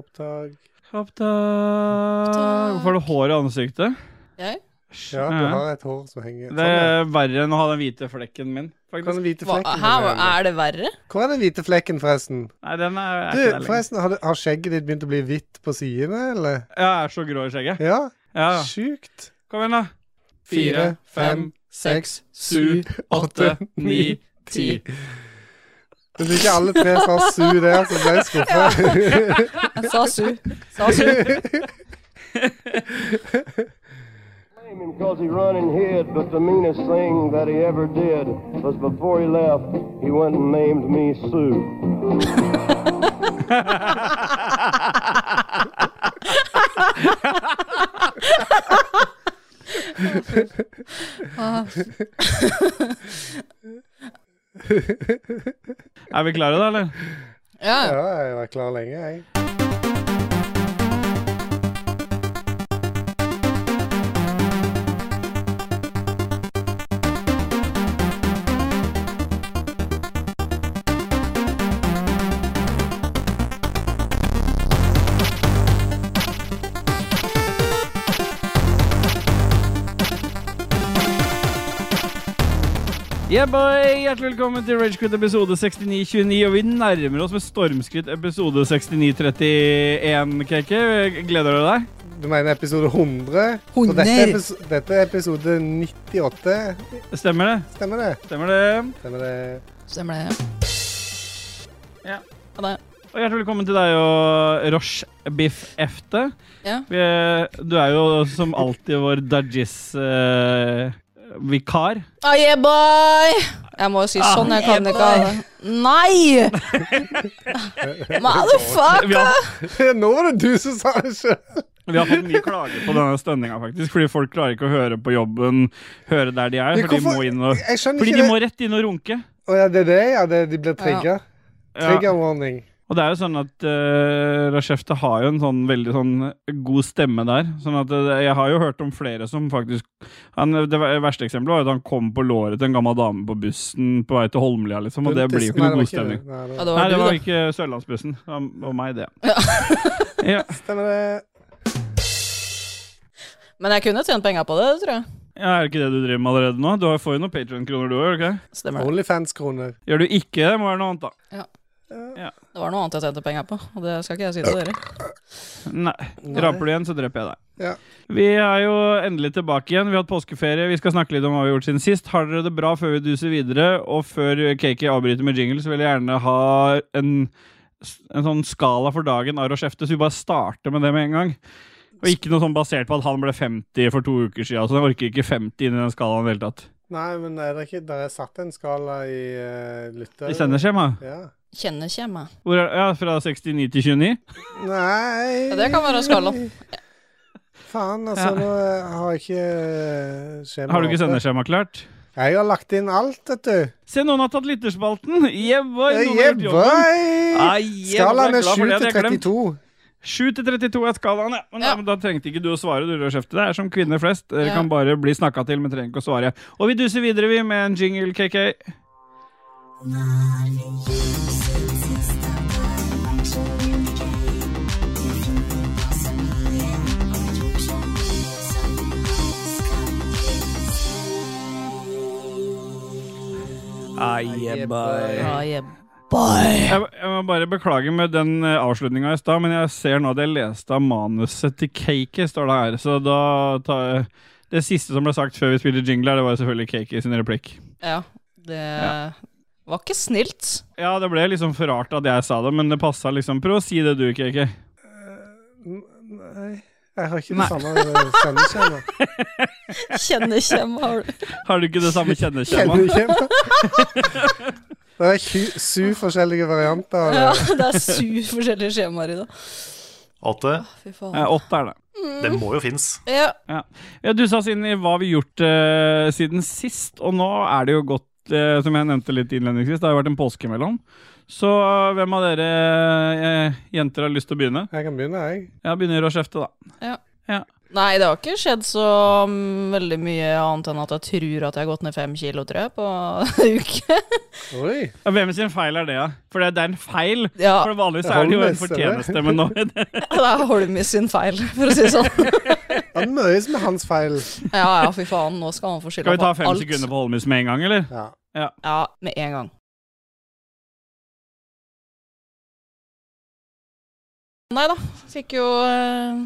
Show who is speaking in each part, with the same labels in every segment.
Speaker 1: Oppdag.
Speaker 2: Opptak Hvorfor har du hår i ansiktet?
Speaker 3: Jeg?
Speaker 2: Æsj.
Speaker 1: Ja, du har Sånn, et hår som henger
Speaker 2: Det er verre enn å ha den hvite flekken min.
Speaker 1: Hvor er
Speaker 2: faktisk.
Speaker 1: den hvite
Speaker 3: Hva,
Speaker 1: flekken?
Speaker 3: hæ, hva-
Speaker 1: Marianne?
Speaker 3: er det verre?
Speaker 1: Hvor er den hvite flekken, forresten?
Speaker 2: Nei, den er, er
Speaker 1: Du,
Speaker 2: ikke der lenger.
Speaker 1: forresten, har, du- har skjegget ditt begynt å bli hvitt på sidene, eller?
Speaker 2: Jeg er så grå i skjegget.
Speaker 1: Ja,
Speaker 2: Ja.
Speaker 1: sjukt.
Speaker 2: Kom igjen, da.
Speaker 1: Fire, fem,
Speaker 2: seks,
Speaker 1: sju, åtte, ni,
Speaker 2: ti.
Speaker 1: Hvis ikke alle tre sa su der, så ble jeg skuffa.
Speaker 3: Sa Su. Sa Su.
Speaker 4: blame him because he run and hid, but the meanest thing that he ever did was before he left, he went and named me Sue.
Speaker 2: Er vi klare da, eller?
Speaker 3: Ja.
Speaker 1: Ja, jeg var klar lenge, jeg.
Speaker 2: Yeah, boy! Hjertelig velkommen til Ragequit episode 6929. Og vi nærmer oss med stormskritt episode 6931, Keke. Gleder du deg?
Speaker 1: Du mener episode 100? Og dette er,
Speaker 3: 100.
Speaker 1: epis dette er episode 98.
Speaker 2: Stemmer det?
Speaker 1: Stemmer det?
Speaker 2: Stemmer det?
Speaker 1: Stemmer det?
Speaker 3: Stemmer det.
Speaker 2: Ja.
Speaker 3: Ha det.
Speaker 2: Og hjertelig velkommen til deg og Roche Biff Efte.
Speaker 3: Ja.
Speaker 2: Vi, Eh, du er jo som alltid vår eh, Dajis-vikar.
Speaker 3: Ah, yeah, boy! Jeg må jo si sånn, jeg kan ikke ha det. Nei!
Speaker 2: vi,
Speaker 3: Motherfucker!
Speaker 2: har-
Speaker 1: Nå var det du som sa det sjøl!
Speaker 2: vi har fått mye klager på denne stønninga, faktisk. Fordi folk klarer ikke å høre på jobben, høre der de er.
Speaker 1: Men
Speaker 2: For de
Speaker 1: hvorfor-
Speaker 2: må inn og
Speaker 1: Jeg skjønner
Speaker 2: Fordi
Speaker 1: ikke
Speaker 2: de
Speaker 1: det.
Speaker 2: må rett inn og runke.
Speaker 1: Å ja, det er det? Ja, det, de blir trigga. Trigger warning.
Speaker 2: Og det er jo sånn at uh, Rashefte har jo en sånn veldig sånn god stemme der. Sånn at eh, Jeg har jo hørt om flere som faktisk han, Det ver- verste eksempelet var jo at han kom på låret til en gammel dame på bussen på vei til Holmlia, liksom. Og det blir jo ikke
Speaker 1: Nei,
Speaker 2: noe god
Speaker 1: det var
Speaker 2: stemning.
Speaker 1: Nei, det
Speaker 3: Ja,
Speaker 1: var-
Speaker 3: det
Speaker 2: Nei,
Speaker 3: var du,
Speaker 2: det var
Speaker 3: da.
Speaker 2: ikke Sørlandsbussen. Det var- var meg, det. ja.
Speaker 1: Stemmer det.
Speaker 3: Men jeg kunne tjent penger på det, tror jeg.
Speaker 2: ja, Er det ikke det du driver med allerede nå? Du har- får jo noen Patreon-kroner du òg, ikke
Speaker 3: Stemmer det.
Speaker 1: Onlyfans-kroner.
Speaker 2: Gjør du ikke det, må det være noe annet, da.
Speaker 3: Det var noe annet jeg tjente penger på, og det skal ikke jeg si til dere.
Speaker 2: Nei.
Speaker 1: Nei.
Speaker 2: Raper du igjen, så dreper jeg deg.
Speaker 1: Ja.
Speaker 2: Vi er jo endelig tilbake igjen. Vi har hatt påskeferie. Vi skal snakke litt om hva vi har gjort siden sist. Har dere det bra før vi duser videre? Og før Kaki avbryter med jingle, så vil jeg gjerne ha en, en sånn skala for dagen av Rochefte, så vi bare starter med det med en gang. Og ikke noe sånn basert på at han ble 50 for to uker siden. Altså, jeg orker ikke 50 inn i den skalaen i det hele tatt.
Speaker 1: Nei, men er det ikke Der er satt en skala i uh, lytter...
Speaker 2: I sendeskjema?
Speaker 1: Ja.
Speaker 3: Kjenner ikke jeg meg.
Speaker 2: Hvor er, ja, fra 69 til 29?
Speaker 1: Nei
Speaker 3: Ja, det kan være skala.
Speaker 1: Faen, altså,
Speaker 2: Ja.
Speaker 1: nå eh, har jeg ikke eh, skjema
Speaker 2: Har du ikke
Speaker 1: oppe.
Speaker 2: sendeskjema klart?
Speaker 1: Jeg har lagt inn alt, vet du.
Speaker 2: Se, noen har tatt lytterspalten! Yeah, boy! Noen
Speaker 1: Yeah,
Speaker 2: har gjort jobben.
Speaker 1: boy!
Speaker 2: Ah, yeah,
Speaker 1: Skalaen
Speaker 2: jeg
Speaker 1: er
Speaker 2: glad
Speaker 1: 7
Speaker 2: for det, det
Speaker 1: til
Speaker 2: hadde jeg glemt.
Speaker 1: 32.
Speaker 2: 7 til 32 er skalaen, ja. Men
Speaker 3: Ja.
Speaker 2: Da, men da trengte ikke du å svare, du rød skjefte. Det er som kvinner flest. Dere
Speaker 3: Ja.
Speaker 2: kan bare bli snakka til, men trenger ikke å svare. Og vi duser videre, vi, med en jingle, KK.
Speaker 1: boy.
Speaker 3: Ah, yeah, boy!
Speaker 2: Jeg, jeg må bare beklage med den eh, avslutninga i stad, men jeg ser nå at jeg leste av manuset til KK, står det her. Så da tar jeg Det siste som ble sagt før vi spilte jingle, her, det var selvfølgelig KK sin replikk.
Speaker 3: Ja, det var ikke snilt.
Speaker 2: Ja, det ble liksom for rart at jeg sa det, men det passa liksom. Prøv å si det du, KK.
Speaker 1: Nei, jeg har ikke
Speaker 2: Nei.
Speaker 1: det samme eh, sendeskjema.
Speaker 3: Kjenner ikke jeg meg. har du-
Speaker 2: Har du ikke det samme kjenneskjemaet?
Speaker 1: Kjenneskjema. Det er tju- sju forskjellige varianter. av det.
Speaker 3: Ja, det er sju forskjellige skjemaer i dag.
Speaker 5: Åtte.
Speaker 3: Fy faen.
Speaker 2: Eh, Åtte er det.
Speaker 5: Det må jo finnes.
Speaker 3: Ja,
Speaker 2: Ja, Du sa inn i hva vi har gjort eh, siden sist, og nå er det jo gått, eh, som jeg nevnte litt innledningsvis, det har jo vært en påske imellom. Så eh, hvem av dere eh, jenter har lyst til å begynne?
Speaker 1: Jeg kan begynne, jeg.
Speaker 2: Jeg begynner å kjefte, da.
Speaker 3: Ja. Nei, det har ikke skjedd så mm, veldig mye annet enn at jeg tror at jeg har gått ned fem kilo, tror jeg, på en uke.
Speaker 1: Oi.
Speaker 2: Ja, Hvem sin feil er det, da? For det, det er en feil.
Speaker 3: Ja.
Speaker 2: For vanligvis er det jo en
Speaker 1: Holmes, eller?
Speaker 2: fortjeneste, men nå
Speaker 3: Det er Holmis sin feil, for å si det sånn.
Speaker 1: Det er mye som er hans feil.
Speaker 3: Ja, ja, fy faen, nå skal han få skylda
Speaker 2: Skal vi ta
Speaker 3: for
Speaker 2: fem
Speaker 3: alt.
Speaker 2: sekunder på Holmus med en gang, eller?
Speaker 1: Ja.
Speaker 3: Ja, med en gang. Nei da, fikk jo eh,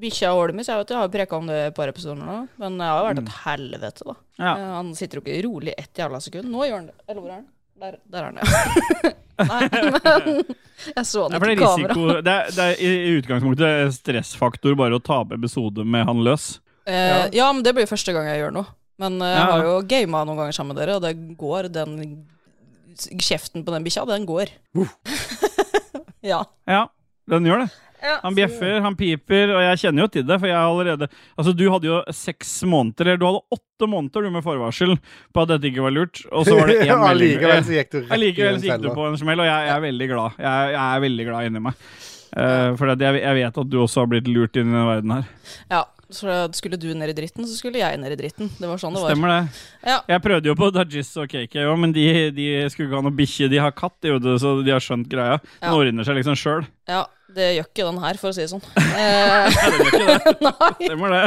Speaker 3: bikkja og Holmis. Jeg vet, jeg har jo preka om det i et par episoder nå, men det har jo vært et helvete, da.
Speaker 2: Mm. Ja.
Speaker 3: Eh, han sitter jo ikke rolig ett jævla sekund. Nå gjør han det. Eller hvor er han? Der, der er han, ja. Nei, men jeg så
Speaker 2: Det
Speaker 3: han
Speaker 2: er, fordi
Speaker 3: ikke i kamera.
Speaker 2: risiko, det, er, det er i i utgangspunktet stressfaktor bare å tape episode med han løs.
Speaker 3: Eh, ja, men det blir første gang jeg gjør noe. Men eh, jeg
Speaker 2: Ja.
Speaker 3: har jo gama noen ganger sammen med dere, og det går den Kjeften på den bikkja, den går. ja.
Speaker 2: Ja, den gjør det.
Speaker 3: Ja.
Speaker 2: Han bjeffer, han piper, og jeg kjenner jo til det. For jeg har allerede Altså, du hadde jo seks måneder, eller du hadde åtte måneder du med forvarsel på at dette ikke var lurt, og så var det én
Speaker 1: Ja,
Speaker 2: melding.
Speaker 1: Allikevel så gikk du rett i
Speaker 2: Allikevel
Speaker 1: en
Speaker 2: så gikk du
Speaker 1: felle.
Speaker 2: på en smell, og jeg, jeg er veldig glad. Jeg, jeg er veldig glad inni meg. Eh, for at jeg, jeg vet at du også har blitt lurt inn i denne verden her.
Speaker 3: ja. Så skulle du ned i dritten, så skulle jeg ned i dritten. Det var sånn det var.
Speaker 2: Stemmer det.
Speaker 3: Ja.
Speaker 2: Jeg prøvde jo på Dajis og KK òg, men de, de skulle ikke ha noe bikkje. De har katt, de, vet du, så de har skjønt greia. Den
Speaker 3: Ja.
Speaker 2: ordner seg liksom sjøl.
Speaker 3: Ja, det gjør ikke den her, for å si det sånn. Eh, Nei.
Speaker 2: Stemmer det.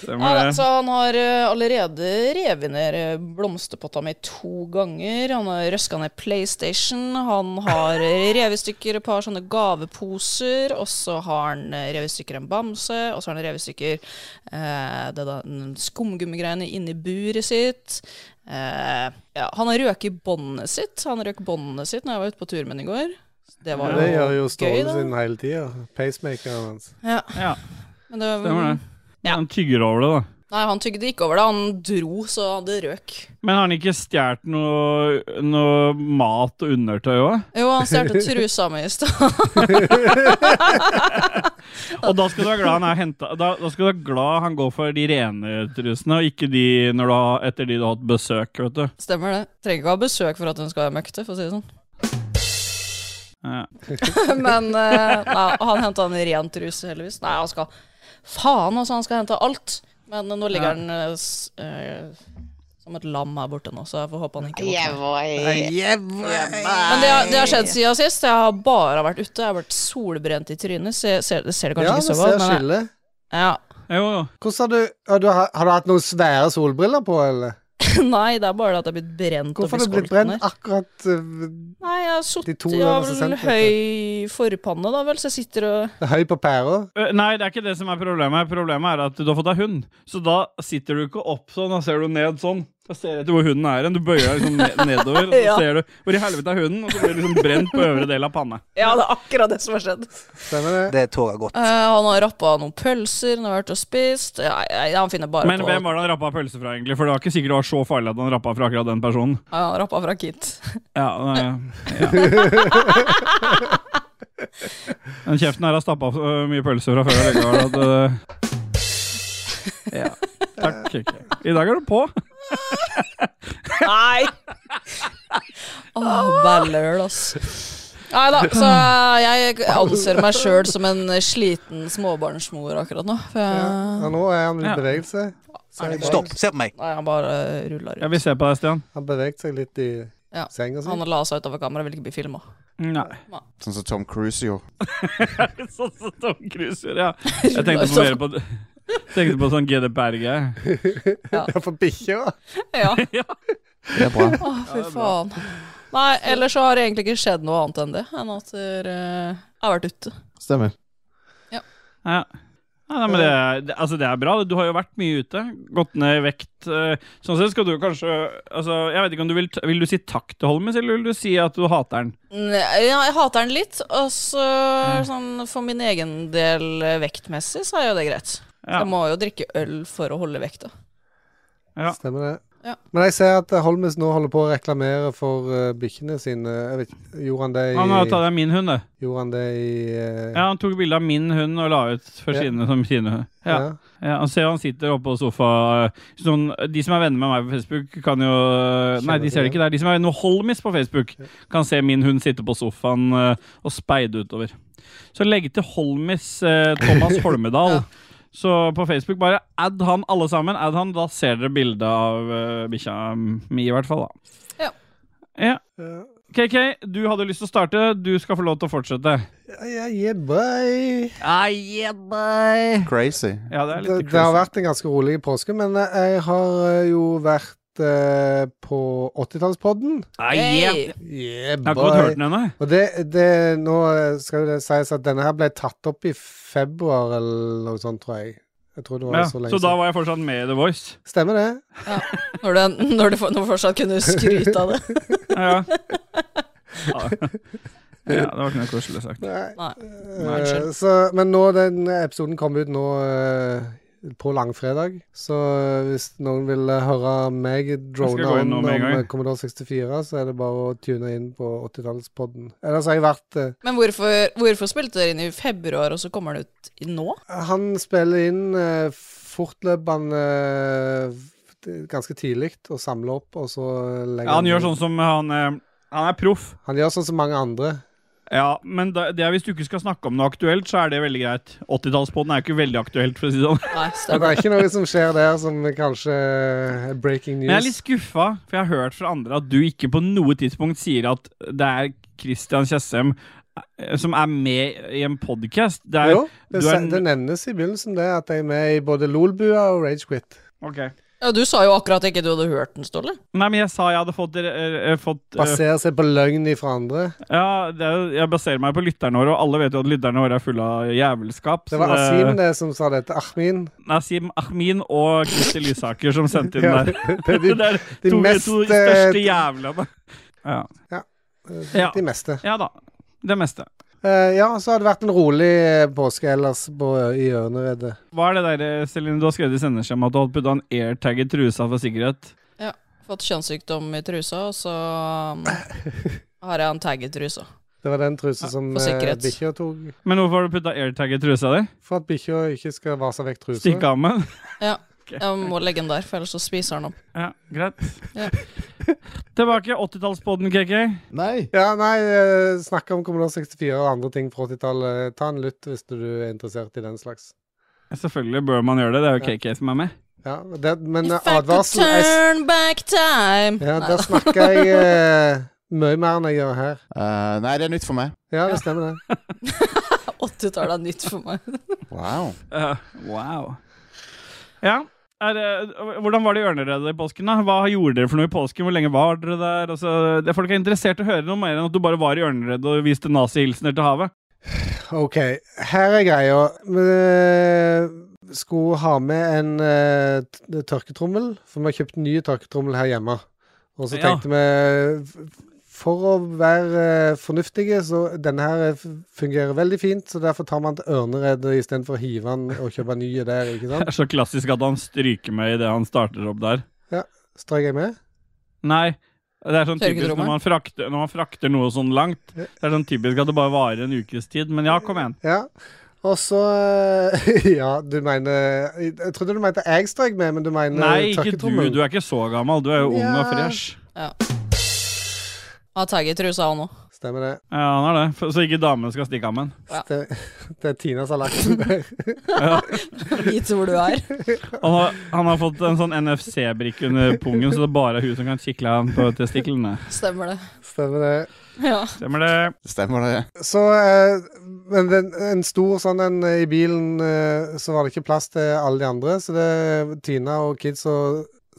Speaker 2: Stemmer
Speaker 3: Ja, da,
Speaker 2: det.
Speaker 3: så han har eh, allerede revet ned eh, blomsterpotta mi to ganger. Han har røska ned PlayStation. Han har eh, revet i stykker et par sånne gaveposer. Og så har han eh, revet i stykker en bamse. Og så har han revet i stykker eh, det da, den skumgummigreiene inni buret sitt. Eh, ja, han har røket båndet sitt. Han røk båndet sitt når jeg var ute på tur med ham i går. Det var
Speaker 1: Det gjør jo
Speaker 3: gøy,
Speaker 1: Ståle
Speaker 3: da.
Speaker 1: sin hele tida. Pacemakeren hans.
Speaker 3: Ja,
Speaker 2: Ja,
Speaker 3: men det,
Speaker 2: stemmer det. Han tygger over det, da.
Speaker 3: Nei, han tygde ikke over det. Han dro, så det røk.
Speaker 2: Men har han ikke stjålet noe, noe mat og undertøy òg?
Speaker 3: Jo, han startet trusa mi i stad.
Speaker 2: Og da skal du være glad han er hentet- da, da skal du være glad han går for de rene trusene, og ikke de når du har, etter de du har hatt besøk, vet du.
Speaker 3: Stemmer det. Trenger ikke ha besøk for at hun skal være møkte, for å si det sånn.
Speaker 2: Ja.
Speaker 3: Men eh, nei, han henta en ren truse, heldigvis. Nei, han skal Faen, altså, han skal hente alt. Men eh, nå ligger
Speaker 2: Ja.
Speaker 3: han eh, s- eh, som et lam her borte nå, så jeg får håpe han ikke
Speaker 6: Yeah,
Speaker 3: våkner.
Speaker 6: boy.
Speaker 3: Men det har, det har skjedd siden sist. Jeg har bare vært ute. Jeg har vært solbrent i trynet. Se, ser- det ser det kanskje
Speaker 1: Ja, vi
Speaker 3: ikke så
Speaker 1: ser
Speaker 3: godt men jeg-
Speaker 1: skillet.
Speaker 3: ja.
Speaker 2: Jo, jo.
Speaker 1: Hvordan har du, har du Har du hatt noen svære solbriller på, eller?
Speaker 3: Nei, det er bare det at jeg er blitt brent.
Speaker 1: Hvorfor
Speaker 3: opp i
Speaker 1: har du blitt
Speaker 3: skolten her.
Speaker 1: brent akkurat uh,
Speaker 3: Nei, jeg har suttet
Speaker 1: De to
Speaker 3: Jeg har
Speaker 1: øverste
Speaker 3: vel
Speaker 1: centimeter.
Speaker 3: høy forpanne, da vel, så jeg sitter og
Speaker 1: høy på pæra?
Speaker 2: Eh, Nei, det er ikke det som er problemet. Problemet er at du har fått deg hund. Så da sitter du ikke opp sånn, da ser du ned sånn. Da ser du etter hvor hunden er hen. Du bøyer deg liksom ned, nedover, og så
Speaker 3: Ja.
Speaker 2: ser du hvor i helvete er hunden, og så blir du liksom brent på øvre del av panna.
Speaker 3: Ja, det er akkurat det som har skjedd.
Speaker 1: Stemmer det?
Speaker 7: Det tåler godt.
Speaker 3: Eh, han har rappa noen pølser, han har vært og spist ja, jeg, Han finner bare
Speaker 2: Men
Speaker 3: på
Speaker 2: hvem var det han rappa pølse fra, egentlig? For det var ikke sikkert det var så farlig at han rappa fra akkurat den personen.
Speaker 3: ja, Han rappa fra Kit.
Speaker 2: Ja, nei, ja. Den kjeften her har stappa øh, mye pølser fra før. Det går, at, øh, ja. Takk. Kikki. I dag er du på.
Speaker 3: Nei! Åh, Bælløl, ass. Nei da, så jeg anser meg sjøl som en sliten småbarnsmor akkurat nå. For jeg,
Speaker 1: Ja, nå er han i
Speaker 2: Ja.
Speaker 1: bevegelse. Så
Speaker 3: Er det
Speaker 1: jeg-
Speaker 7: Stopp, se på meg.
Speaker 3: nei, han bare ruller
Speaker 2: Jeg vil
Speaker 3: ut.
Speaker 2: se på deg, Stian.
Speaker 1: Han beveget seg litt i
Speaker 3: Ja.
Speaker 1: senga si.
Speaker 3: Han la seg utover kameraet, ville ikke bli filma.
Speaker 2: Nei.
Speaker 8: Sånn som Tom Cruise gjorde.
Speaker 2: Sånn som Tom Cruise gjør, ja. Jeg tenkte på, mer på, tenkte på sånn GDPR-greie.
Speaker 1: Ja, for bikkja.
Speaker 3: Ja.
Speaker 8: Det er bra.
Speaker 3: Å, fy faen. Nei, ellers så har det egentlig ikke skjedd noe annet enn det. Enn at eh, jeg har vært ute.
Speaker 8: Stemmer.
Speaker 2: Ja. Ja, nei, men det, det, altså det er bra. Du har jo vært mye ute. Gått ned i vekt. eh, Sånn sett skal du kanskje altså, Jeg vet ikke om du Vil t- Vil du si takk til Holmes, eller vil du si at du hater han?
Speaker 3: Nei, Ja, jeg hater den litt. Og så sånn for min egen del eh, vektmessig, så er jo det greit.
Speaker 2: Ja.
Speaker 3: Jeg må jo drikke øl for å holde vekta.
Speaker 2: Ja.
Speaker 1: Stemmer det.
Speaker 3: Ja.
Speaker 1: Men jeg ser at eh, Holmes nå holder på å reklamere for uh, bikkjene sine. Jeg vet ikke, Gjorde han det i,
Speaker 2: Han har tatt av min hund, det.
Speaker 1: gjorde han det i eh,
Speaker 2: Ja, han tok bilde av min hund og la ut for
Speaker 1: Ja.
Speaker 2: sine som sine hund. Ja.
Speaker 1: ja.
Speaker 2: Ja, han ser han sitter oppe på sofa sånn, De som er venner med meg på Facebook, kan jo Nei, de ser det ikke der. De som er venner med Holmis på Facebook, kan se min hund sitte på sofaen eh, og speide utover. Så legg til Holmis eh, Thomas Holmedal. Så på Facebook bare add han alle sammen. Add han, Da ser dere bildet av eh, bikkja mi, i hvert fall. da.
Speaker 3: Ja.
Speaker 2: ja.
Speaker 1: Ja.
Speaker 2: KK, du hadde lyst til å starte. Du skal få lov til å fortsette.
Speaker 1: Ja, yeah, boy.
Speaker 8: Crazy.
Speaker 2: Ja, det
Speaker 1: det,
Speaker 2: er litt altså.
Speaker 1: det har
Speaker 2: crazy.
Speaker 1: vært en ganske rolig påske, men eh, jeg har eh, jo vært eh, på 80-tallspodden.
Speaker 2: Ai, yeah.
Speaker 3: Hey!
Speaker 2: Jeg
Speaker 1: Yeah,
Speaker 2: har ikke fått hørt
Speaker 1: boy.
Speaker 2: den ennå. jeg.
Speaker 1: Og det, det, nå eh, skal jo det sies at denne her ble tatt opp i februar eller noe sånt, tror jeg. Jeg tror det var
Speaker 2: Ja.
Speaker 1: så lenge
Speaker 2: Så da var jeg fortsatt med i The Voice.
Speaker 1: Stemmer det?
Speaker 3: Når du, når du for- når du fortsatt kunne skryte av det.
Speaker 2: Ja. Ja, ja det var ikke noe koselig sagt.
Speaker 1: Nei.
Speaker 3: Nei.
Speaker 1: Eh,
Speaker 2: Nei, unnskyld.
Speaker 1: så, men nå, den episoden kom ut nå eh, på langfredag, så hvis noen vil eh, høre meg drone
Speaker 2: gå
Speaker 1: on
Speaker 2: inn nå
Speaker 1: om
Speaker 2: med en gang.
Speaker 1: eh, Commodore 64, så er det bare å tune inn på 80-tallspodden. Ellers har jeg vært eh,
Speaker 3: Men hvorfor, hvorfor spilte dere inn i februar, og så kommer den ut i nå?
Speaker 1: Han spiller inn eh, fortløpende eh, f- ganske tidlig og samler opp, og så eh, legger
Speaker 2: Ja, han gjør
Speaker 1: ut.
Speaker 2: sånn som han eh, Han er proff.
Speaker 1: Han gjør sånn som mange andre.
Speaker 2: Ja, men da, det er hvis du ikke skal snakke om noe aktuelt, så er det veldig greit. 80-tallspodden er ikke veldig aktuelt, for å si det sånn.
Speaker 3: Nei,
Speaker 1: Og
Speaker 3: stemmer.
Speaker 1: det er ikke noe som skjer der som kanskje er breaking
Speaker 2: Men jeg er litt
Speaker 1: news.
Speaker 2: skuffa, for jeg har hørt fra andre at du ikke på noe tidspunkt sier at det er Christian Tjessem eh, som er med i en podkast. Det er
Speaker 1: Jo, det,
Speaker 2: du er
Speaker 1: se-
Speaker 2: en-
Speaker 1: det nevnes i begynnelsen det at jeg er med i både Lolbua og Ragequit.
Speaker 2: Ok.
Speaker 3: Ja, du sa jo akkurat ikke du hadde hørt den, Ståle.
Speaker 2: Nei, men jeg sa jeg hadde fått, eh, eh, fått eh,
Speaker 1: Baserer seg på løgn ifra andre.
Speaker 2: Ja, det er, jo- jeg baserer meg på lytterne våre, og alle vet jo at lytterne våre er fulle av jævelskap.
Speaker 1: Det var
Speaker 2: så
Speaker 1: Asim det som sa dette. Ahmin.
Speaker 2: Nei, Asim Ahmin og Kristi Lysaker som sendte inn
Speaker 1: Ja,
Speaker 2: der.
Speaker 1: det er de,
Speaker 2: det er
Speaker 1: de
Speaker 2: to,
Speaker 1: mest,
Speaker 2: to
Speaker 1: eh,
Speaker 2: største jævlene. Ja. Ja.
Speaker 1: de meste.
Speaker 2: ja da. Det meste.
Speaker 1: Eh, ja, så har det vært en rolig eh, påske ellers på, i Ørneredet.
Speaker 2: Hva er det der, eh, Celine, du har skrevet i sendeskjemaet at du hadde putta en airtag i trusa for sikkerhet?
Speaker 3: Fått kjønnssykdom i trusa, og så um, har jeg en tag i trusa.
Speaker 1: Det var den trusa som
Speaker 3: for
Speaker 1: eh,
Speaker 3: sikkerhet.
Speaker 1: bikkja tok.
Speaker 2: Men hvorfor har du putta airtag i trusa di?
Speaker 1: For at bikkja ikke skal vase vekk trusa.
Speaker 2: Stikke av med den?
Speaker 3: Jeg må legge den der, for ellers så spiser den opp.
Speaker 2: Ja, greit.
Speaker 3: Ja.
Speaker 2: Tilbake 80-tallspodden, KK.
Speaker 6: Nei.
Speaker 1: Ja, nei, eh, snakke om Commodore 64 og andre ting fra 80-tallet. Ta en lytt hvis du er interessert i den slags.
Speaker 2: Selvfølgelig bør man gjøre det. Det er jo KK som er med.
Speaker 1: Ja, det, men
Speaker 3: If I could
Speaker 1: advarsel jeg, s-
Speaker 3: turn back time
Speaker 1: Ja, der snakker jeg eh, mye mer enn jeg gjør her.
Speaker 8: Eh, nei, det er nytt for meg.
Speaker 1: Ja, det stemmer det.
Speaker 3: 80-tallet er nytt for meg.
Speaker 8: Wow.
Speaker 2: Eh, wow. Ja. Er, det- hvordan var det i Ørneredet i påsken? da? Hva gjorde dere for noe i påsken? Hvor lenge var dere der? Altså, det, folk er interessert i å høre noe mer enn at du bare var i Ørneredet og viste nazihilsener til havet.
Speaker 1: OK, her er greia. Vi eh, skulle ha med en eh, t- tørketrommel, for vi har kjøpt ny tørketrommel her hjemme. Og så
Speaker 2: Ja.
Speaker 1: tenkte vi f- for å være eh, fornuftige, så denne her eh, f- fungerer veldig fint, så derfor tar man til Ørneredet istedenfor å hive den og kjøpe en ny der, ikke
Speaker 2: Det
Speaker 1: sant?
Speaker 2: er så klassisk at han stryker med idet han starter opp der.
Speaker 1: Strøk jeg med?
Speaker 2: Nei. Det er sånn typisk
Speaker 3: Tørketrommel?
Speaker 2: når man, frakter, når man frakter noe sånn langt. Det er sånn typisk at det bare varer en ukes tid. Men ja, kom igjen.
Speaker 1: Ja. Og så eh, Ja, du mener Jeg trodde du mente jeg strøk med, men du mener
Speaker 2: Nei, ikke du.
Speaker 1: tørketrommelen.
Speaker 2: Du er ikke så gammel. Du er jo ung og
Speaker 1: Ja.
Speaker 2: fresh.
Speaker 3: Har tag i trusa òg nå.
Speaker 1: Stemmer det.
Speaker 2: Ja, han er det. For- Så ikke damen skal stikke av med den.
Speaker 3: Ja.
Speaker 1: Det, det er Tina som har lagt den der.
Speaker 3: Vite hvor du er.
Speaker 2: Han har, han har fått en sånn NFC-brikke under pungen, så det er bare hun som kan kikle ham på testiklene.
Speaker 3: Stemmer det.
Speaker 1: Stemmer det.
Speaker 3: Ja.
Speaker 2: Stemmer det?
Speaker 8: Stemmer det?
Speaker 1: Så eh, Men den, en stor sånn en i bilen, eh, så var det ikke plass til alle de andre, så det Tina og kidsa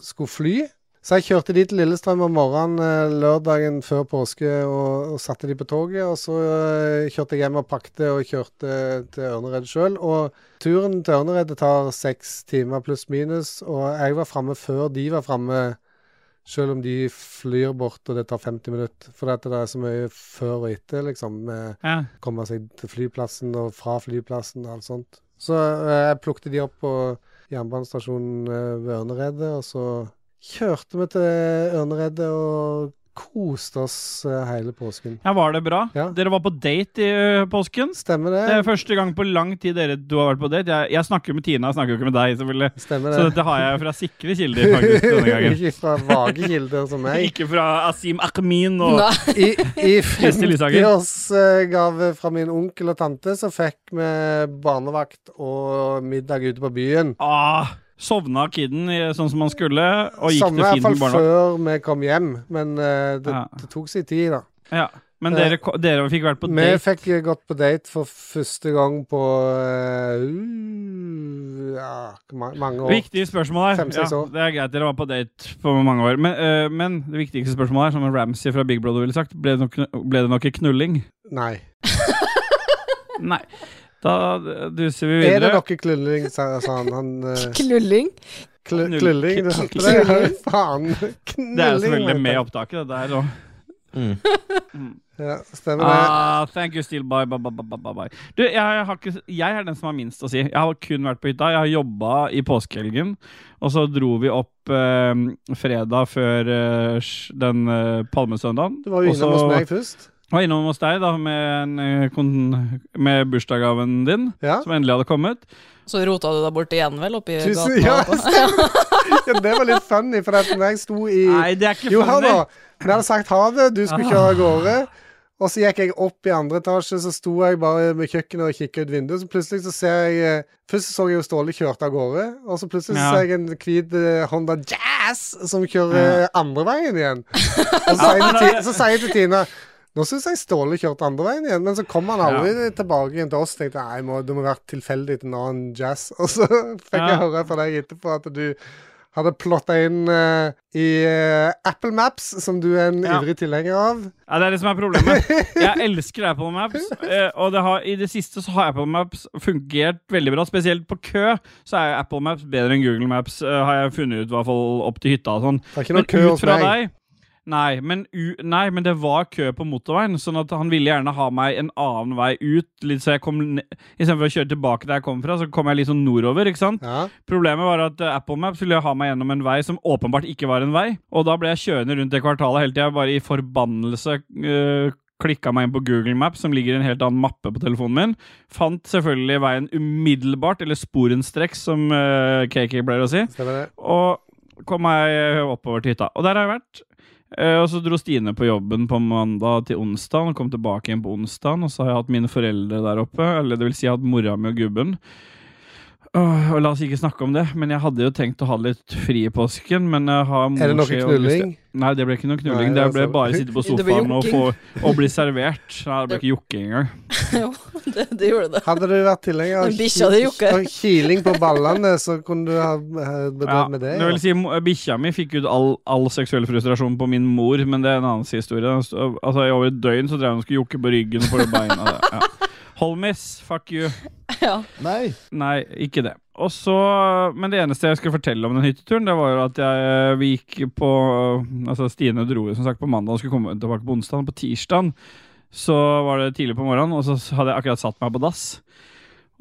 Speaker 1: skulle fly. Så jeg kjørte de til Lillestrøm om morgenen eh, lørdagen før påske og, og satte de på toget. Og så eh, kjørte jeg hjem og pakte og kjørte til Ørneredet sjøl. Og turen til Ørneredet tar seks timer pluss minus, og jeg var framme før de var framme. Selv om de flyr bort og det tar 50 minutter. For det er så mye før og etter, liksom. Med
Speaker 2: Ja.
Speaker 1: komme seg til flyplassen og fra flyplassen og alt sånt. Så eh, jeg plukket de opp på jernbanestasjonen eh, ved Ørneredet, og så kjørte vi til Ørneredet og koste oss eh, hele påsken.
Speaker 2: Ja, var det bra?
Speaker 1: Ja.
Speaker 2: Dere var på date i ø, påsken?
Speaker 1: Stemmer det?
Speaker 2: Det er første gang på lang tid dere du har vært på date. Jeg, jeg snakker jo med Tina, jeg snakker jo ikke med deg, selvfølgelig.
Speaker 1: Stemmer
Speaker 2: Så
Speaker 1: det.
Speaker 2: dette har jeg fra sikre kilder, faktisk, denne gangen.
Speaker 1: Ikke fra vage kilder som meg.
Speaker 2: Ikke fra Asim Akmin og
Speaker 3: Nei.
Speaker 1: I, i
Speaker 2: Kristin Lysaker.
Speaker 1: 50-årsgave fra min onkel og tante så fikk vi barnevakt og middag ute på byen.
Speaker 2: ah, Sovna kiden i- sånn som han skulle, og gikk
Speaker 1: Samme i
Speaker 2: til
Speaker 1: hvert
Speaker 2: fin
Speaker 1: fall
Speaker 2: barna.
Speaker 1: før vi kom hjem, men eh, det,
Speaker 2: Ja.
Speaker 1: det tok sin tid, da.
Speaker 2: Ja. Men dere, ko- dere fikk vært på
Speaker 1: Vi
Speaker 2: date.
Speaker 1: fikk eh, gått på date for første gang på eh, uh, ja, hvor ma- mange år.
Speaker 2: Viktige spørsmål her.
Speaker 1: Fem-seks år.
Speaker 2: det er greit dere var på date på mange år. Men, ø, men det viktigste spørsmålet her, som Ramsey fra Big Brother ville sagt, ble det nok, ble det nok en knulling?
Speaker 1: Nei.
Speaker 2: Nei. Da duser vi
Speaker 1: Er det
Speaker 2: videre.
Speaker 1: noe klulling, sa sa han. han eh,
Speaker 3: Knulling.
Speaker 1: klu,
Speaker 2: Knull-
Speaker 1: klulling, du
Speaker 2: kn-
Speaker 1: hørte det? Ja, Faen. Knulling.
Speaker 2: Det er jo selvfølgelig
Speaker 1: vet
Speaker 2: med i
Speaker 1: jeg.
Speaker 2: opptaket, det der òg.
Speaker 1: Ja, stemmer det.
Speaker 2: Ah, thank you, still bye, bye, bye, bye, bye, bye. Du, jeg, har ikke, jeg er den som har minst å si. Jeg har kun vært på hytta. Jeg har jobba i påskehelgen. Og så dro vi opp eh, fredag før eh, sj- den eh, palmesøndagen.
Speaker 1: Du var jo
Speaker 2: Og så
Speaker 1: innom hos meg først.
Speaker 2: Var jeg innom hos deg da med, en, eh, kon- med bursdagsgaven din,
Speaker 1: Ja.
Speaker 2: som endelig hadde kommet.
Speaker 3: Så rota du deg bort igjen, vel, oppi
Speaker 1: Tusen,
Speaker 3: gata?
Speaker 1: ja, stemmer. ja, det var litt funny, for at når jeg sto i
Speaker 2: Nei, det er ikke Ah.
Speaker 1: Jo, hør
Speaker 2: funny.
Speaker 1: nå. Vi hadde sagt ha det, du skulle kjøre av gårde. Og så gikk jeg opp i andre etasje, så sto jeg bare med kjøkkenet og kikket ut vinduet. Så plutselig så ser jeg eh, Først så jeg jo Ståle kjørte av gårde, og så plutselig så
Speaker 2: Ja.
Speaker 1: ser jeg en hvit eh, Honda Jazz som kjører eh, andre veien igjen. Og så sier jeg til, Ti- så sier jeg til Tina nå syns jeg Ståle kjørte andre veien igjen, men så kom han aldri tilbake igjen til oss. Tenkte jeg, må, det må være tilfeldig til en annen jazz. Og så fikk jeg
Speaker 2: Ja.
Speaker 1: høre fra deg etterpå at du hadde plotta inn eh, i eh, Apple Maps, som du er en
Speaker 2: Ja.
Speaker 1: ivrig tilhenger av.
Speaker 2: Ja, det er det som er problemet. Jeg elsker Apple Maps, eh, og det har, i det siste så har Apple Maps fungert veldig bra. Spesielt på kø så er jo Apple Maps bedre enn Google Maps, eh, har jeg funnet ut, i hvert fall opp til hytta og sånn.
Speaker 1: Det er ikke noe kø hos meg.
Speaker 2: deg Nei men, u, nei, men det var kø på motorveien, sånn at han ville gjerne ha meg en annen vei ut. Litt så jeg kom ne- Istedenfor å kjøre tilbake der jeg kom fra, så kom jeg litt sånn nordover. ikke sant?
Speaker 1: Ja.
Speaker 2: Problemet var at eh, Apple Maps ville ha meg gjennom en vei som åpenbart ikke var en vei, og da ble jeg kjørende rundt det kvartalet hele tida, bare i forbannelse. eh, Klikka meg inn på Google Maps, som ligger i en helt annen mappe på telefonen min. Fant selvfølgelig veien umiddelbart, eller sporenstreks, som eh, KK pleier å si.
Speaker 1: Stemmer det.
Speaker 2: Og kom meg eh, oppover til hytta. Og der har jeg vært. Eh, Og så dro Stine på jobben på mandag til onsdag og kom tilbake igjen på onsdag. Og så har jeg hatt mine foreldre der oppe, eller det vil si jeg har hatt mora mi og gubben. Åh, og la oss ikke snakke om det, men jeg hadde jo tenkt å ha litt fri i påsken. Men jeg har mor,
Speaker 1: Er det noe
Speaker 2: skje og
Speaker 1: knulling?
Speaker 2: Nei, det ble ikke noe knulling.
Speaker 1: Nei,
Speaker 2: det
Speaker 1: altså-
Speaker 2: ble bare sitte på
Speaker 3: Det ble
Speaker 2: sofaen og, få,
Speaker 3: jokking.
Speaker 2: og bli servert. Nei, det ble ikke jokking engang.
Speaker 3: jo, det, det gjorde det.
Speaker 1: Hadde du vært tilhenger av
Speaker 3: Den bikkja di
Speaker 1: ki-
Speaker 3: jokker.
Speaker 1: av kiling på ballene, så kunne du ha eh,
Speaker 2: Ja,
Speaker 1: bedrevet med det.
Speaker 2: det vil
Speaker 1: Ja.
Speaker 2: si, mo- bikkja mi fikk ut all, all seksuell frustrasjon på min mor, men det er en annen historie. Den sto- Altså, I over et døgn så drev hun og skulle jokke på ryggen på beina. Ja. Holmis, fuck you.
Speaker 8: Nei.
Speaker 2: Nei, ikke det. Og så, Men det eneste jeg skulle fortelle om den hytteturen, det var jo at jeg, eh, vi gikk på Altså, Stine dro jo som sagt på mandag og skulle komme tilbake på onsdag. På tirsdag så var det tidlig på morgenen, og så hadde jeg akkurat satt meg på dass.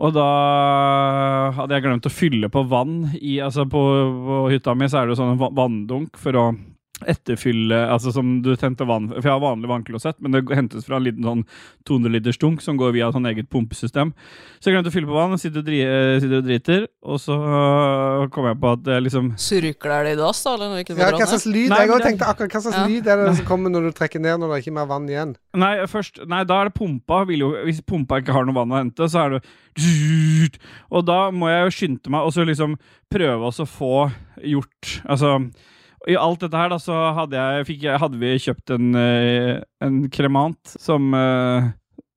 Speaker 2: Og da hadde jeg glemt å fylle på vann i Altså, på, på hytta mi så er det jo sånn va- vanndunk for å etterfylle Altså som du tente vann For jeg har vanlig vannklosett, men det hentes fra en liten sånn 200 liters dunk som går via sånn eget pumpesystem. Så jeg glemte å fylle på vann, sitter og, dri, eh, sitter og driter, og så øh, kom jeg på at det liksom
Speaker 3: Surkler det i dass, da? Eller når det ikke
Speaker 1: Ja,
Speaker 3: var
Speaker 1: hva
Speaker 3: brann?
Speaker 1: slags lyd?
Speaker 2: Nei,
Speaker 1: Jeg
Speaker 2: men
Speaker 1: òg
Speaker 2: det-
Speaker 1: tenkte akkurat hva slags
Speaker 3: Ja.
Speaker 1: lyd er det som kommer når du trekker ned når det ikke er mer vann igjen?
Speaker 2: Nei, først Nei, da er det pumpa. Vil jo, hvis pumpa ikke har noe vann å hente, så er det Og da må jeg jo skynde meg og så liksom prøve også å få gjort Altså i alt dette her da, så hadde, jeg, fikk jeg, hadde vi kjøpt en, eh, en kremant som, eh,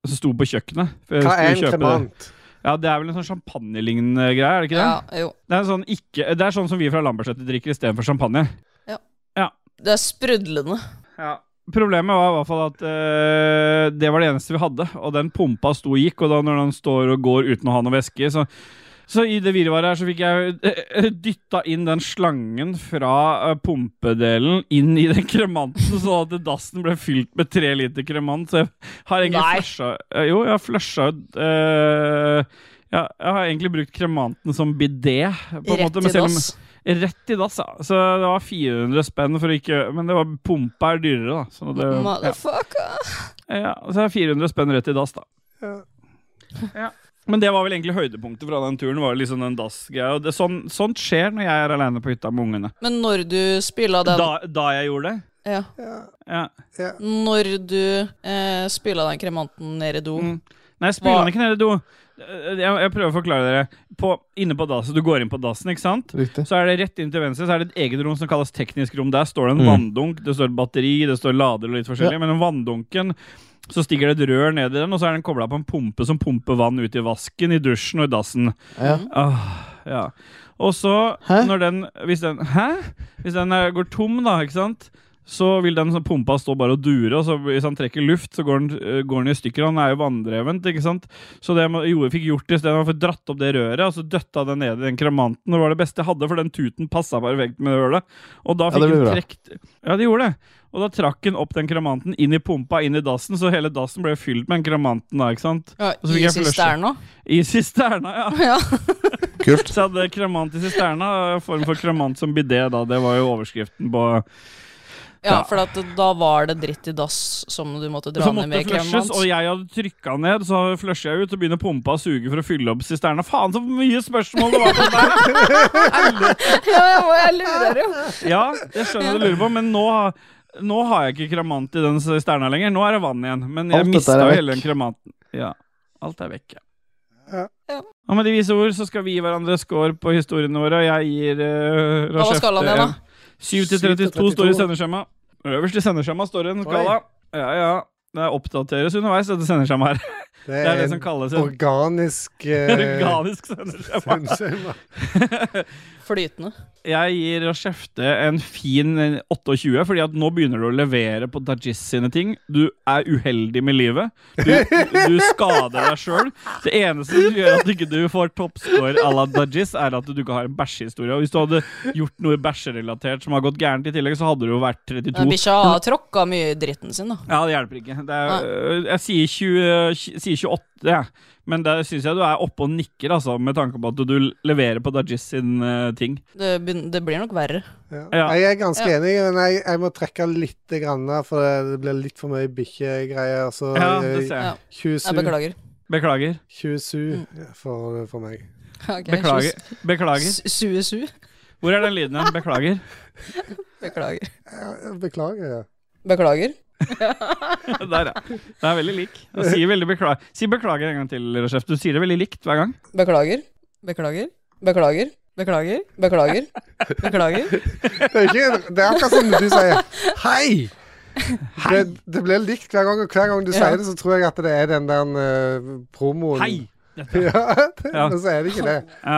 Speaker 2: som sto på kjøkkenet. for jeg
Speaker 1: Hva er
Speaker 2: skulle
Speaker 1: en
Speaker 2: kjøpe det.
Speaker 1: kremant?
Speaker 2: Ja, Det er vel en sånn champagnelignende greie? er det ikke det?
Speaker 3: Ja, jo.
Speaker 2: Det er, sånn ikke, det er sånn som vi fra Lambertseter drikker istedenfor champagne.
Speaker 3: Det er sprudlende.
Speaker 2: Problemet var i hvert fall at eh, det var det eneste vi hadde, og den pumpa sto og gikk, og da når den står og går uten å ha noe væske, så så i det virvaret her så fikk jeg uh, dytta inn den slangen fra eh, pumpedelen inn i den kremanten, sånn at dassen ble fylt med tre liter kremant. Så jeg har egentlig
Speaker 3: Nei.
Speaker 2: flusha eh, Jo, jeg har flusha ut eh, Ja, jeg har egentlig brukt kremanten som bidé. på en
Speaker 3: Rett
Speaker 2: måte, men
Speaker 3: i
Speaker 2: selv om-
Speaker 3: dass.
Speaker 2: Rett i dass, ja. Så det var 400 spenn for å ikke Men det var pumpa er dyrere, da. Så, det,
Speaker 3: Motherfucker.
Speaker 2: ja, så det er 400 spenn rett i dass, da.
Speaker 1: Ja.
Speaker 2: Ja. Men det var vel egentlig høydepunktet fra den turen. var jo liksom den dass-greia. Og det- Sånn, sånt skjer når jeg er aleine på hytta med ungene.
Speaker 3: Men når du spiller den
Speaker 2: Da, da jeg gjorde det.
Speaker 3: ja.
Speaker 2: Ja.
Speaker 3: Når du eh, spiller den kremanten ned i do
Speaker 2: Mm. Nei, jeg spiller
Speaker 3: Hva-
Speaker 2: den ikke ned i do. Eh, Jeg, jeg prøver å forklare dere. På, inne på dassen, Du går inn på dassen, ikke sant?
Speaker 8: Riktig.
Speaker 2: Så er det rett inn til venstre Så er det et eget rom som kalles teknisk rom. Der står det en
Speaker 8: Mm.
Speaker 2: vanndunk, det står et batteri, det står lader og litt forskjellig. Men den vanndunken så stiger det et rør ned i den, og så er den kobla på en pumpe som pumper vann ut i vasken, i dusjen og i dassen.
Speaker 8: Ja.
Speaker 2: Åh, ja. Og så,
Speaker 8: Hæ?
Speaker 2: når den Hvis den Hæ? Hvis den eh, går tom, da, ikke sant? Så vil den sånn pumpa stå bare og dure, og så hvis han trekker luft, så går den, eh, går den i stykker. og Han er jo vanndrevent, ikke sant. Så det jeg gjorde, fikk gjort i stedet, var å få dratt opp det røret, og så døtta det ned i den kremanten. og Det var det beste jeg hadde, for den tuten passa perfekt med det hølet. Og da
Speaker 8: Ja,
Speaker 2: fikk
Speaker 8: det
Speaker 2: den
Speaker 8: blir bra.
Speaker 2: trekt Ja, det gjorde det. Og da trakk han opp den kremanten inn i pumpa, inn i dassen, så hele dassen ble fylt med den kremanten da, ikke sant.
Speaker 3: ja,
Speaker 2: så fikk jeg
Speaker 3: I
Speaker 2: flushe.
Speaker 3: sisterna.
Speaker 2: I sisterna, ja.
Speaker 3: Ja.
Speaker 8: Kult.
Speaker 2: Så jeg hadde kremant i sisterna, og form for kremant som bidé, da. Det var jo overskriften på
Speaker 3: ja, for at da var det dritt i dass som du måtte dra
Speaker 2: Så
Speaker 3: ned
Speaker 2: måtte
Speaker 3: med
Speaker 2: det flushes,
Speaker 3: kremant.
Speaker 2: og jeg hadde trykka ned, så flusher jeg ut og begynner pumpa å suge for å fylle opp sisterna. Faen, så mye spørsmål det var på det der!
Speaker 3: Ja, jeg, må- jeg lurer jo.
Speaker 2: Ja, jeg skjønner du lurer på, men nå nå har jeg ikke kremant i den sisterna lenger. Nå er det vann igjen. Men jeg
Speaker 8: Alt dette
Speaker 2: mista
Speaker 8: er
Speaker 2: jo
Speaker 8: vekk.
Speaker 2: hele den kremanten. Ja, alt er vekk, ja.
Speaker 1: Ja.
Speaker 3: Ja.
Speaker 2: Og med de vise ord så skal vi gi hverandre score på historiene våre, og jeg gir uh,
Speaker 3: Hva var skalaen igjen, da?
Speaker 2: 7 til 32 står i sendeskjema. Øverst i sendeskjema står det en
Speaker 1: Oi.
Speaker 2: skala. Ja, ja. Det oppdateres underveis, dette sendeskjemaet her.
Speaker 1: Det
Speaker 2: Det er
Speaker 1: er
Speaker 2: det som
Speaker 1: en
Speaker 2: kalles en
Speaker 1: organisk eh,
Speaker 2: organisk sendeskjema.
Speaker 1: sendeskjema.
Speaker 3: Flytende.
Speaker 2: Jeg gir Skjefte en fin 28, fordi at nå begynner du å levere på Dajis sine ting. Du er uheldig med livet. Du, du skader deg sjøl. Det eneste som gjør at du ikke du får toppscore à la Dajis, er at du ikke har en bæsjehistorie. Og hvis du hadde gjort noe bæsjerelatert som har gått gærent i tillegg, så hadde du jo vært 32.
Speaker 3: Bikkja har tråkka mye i dritten sin, da.
Speaker 2: Ja, det hjelper ikke. Det er, øh, jeg sier, 20, sier 28, jeg. Men der syns jeg du er oppe og nikker, altså, med tanke på at du leverer på Dajis sin eh, ting.
Speaker 3: Det, begyn- det blir nok verre.
Speaker 1: Ja.
Speaker 2: Ja.
Speaker 1: Jeg er ganske
Speaker 3: Ja.
Speaker 1: enig, men jeg, jeg må trekke litt, grann, her, for det, det blir litt for mye bikkjegreier. Så
Speaker 2: Ja,
Speaker 1: eh,
Speaker 2: det ser jeg.
Speaker 3: Ja. Jeg
Speaker 1: 27,
Speaker 3: beklager. Mm.
Speaker 2: Beklager.
Speaker 1: 27 for, for meg.
Speaker 3: Ok,
Speaker 2: Beklager. Beklager.
Speaker 3: Su- Sue su.
Speaker 2: Hvor er den lyden igjen? Beklager.
Speaker 3: Beklager.
Speaker 1: Ja, Beklager. ja.
Speaker 3: Beklager.
Speaker 2: Der, ja. Den er veldig lik. Og sier veldig beklager. Si beklager en gang til, Rosef. Du sier det veldig likt hver gang.
Speaker 3: Beklager. Beklager. Beklager. Beklager. Beklager. Beklager.
Speaker 1: Det er, ikke, det er akkurat som du sier 'hei'. Det, det blir likt hver gang, og hver gang du
Speaker 3: Ja.
Speaker 1: sier det, så tror jeg at det er den der eh, promoen.
Speaker 2: Hei!
Speaker 1: Ja, det,
Speaker 2: Ja.
Speaker 1: men så er det ikke det.
Speaker 2: Ja,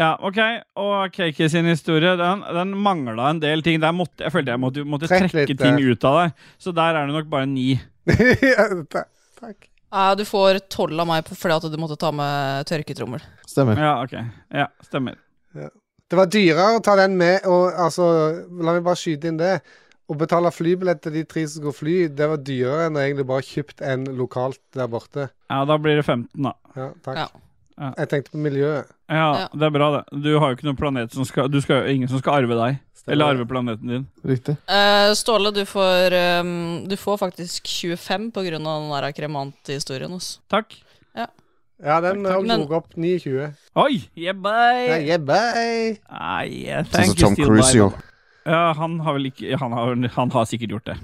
Speaker 2: ja OK. Og Kake sin historie, den, den mangla en del ting. Der måtte, jeg følte jeg måtte, måtte
Speaker 1: Trekk
Speaker 2: trekke
Speaker 1: litt,
Speaker 2: ting
Speaker 1: eh.
Speaker 2: ut av deg. Så der er det nok bare ni.
Speaker 1: ja, ta- takk.
Speaker 3: Ja, du får tolv av meg på- fordi at du måtte ta med tørketrommel.
Speaker 8: Stemmer.
Speaker 2: Ja, ok. Ja, stemmer.
Speaker 1: Det var dyrere å ta den med og altså La meg bare skyte inn det. Å betale flybillett til de tre som går fly, det var dyrere enn å egentlig bare kjøpt en lokalt der borte.
Speaker 2: Ja, da blir det 15, da.
Speaker 1: Ja, takk.
Speaker 3: Ja.
Speaker 2: Ja.
Speaker 1: Jeg tenkte på miljøet.
Speaker 2: Ja,
Speaker 3: Ja.
Speaker 2: det er bra, det. Du har jo ikke noen planet som skal Du skal jo ingen som skal arve deg.
Speaker 1: Stemmer.
Speaker 2: Eller arve planeten din.
Speaker 8: Riktig.
Speaker 3: Eh, Ståle, du får, eh, du får faktisk 25 på grunn av den der kremanthistorien. ass.
Speaker 2: Takk.
Speaker 1: Ja, den
Speaker 2: Takk, takk.
Speaker 1: òg tok opp 29.
Speaker 2: Oi! Yeah, bye!
Speaker 1: Nei, yeah, bye.
Speaker 2: Ah, yeah,
Speaker 8: Sånn
Speaker 2: thank
Speaker 8: som
Speaker 2: you,
Speaker 8: Tom
Speaker 2: still
Speaker 8: Cruise
Speaker 2: bye.
Speaker 8: gjorde.
Speaker 2: Ja, han har vel ikke han har, han har sikkert gjort det.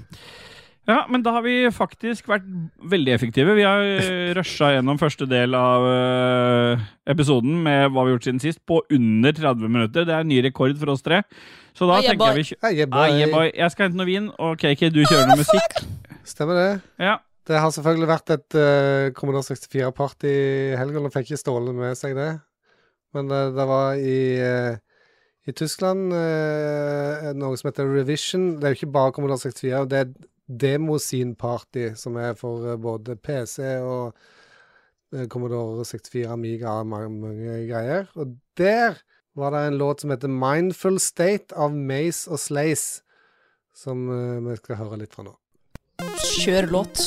Speaker 2: Ja, men da har vi faktisk vært veldig effektive. Vi har eh, rusha gjennom første del av eh, episoden med hva vi har gjort siden sist, på under 30 minutter. Det er en ny rekord for oss tre. Så da
Speaker 3: Ah, yeah, boy.
Speaker 2: tenker jeg vi kjø-
Speaker 1: Hei, yeah,
Speaker 2: Ah, yeah,
Speaker 1: bye.
Speaker 2: boy. Jeg skal hente noe vin, og KK, du kjører noe musikk.
Speaker 1: Stemmer det.
Speaker 2: Ja.
Speaker 1: Det har selvfølgelig vært et uh, Commodore 64-party i helga. Nå fikk ikke Ståle med seg det, men eh, det var i eh, i Tyskland eh, noe som heter Revision. Det er jo ikke bare Commodore 64, det er Demoscene-party, som er for eh, både PC og eh, Commodore 64, Amiga og mange, mange greier. Og der var det en låt som heter Mindful State av Mace og Slays, som eh, vi skal høre litt fra nå.
Speaker 3: Kjør låt.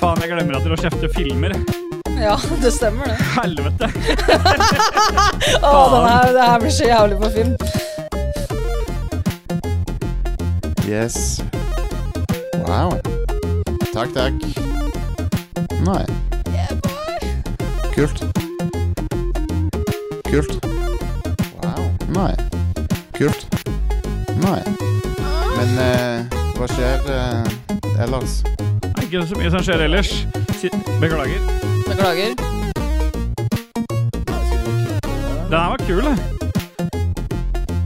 Speaker 2: faen, jeg glemmer at dere kjefter filmer.
Speaker 3: Ja, det stemmer, det.
Speaker 2: Helvete.
Speaker 3: Å, den her, det her blir så jævlig på film.
Speaker 8: Yes. Wow. Takk, takk. Nei. Kult. Kult. Wow. Nei. Kult. Nei. Men eh, hva skjer eh, ellers?
Speaker 2: Det er ikke så mye som skjer ellers. Si- Beklager.
Speaker 3: Beklager.
Speaker 2: Den her var kul, da.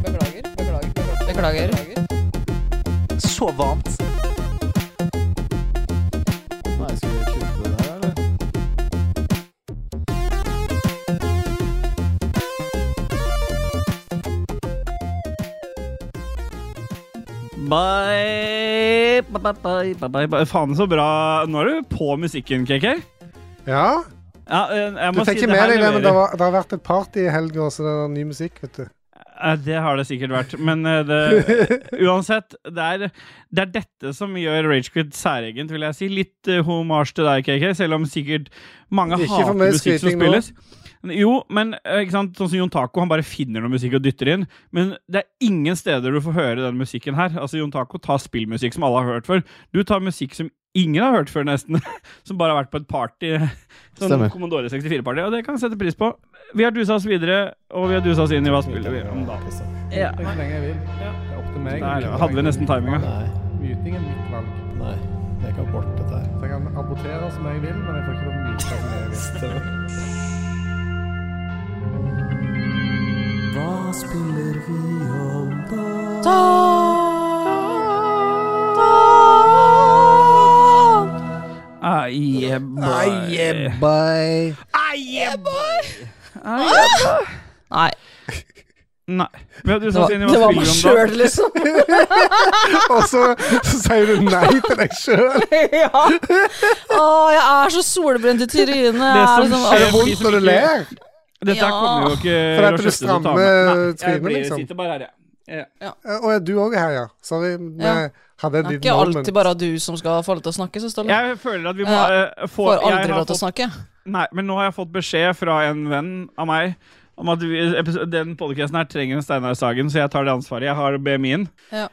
Speaker 3: Beklager. Beklager. Beklager.
Speaker 6: Så varmt.
Speaker 8: Nei, skal vi kutte det her, eller?
Speaker 2: Bye, bye, bye, bye, bye, bye, bye. Faen, så bra. Nå er du på musikken, KK.
Speaker 1: Ja.
Speaker 2: Ja, eh, jeg
Speaker 1: Du
Speaker 2: må
Speaker 1: fikk
Speaker 2: si
Speaker 1: ikke med
Speaker 2: her
Speaker 1: deg det, men det,
Speaker 2: leverer.
Speaker 1: var, det har vært et party i helga, så det er ny musikk, vet du.
Speaker 2: Eh, Det har det sikkert vært, men eh, det, uansett det er, det er dette som gjør Ragequid særegent, vil jeg si. Litt uh, homasj til deg, KK, selv om sikkert mange
Speaker 1: Ikke for
Speaker 2: hater
Speaker 1: mye
Speaker 2: musikk som
Speaker 1: skryting nå.
Speaker 2: spilles. Jo, men eh, ikke sant? sånn som Jon Taco, han bare finner noe musikk og dytter inn. Men det er ingen steder du får høre den musikken her. Altså, Jon Taco tar spillmusikk som alle har hørt før. Du tar musikk som ingen har hørt før, nesten. Som bare har vært på et party. Sånn
Speaker 6: Stemmer.
Speaker 2: Commodore 64-party, og det kan jeg sette pris på. Vi har dusa oss videre, og vi har dusa oss inn i hva spiller vi om da. Ja.
Speaker 7: Jeg kan lenge jeg vil. Det er opp til meg.
Speaker 2: Der hadde vi nesten timinga.
Speaker 6: Nei,
Speaker 7: Myting er mitt valg.
Speaker 6: nei. Det er ikke abort, dette her.
Speaker 7: Så jeg kan abortere som jeg vil, men jeg får ikke lov til å myte som jeg vil.
Speaker 6: Hva spiller vi om da?
Speaker 2: Aie, boy.
Speaker 6: Bye.
Speaker 3: Nei.
Speaker 2: Nei. Vi har
Speaker 3: Det
Speaker 2: dusa
Speaker 3: var,
Speaker 2: oss inn i
Speaker 3: det
Speaker 2: hva
Speaker 3: var
Speaker 2: spiller vi
Speaker 3: meg
Speaker 2: om da.
Speaker 3: sjøl, liksom.
Speaker 1: Og så, så sier du nei til deg sjøl.
Speaker 3: ja. Å, jeg er så solbrent i trynet.
Speaker 2: Det
Speaker 3: Jeg er
Speaker 2: som
Speaker 3: liksom-
Speaker 1: Er det
Speaker 2: skjer-
Speaker 1: vondt når du ler?
Speaker 2: Dette her
Speaker 3: Ja.
Speaker 2: kommer jo ikke
Speaker 1: For at du
Speaker 2: Rochester til å ta
Speaker 1: strammer
Speaker 2: med. Nei, jeg
Speaker 1: trynet,
Speaker 2: blir-
Speaker 1: liksom.
Speaker 2: sitter bare her, jeg. Ja.
Speaker 1: Å ja, du òg er her, ja. Sorry. Vi
Speaker 3: Ja.
Speaker 1: hadde en
Speaker 3: Det er
Speaker 1: liten
Speaker 3: ikke
Speaker 1: moment.
Speaker 3: alltid bare du som skal få lov til å snakke, så Ståle.
Speaker 2: Jeg føler at vi må
Speaker 3: Ja.
Speaker 2: eh, få
Speaker 3: Får
Speaker 2: jeg
Speaker 3: aldri
Speaker 2: har
Speaker 3: lov til å
Speaker 2: fått-
Speaker 3: snakke.
Speaker 2: Nei, men nå har jeg fått beskjed fra en venn av meg om at vi, episo- den podcasten her trenger en Steinar Sagen, så jeg tar det ansvaret. Jeg har BMI-en.
Speaker 3: Ja.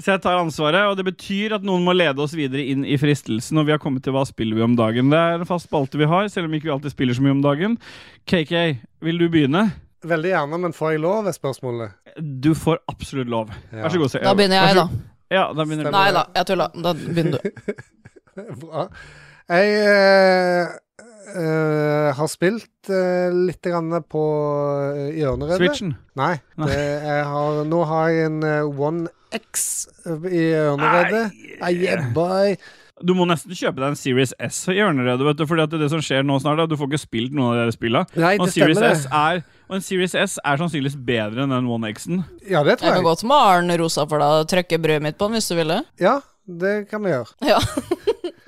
Speaker 2: Så jeg tar ansvaret, og det betyr at noen må lede oss videre inn i fristelsen. Og vi har kommet til hva spiller vi om dagen. Det er en fast spalte vi har, selv om ikke vi alltid spiller så mye om dagen. KK, vil du begynne?
Speaker 1: Veldig gjerne, men får jeg lov, er spørsmålet.
Speaker 2: Du får absolutt lov.
Speaker 1: Ja.
Speaker 2: Vær så god. Sejal.
Speaker 3: Da begynner jeg,
Speaker 2: Vær
Speaker 3: da.
Speaker 2: så- Ja, da begynner du.
Speaker 3: Nei da, jeg tulla. Da begynner du.
Speaker 1: Bra. Jeg eh, eh, har spilt eh, litt grann på eh, i ørneredet.
Speaker 2: Switchen.
Speaker 1: Nei.
Speaker 2: Nei.
Speaker 1: Det, jeg har, nå har jeg en eh, One X eh, i ørneredet. Ai, boy.
Speaker 2: Du må nesten kjøpe deg en Series S i ørneredet, vet du. Fordi at det som skjer nå snart, er at du får ikke spilt noen av de spilla.
Speaker 1: Nei,
Speaker 2: Og
Speaker 1: det
Speaker 2: en Series
Speaker 1: stemmer,
Speaker 2: S er Og en Series S er sannsynligvis bedre enn den One X-en.
Speaker 1: det. Ja, det
Speaker 3: Jeg
Speaker 1: tror
Speaker 3: kan
Speaker 1: jeg.
Speaker 3: godt male rosa for deg og trykke brødet mitt på den hvis du ville.
Speaker 1: Ja, det kan vi gjøre.
Speaker 3: Ja.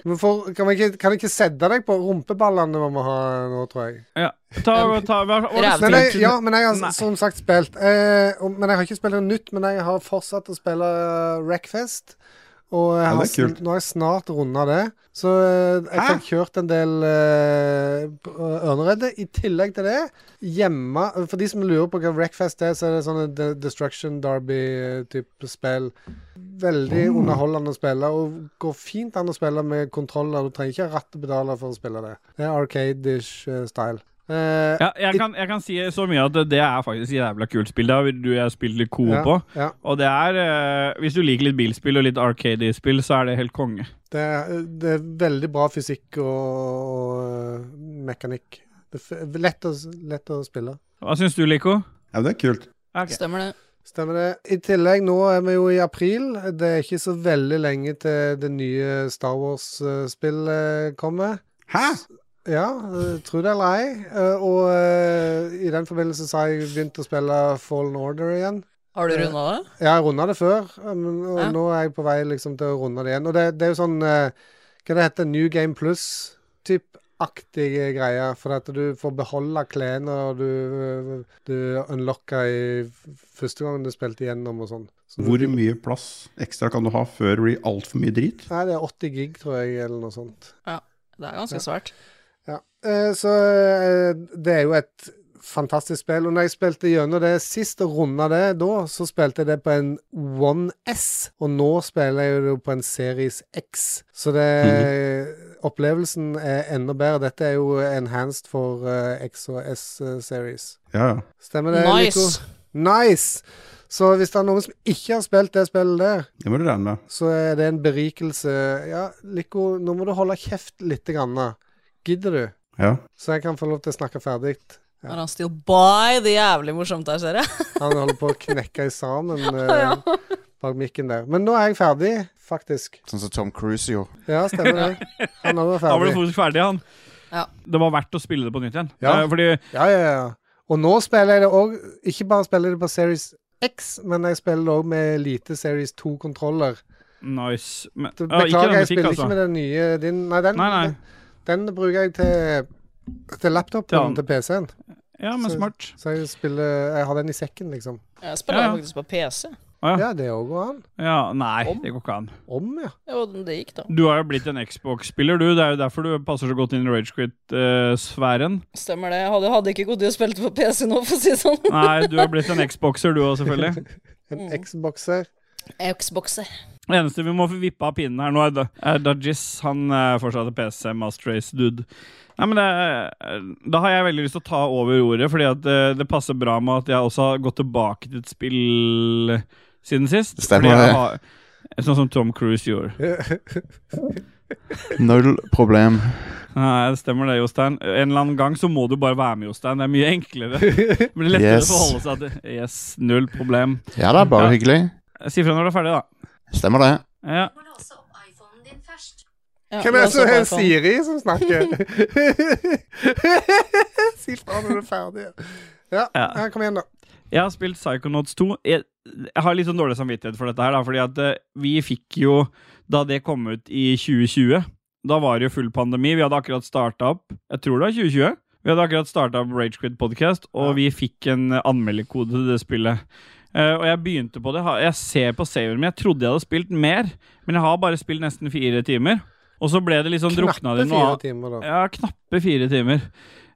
Speaker 1: Men for, kan, vi ikke, kan jeg ikke sette deg på rumpeballene vi må ha nå, tror jeg?
Speaker 2: Ja. Ta, ta, hva, hva,
Speaker 1: Nei, nei, ja, men jeg har
Speaker 2: Nei.
Speaker 1: som sagt spilt eh, og- Men jeg har ikke spilt noe nytt, men jeg har fortsatt å spille eh, Wreckfest. Og jeg
Speaker 6: Ja,
Speaker 1: har,
Speaker 6: det er
Speaker 1: sn- nå har jeg snart runda det. Så eh, jeg
Speaker 2: Hæ?
Speaker 1: har kjørt en del eh, p- Ørneredde. I tillegg til det, hjemme For de som lurer på hva Wreckfest er, så er det sånn en de- Destruction Derby-type spill. Veldig
Speaker 6: Oh.
Speaker 1: underholdende å spille, og går fint an å spille med kontroller. Du trenger ikke ha rattepedaler for å spille det. Det er arcade-ish eh, style. Eh,
Speaker 2: ja, jeg, kan, jeg kan si så mye at det- det er faktisk et jævla kult spill. Det har vi- du og jeg spilt litt coop
Speaker 1: ja,
Speaker 2: på.
Speaker 1: ja.
Speaker 2: Og det er eh, Hvis du liker litt bilspill og litt Arcade-spill, så er det helt konge.
Speaker 1: Det er, det er veldig bra fysikk og, og øh, mekanikk. Det er f- lett å, s- lett å spille.
Speaker 2: Hva syns du, Lico?
Speaker 9: Ja, men det er kult.
Speaker 2: Ok.
Speaker 3: Stemmer det.
Speaker 1: Stemmer det. I tillegg, nå er vi jo i april. Det er ikke så veldig lenge til det nye Star Wars-spillet kommer.
Speaker 9: Hæ?
Speaker 1: Ja, øh, tro det eller ei. Øh, Og øh, i den forbindelse så har jeg begynt å spille Fallen Order igjen.
Speaker 3: Har
Speaker 2: Eh,
Speaker 3: du runda det?
Speaker 1: Jeg har runda det før, men og
Speaker 3: Ja.
Speaker 1: nå er jeg på vei liksom til å runde det igjen. Og det, det er jo sånn eh, Hva det heter New Game Plus-type-aktige greier. For at du får beholde klærne og du, du unlocker i f- første gangen du spilte igjennom og sånn. Så
Speaker 9: Hvor
Speaker 1: du,
Speaker 9: mye plass ekstra kan du ha før det blir altfor mye drit?
Speaker 1: Nei, det er 80 gig, tror jeg, eller noe sånt.
Speaker 3: Det er ganske
Speaker 1: Ja.
Speaker 3: svært.
Speaker 1: Ja. Eh, så eh, det er jo et fantastisk spill. Og når jeg spilte gjennom det sist og runda det da, så spilte jeg det på en One S, og nå spiller jeg det jo på en Series X. Så det Opplevelsen er enda bedre. Dette er jo enhanced for eh, X og S-series.
Speaker 9: Ja, ja.
Speaker 1: Stemmer det,
Speaker 3: Nice.
Speaker 1: Nico? Nice! Så hvis det er noen som ikke har spilt det spillet der,
Speaker 9: Det må du regne med.
Speaker 1: så er det en berikelse. Ja, Lico, nå må du holde kjeft lite grann. da. Gidder du?
Speaker 9: Ja.
Speaker 1: Så jeg kan få lov til å snakke ferdig.
Speaker 3: Er han still by? Det er jævlig morsomt der, ser jeg.
Speaker 1: Han holder på å knekke i sammen eh, bak mikken der. Men nå er jeg ferdig, faktisk.
Speaker 8: Sånn som Tom Cruise gjorde.
Speaker 1: Ja, stemmer det. Han òg var
Speaker 2: Da ble du
Speaker 1: ferdig.
Speaker 2: faktisk ferdig, han.
Speaker 3: Ja.
Speaker 2: Det var verdt å spille det på nytt igjen.
Speaker 1: Ja.
Speaker 2: Eh, Fordi
Speaker 1: Ja, ja, ja. Og nå spiller jeg det òg. Ikke bare spiller jeg det på Series X, men jeg spiller det òg med lite Series 2-kontroller.
Speaker 2: Nice. Men, Ja, ikke
Speaker 1: Beklager,
Speaker 2: den
Speaker 1: jeg
Speaker 2: musikk,
Speaker 1: spiller
Speaker 2: altså.
Speaker 1: ikke med den nye din. Nei, den,
Speaker 2: Nei, nei.
Speaker 1: den, den bruker jeg til, til
Speaker 2: Til
Speaker 1: laptopen
Speaker 2: han.
Speaker 1: til PC-en.
Speaker 2: Ja, men
Speaker 1: Så-
Speaker 2: smart.
Speaker 1: Så jeg spiller Jeg har den i sekken, liksom.
Speaker 3: Jeg spiller
Speaker 2: Ja, ja.
Speaker 3: faktisk på PC.
Speaker 2: Ja.
Speaker 1: Ja, det òg går an.
Speaker 2: Ja, nei, det går ikke an.
Speaker 1: Om, ja.
Speaker 3: Jo, det gikk, da.
Speaker 2: Du har jo blitt en Xbox-spiller, du. Det er jo derfor du passer så godt inn i Ragequit-sfæren.
Speaker 3: Stemmer det. Jeg hadde, hadde ikke gått i å spille det på PC nå, for å si det sånn.
Speaker 2: Nei, du har blitt en Xboxer, du òg, selvfølgelig.
Speaker 1: En Xboxer.
Speaker 3: Xboxer.
Speaker 2: Det eneste vi må få vippe av pinnen her nå, er Da- er Dajis. Han er fortsatt en PC Master Race-dude. Nei, men det, er- Da har jeg veldig lyst til å ta over ordet, fordi at eh, det, det passer bra med at jeg også har gått tilbake til et spill siden sist.
Speaker 8: Det stemmer,
Speaker 2: Fordi jeg
Speaker 8: det.
Speaker 2: har- Sånn som Tom Cruise gjorde.
Speaker 8: Null problem.
Speaker 2: Nei, det stemmer det, Jostein. En eller annen gang så må du bare være med, Jostein. Det er mye enklere. Det blir lettere
Speaker 8: Yes.
Speaker 2: å forholde seg til. Yes, null problem.
Speaker 8: Ja da, bare
Speaker 2: Ja.
Speaker 8: hyggelig.
Speaker 2: Si fra når du er ferdig, da.
Speaker 8: Stemmer det.
Speaker 2: Ja.
Speaker 3: Ja,
Speaker 1: Hvem er det som
Speaker 3: bare
Speaker 1: er
Speaker 3: sånn.
Speaker 1: Siri som snakker? si fra når du er ferdig. Ja,
Speaker 2: Ja.
Speaker 1: ja, kom igjen, da.
Speaker 2: Jeg har spilt Psychonauts 2. Jeg, jeg har litt sånn dårlig samvittighet for dette her, da, fordi at eh, vi fikk jo Da det kom ut i 2020, da var det jo full pandemi. Vi hadde akkurat starta opp Jeg tror det var 2020. Vi hadde akkurat starta opp Ragequid Podcast, og vi fikk en eh, anmelderkode til det spillet. Eh, og jeg begynte på det. Ha- Jeg ser på saveren min. Jeg trodde jeg hadde spilt mer, men jeg har bare spilt nesten fire timer. Og så ble det liksom drukna
Speaker 1: Knappe
Speaker 2: det i noe
Speaker 1: fire
Speaker 2: annet.
Speaker 1: timer, da.
Speaker 2: Ja, knappe fire timer.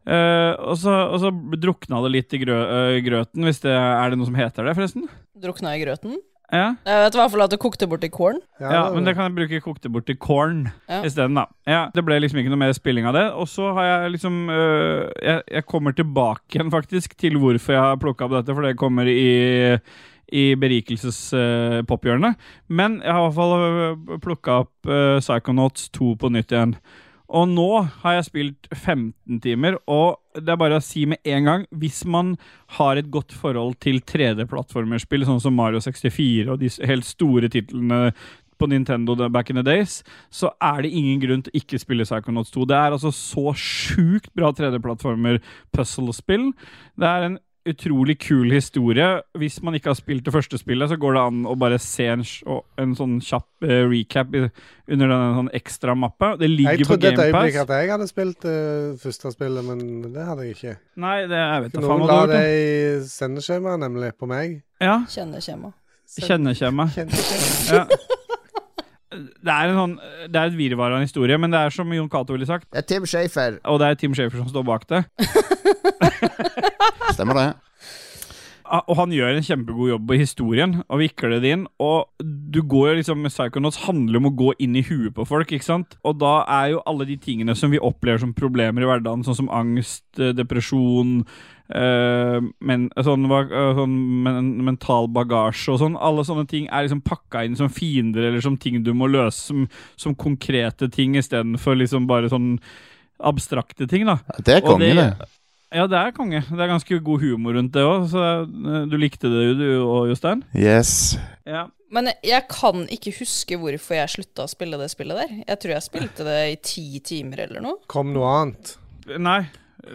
Speaker 2: Eh, og, så, og så drukna det litt i grø eh, grøten, hvis det er det noe som heter det, forresten.
Speaker 3: Drukna i grøten.
Speaker 2: Ja,
Speaker 3: Jeg vet i hvert fall at det kokte bort i kålen.
Speaker 2: ja, men det kan jeg bruke kokte bort til corn
Speaker 3: Ja.
Speaker 2: isteden, da. Ja, det ble liksom ikke noe mer spilling av det. Og så har jeg liksom eh, jeg, jeg kommer tilbake igjen, faktisk, til hvorfor jeg har plukka opp dette, for det kommer i i berikelsespophjørnet. Men jeg har i hvert fall plukka opp eh, Psychonauts 2 på nytt igjen. Og nå har jeg spilt 15 timer, og det er bare å si med en gang Hvis man har et godt forhold til 3D-plattformerspill, sånn som Mario 64 og de s- helt store titlene på Nintendo da- back in the days, så er det ingen grunn til å ikke spille Psychonauts 2. Det er altså så sjukt bra 3D-plattformer-puzzle-spill. Det er en utrolig kul historie. Hvis man ikke har spilt det første spillet, så går det an å bare se en, sj- og- en sånn kjapp eh, recap i, under den sånn ekstra mappa. Det ligger
Speaker 1: jeg
Speaker 2: på
Speaker 1: trodde et øyeblikk
Speaker 2: GamePass.
Speaker 1: at jeg hadde spilt eh, første spillet, men det hadde jeg ikke.
Speaker 2: Nei, det jeg vet da faen
Speaker 1: Noen la
Speaker 2: hva det
Speaker 1: det
Speaker 2: var.
Speaker 1: i sendeskjemaet, nemlig, på meg.
Speaker 2: Ja,
Speaker 3: Kjenner kjemma.
Speaker 2: kjenner ikke jeg meg.
Speaker 1: Kjente-
Speaker 2: Ja. Det er, en sånn, det er et virvar av en historie, men det er som Jon Cato ville sagt,
Speaker 6: Det er Tim Shafer.
Speaker 2: og det er Tim Schafer som står bak det.
Speaker 8: Stemmer det.
Speaker 2: Ah, Og han gjør en kjempegod jobb på historien og vikler det inn. Og du går jo liksom Psychonauts handler om å gå inn i huet på folk, ikke sant? Og da er jo alle de tingene som vi opplever som problemer i hverdagen, sånn som angst, eh, depresjon eh, men, sånn, va- eh, sånn men, mental bagasje og sånn. Alle sånne ting er liksom pakka inn som fiender eller som ting du må løse, som, som konkrete ting istedenfor liksom bare sånn abstrakte ting, da.
Speaker 8: Det er
Speaker 2: Og
Speaker 8: konge,
Speaker 2: det-
Speaker 8: det.
Speaker 2: Ja, det er konge. Det er ganske god humor rundt det òg, så eh, du likte det jo, du òg, Jostein?
Speaker 8: Yes.
Speaker 2: Ja.
Speaker 3: Men jeg- jeg kan ikke huske hvorfor jeg slutta å spille det spillet der. Jeg tror jeg spilte det i ti timer eller noe.
Speaker 1: Kom noe annet.
Speaker 2: Nei,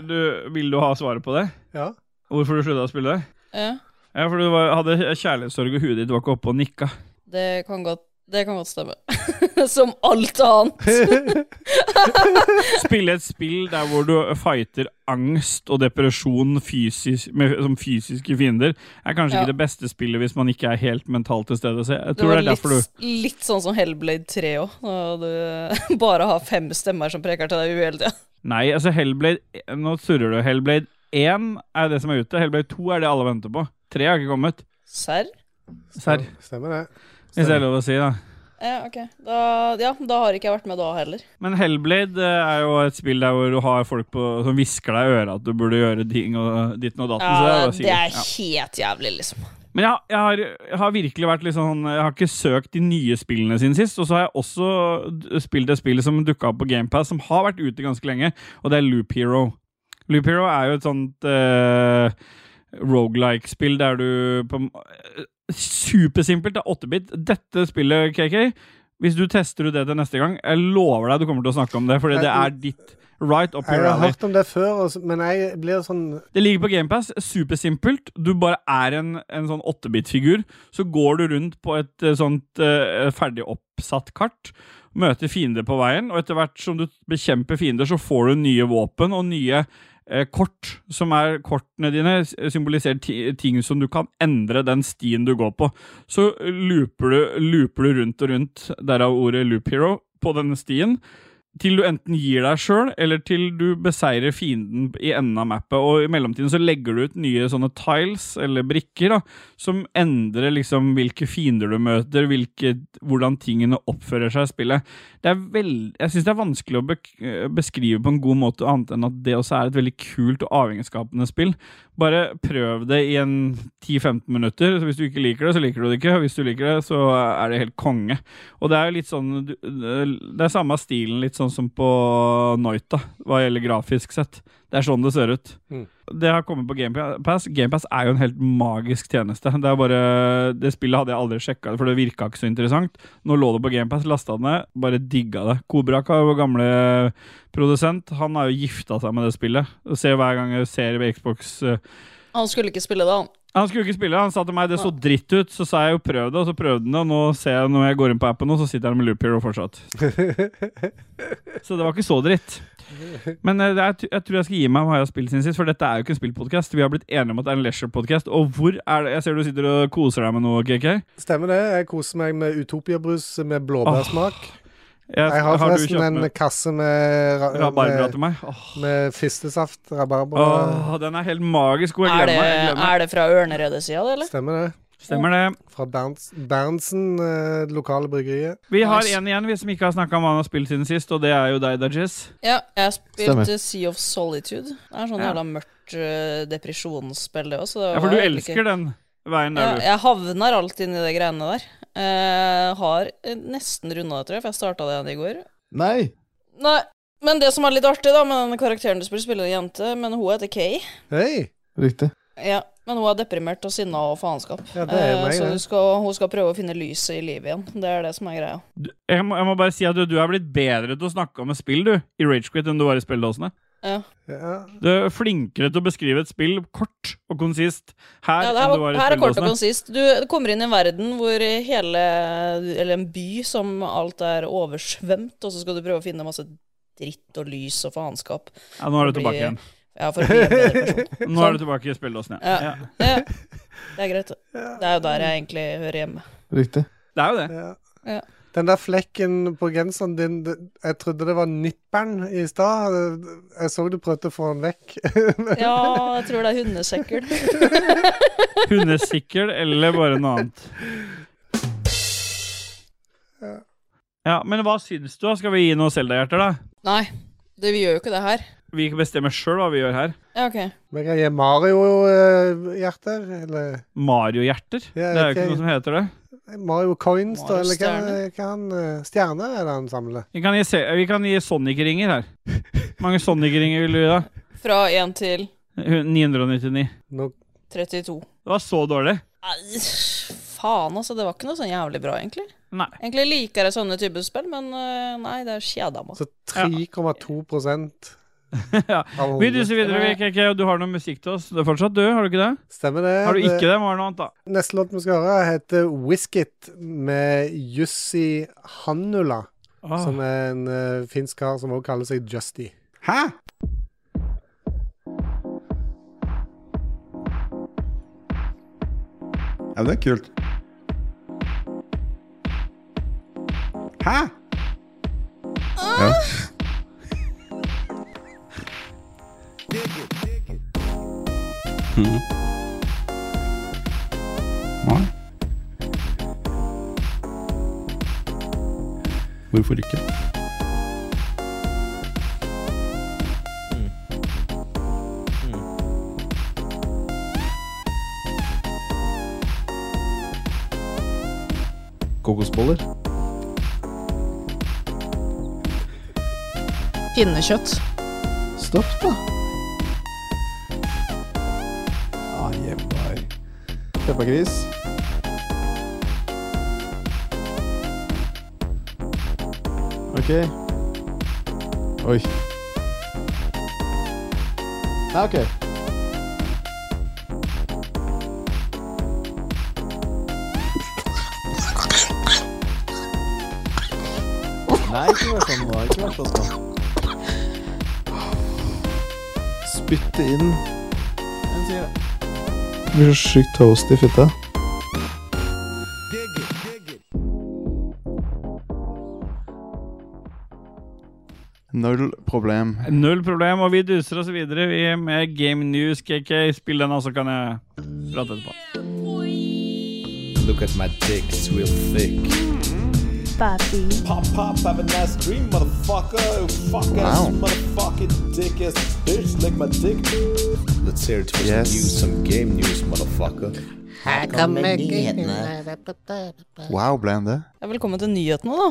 Speaker 2: du, vil du ha svaret på det?
Speaker 1: Ja.
Speaker 2: Hvorfor du slutta å spille det?
Speaker 3: Ja,
Speaker 2: Ja, for du var, hadde kjærlighetssorg, og huet ditt var ikke oppe og nikka.
Speaker 3: det kan godt, det kan godt stemme. Som alt annet.
Speaker 2: Spille et spill der hvor du fighter angst og depresjon fysisk, med, som fysiske fiender, er kanskje
Speaker 3: Ja.
Speaker 2: ikke det beste spillet hvis man ikke er helt mentalt til stede. Så jeg
Speaker 3: Det
Speaker 2: tror det,
Speaker 3: var
Speaker 2: er derfor du
Speaker 3: litt, litt sånn som Hellblade 3 òg, når du bare har fem stemmer som preker til deg hele tida.
Speaker 2: Nei, altså Hellblade Nå surrer du. Hellblade 1 er det som er ute. Hellblade 2 er det alle venter på. 3 har ikke kommet.
Speaker 3: Serr?
Speaker 2: Serr,
Speaker 1: Stemmer det.
Speaker 2: hvis det er lov å si, da.
Speaker 3: Ja, ok. Da, ja, da har ikke jeg vært med da heller.
Speaker 2: Men Hellblade eh, er jo et spill der hvor du har folk på, som hvisker deg i øret at du burde gjøre ting og ditten og datten. så det er
Speaker 3: Ja,
Speaker 2: jo
Speaker 3: det
Speaker 2: sikkert-
Speaker 3: er
Speaker 2: ja.
Speaker 3: helt jævlig, liksom.
Speaker 2: Men jeg, jeg, har, jeg har virkelig vært litt sånn Jeg har ikke søkt de nye spillene sine sist. Og så har jeg også d- spilt et spill som dukka opp på GamePass, som har vært ute ganske lenge, og det er Loop Hero. Loop Hero er jo et sånt uh, rogelike-spill der du på eh, Supersimpelt. Det er 8-bit. Dette spillet, KK, hvis du tester ut det til neste gang, jeg lover deg du kommer til å snakke om det, fordi det er ditt right up
Speaker 1: Jeg
Speaker 2: your
Speaker 1: har
Speaker 2: alley.
Speaker 1: hørt om det før, og så- men jeg blir sånn
Speaker 2: Det ligger på GamePass. Supersimpelt. Du bare er en, en sånn 8-bit-figur. Så går du rundt på et eh, sånt eh, ferdig oppsatt kart. Møter fiender på veien, og etter hvert som du bekjemper fiender, så får du nye våpen og nye eh, kort. Som er kortene dine, s- symboliserer ti- ting som du kan endre den stien du går på. Så looper du, looper du rundt og rundt, derav ordet loop hero, på denne stien. Til du enten gir deg sjøl, eller til du beseirer fienden i enden av mappet. Og i mellomtiden så legger du ut nye sånne tiles, eller brikker, da, som endrer liksom hvilke fiender du møter, hvilke, hvordan tingene oppfører seg i spillet. Det er veld, jeg syns det er vanskelig å bek eh, beskrive på en god måte, annet enn at det også er et veldig kult og avhengighetsskapende spill. Bare prøv det i en 10-15 minutter. Så hvis du ikke liker det, så liker du det ikke. Hvis du liker det, så er det helt konge. Og det er jo litt sånn du- Det er samme stilen litt sånn som på Noita, hva gjelder grafisk sett. Det er sånn det ser ut.
Speaker 1: Mm.
Speaker 2: Det har kommet på GamePass. GamePass er jo en helt magisk tjeneste. Det er bare Det spillet hadde jeg aldri sjekka, for det virka ikke så interessant. Nå lå det på GamePass, lasta det ned, bare digga det. Kobrak er jo vår gamle produsent. Han har jo gifta seg med det spillet. Og ser hver gang jeg ser ved Xbox eh,
Speaker 3: Han skulle ikke spille det, han.
Speaker 2: han skulle ikke spille, han sa til meg det så dritt ut, så sa jeg jo prøv det, og så prøvde han det, og nå ser jeg når jeg går inn på appen nå, så sitter han med Loop Hero fortsatt. så det var ikke så dritt. Men eh, det er, jeg tror jeg skal gi meg hva jeg har spilt siden sist, for dette er jo ikke en spillpodkast. Vi har blitt enige om at det er en leisure-podkast, og hvor er det Jeg ser du sitter og koser deg med noe, KK.
Speaker 1: Stemmer det. Jeg koser meg med Utopiabrus med blåbærsmak.
Speaker 2: Jeg,
Speaker 1: Jeg har forresten
Speaker 2: kjøpt
Speaker 1: en
Speaker 2: med
Speaker 1: kasse med, ra-
Speaker 2: rabarbra
Speaker 1: med,
Speaker 2: til meg? Åh,
Speaker 1: med fistesaft, rabarbra.
Speaker 2: åh, den er helt magisk god. Jeg
Speaker 3: Er det,
Speaker 2: gleder meg. Jeg gleder meg.
Speaker 3: er det fra Ørneredet-sida, det, eller?
Speaker 1: Stemmer det.
Speaker 2: Stemmer det.
Speaker 1: Fra Berns, Berntsen, eh, lokale bryggeriet.
Speaker 2: Vi har
Speaker 3: Nice.
Speaker 2: en igjen, vi som ikke har snakka om hva han har spilt siden sist, og det er jo deg, Dajis.
Speaker 3: Ja, jeg
Speaker 8: Stemmer.
Speaker 3: spilte Sea of Solitude. Det er sånn
Speaker 2: Ja.
Speaker 3: jævla mørkt eh, depresjonsspill, det òg.
Speaker 2: Ja, for du elsker den veien
Speaker 3: Ja,
Speaker 2: der, du.
Speaker 3: jeg havner alltid inni de greiene der. Eh, har eh, nesten runda det, tror jeg, for jeg starta det igjen i går.
Speaker 6: Nei!
Speaker 3: Nei, men det som er litt artig, da, med den karakteren du spiller, spiller en jente, men hun heter Kay.
Speaker 1: Hei!
Speaker 6: Riktig.
Speaker 3: Ja, men hun er deprimert og sinna og faenskap.
Speaker 1: Ja, det er
Speaker 3: Eh,
Speaker 1: meg,
Speaker 3: så
Speaker 1: det.
Speaker 3: du skal, hun skal prøve å finne lyset i livet igjen. Det er det som er greia.
Speaker 2: du. Jeg må, jeg må bare si at du, du er blitt bedre til å snakke om et spill, du, i Ragequit enn du var i spilledåsene.
Speaker 3: Ja.
Speaker 1: Ja.
Speaker 2: Du er flinkere til å beskrive et spill kort og konsist her
Speaker 3: Ja,
Speaker 2: enn
Speaker 3: det her,
Speaker 2: du var
Speaker 3: var,
Speaker 2: i
Speaker 3: her er kort og
Speaker 2: spilledåsene.
Speaker 3: konsist. Du kommer inn i en verden hvor hele Eller en by som alt er oversvømt, og så skal du prøve å finne masse dritt og lys og faenskap.
Speaker 2: Ja, nå er du
Speaker 3: Det
Speaker 2: tilbake
Speaker 3: blir-
Speaker 2: igjen.
Speaker 3: Ja, for å bli en bedre person.
Speaker 2: Nå er du tilbake i spilledåsene.
Speaker 3: Ja.
Speaker 2: Ja. Ja.
Speaker 3: Ja, det er greit. det. Det er jo der jeg egentlig hører hjemme.
Speaker 6: Riktig.
Speaker 2: Det er jo det.
Speaker 1: Ja.
Speaker 3: Ja.
Speaker 1: Den der flekken på genseren din, det- jeg trodde det var nipperen i stad. Jeg så du prøvde å få den vekk.
Speaker 3: Ja, jeg tror det er hundesekkel.
Speaker 2: Hundesikkel eller bare noe annet. Ja, men hva syns du? da? Skal vi gi noe Selda-hjerter, da?
Speaker 3: Nei, det, vi gjør jo ikke det her.
Speaker 2: Vi bestemmer sjøl hva vi gjør her.
Speaker 3: Ja, ok.
Speaker 1: Men jeg kan gi Mario-hjerter, eller
Speaker 2: Mario-hjerter?
Speaker 1: Ja,
Speaker 2: det er jo
Speaker 1: ok.
Speaker 2: ikke noe som heter det.
Speaker 1: Mario Coins, da, eller hva,
Speaker 3: Mario-stjerne.
Speaker 1: hva han eh, Stjerner er det han samler.
Speaker 2: Vi kan gi, se- vi kan gi Sonic-ringer her. Hvor mange Sonic-ringer vil du gi, da?
Speaker 3: Fra 1 til
Speaker 2: 999.
Speaker 3: 32.
Speaker 2: Det var så dårlig.
Speaker 3: Nei, faen, altså. Det var ikke noe sånn jævlig bra, egentlig.
Speaker 2: Nei.
Speaker 3: Egentlig eh, liker jeg sånne typer spill, men øh, nei, det er kjeda meg.
Speaker 1: Så 3,2 prosent.
Speaker 2: ja. Vi duser videre, vi, KK, og du har noe musikk til oss det er fortsatt, du? Har du ikke det?
Speaker 1: Stemmer det.
Speaker 2: Har du ikke
Speaker 1: det?
Speaker 2: det, må det være noe annet, da.
Speaker 1: Neste låt vi skal høre, heter Whisket med Jussi Hannula.
Speaker 2: Ah.
Speaker 1: Som er en eh, finsk kar som også kaller seg Justy.
Speaker 8: Hæ? Ja, det er kult. Hæ? Ja. Mhm. Nei. Hvorfor ikke?
Speaker 9: Kokosboller.
Speaker 3: altså. Pinnekjøtt.
Speaker 9: Stopp, da. Ah, jebbar. Peppergris. Ok. Oi. Ja, ok. Nei, ikke vær sånn nå. Ikke vær sånn nå spytte inn Det blir så sjukt toast i fitta.
Speaker 8: Null problem.
Speaker 2: Null problem, og vi duser oss videre vi er med Game News, KK. Spill den, og så kan jeg prate etterpå.
Speaker 10: Look at my dick, it's real thick.
Speaker 11: Papi.
Speaker 10: Pop, pop, have a nice dream, motherfucker. Fuck ass,
Speaker 8: Wow.
Speaker 10: motherfucking dick ass bitch, lick my dick. Let's hear it for
Speaker 8: Yes.
Speaker 10: some news, some game news, motherfucker.
Speaker 8: Wow, ble han det?
Speaker 3: Ja, Velkommen til nyhetene, da.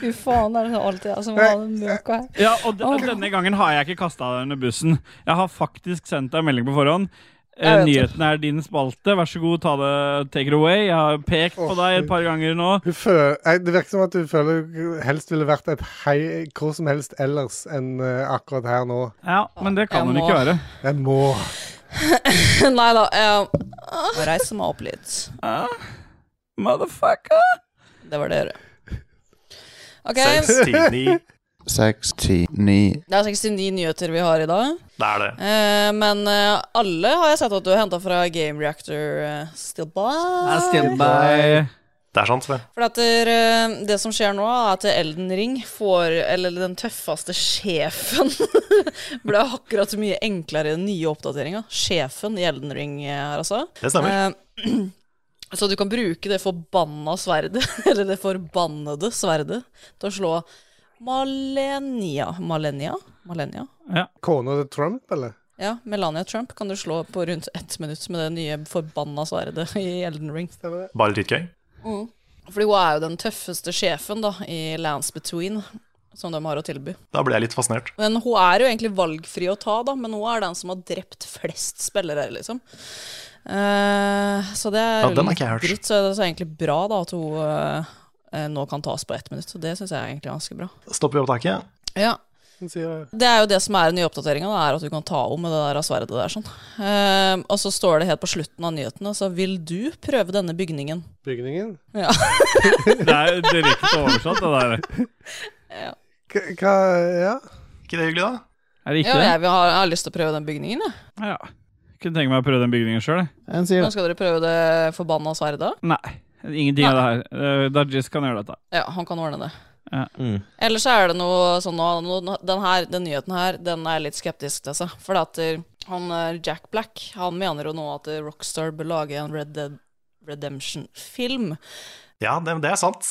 Speaker 3: Fy faen, er det sånn alltid jeg som har den møka her.
Speaker 2: Ja, og de, denne gangen har jeg ikke kasta deg under bussen. Jeg har faktisk sendt deg en melding på forhånd. Eh,
Speaker 3: Jeg vet
Speaker 2: Nyheten er din spalte. Vær så god, ta det, take it away. Jeg har pekt på
Speaker 1: Åh,
Speaker 2: deg
Speaker 1: fy.
Speaker 2: et par ganger nå.
Speaker 1: Hun føler, eh, det virker som at hun føler hun helst ville vært et hei hvor som helst ellers enn eh, akkurat her nå.
Speaker 2: Ja, Men det kan
Speaker 3: Jeg
Speaker 2: hun
Speaker 3: må.
Speaker 2: ikke være.
Speaker 1: Jeg må
Speaker 3: Nei da. Jeg må reise meg opp litt.
Speaker 2: Motherfucker!
Speaker 3: Det var det dere. Ok,
Speaker 5: Seks, ti, ni.
Speaker 8: Seks, ti, ni
Speaker 3: det er 69 nyheter vi har i dag.
Speaker 5: Det er det.
Speaker 3: Eh, men eh, alle har jeg sett at du har henta fra Game Reactor eh, Still Bar.
Speaker 5: Det er sant, det.
Speaker 3: For at dere, eh, det som skjer nå, er at Elden Ring får Eller den tøffeste sjefen ble akkurat så mye enklere i den nye oppdateringa. Sjefen i Elden Ring eh, her, altså.
Speaker 5: Det stemmer.
Speaker 3: Eh, Så du kan bruke det forbanna sverdet, eller det forbannede sverdet, til å slå Malenia Malenia? Malenia?
Speaker 1: Kona til Trump, eller?
Speaker 3: Ja, Melania Trump kan du slå på rundt ett minutt med det nye forbanna sverdet i Elden Ring. Mm.
Speaker 1: Stemmer det?
Speaker 5: Bare litt gøy.
Speaker 3: Fordi hun er jo den tøffeste sjefen da, i Lands Between, som de har å tilby.
Speaker 5: Da ble jeg litt fascinert.
Speaker 3: Men hun er jo egentlig valgfri å ta, da, men hun er den som har drept flest spillere, liksom. Eh, så det er
Speaker 5: Ja, den har
Speaker 3: litt
Speaker 5: ikke jeg hørt.
Speaker 3: dritt, så det er egentlig bra da at hun eh, nå kan tas på ett minutt. Så det syns jeg er egentlig ganske bra.
Speaker 5: Stopper i opptaket.
Speaker 3: Ja,
Speaker 1: Hun sier
Speaker 3: det er jo det som er den nye oppdateringa, er at du kan ta om med det der sverdet der. sånn. Eh, og så står det helt på slutten av nyhetene, så vil du prøve denne bygningen?
Speaker 1: bygningen.
Speaker 3: Ja.
Speaker 2: Det er direkte oversatt, det der.
Speaker 1: K hva Ja.
Speaker 5: Ikke det hyggelig, da?
Speaker 2: Er det
Speaker 3: ja
Speaker 2: ikke det?
Speaker 3: jeg, vil ha, jeg har lyst til å prøve den bygningen, jeg.
Speaker 2: Ja. Kunne tenke meg å prøve den bygningen sjøl.
Speaker 9: En sier
Speaker 3: Men skal dere prøve det forbanna sverdet?
Speaker 2: Nei. Ingenting av det her. Eh, Dajis kan gjøre dette.
Speaker 3: Ja, han kan ordne det.
Speaker 9: Mm.
Speaker 3: Ellers så er det noe sånn nå, nå den, her, den nyheten her, den er jeg litt skeptisk til seg. For at eh, han eh, Jack Black, han mener jo nå at eh, Rockstar bør lage en Red Dead Redemption-film.
Speaker 5: Ja, det, det er sant.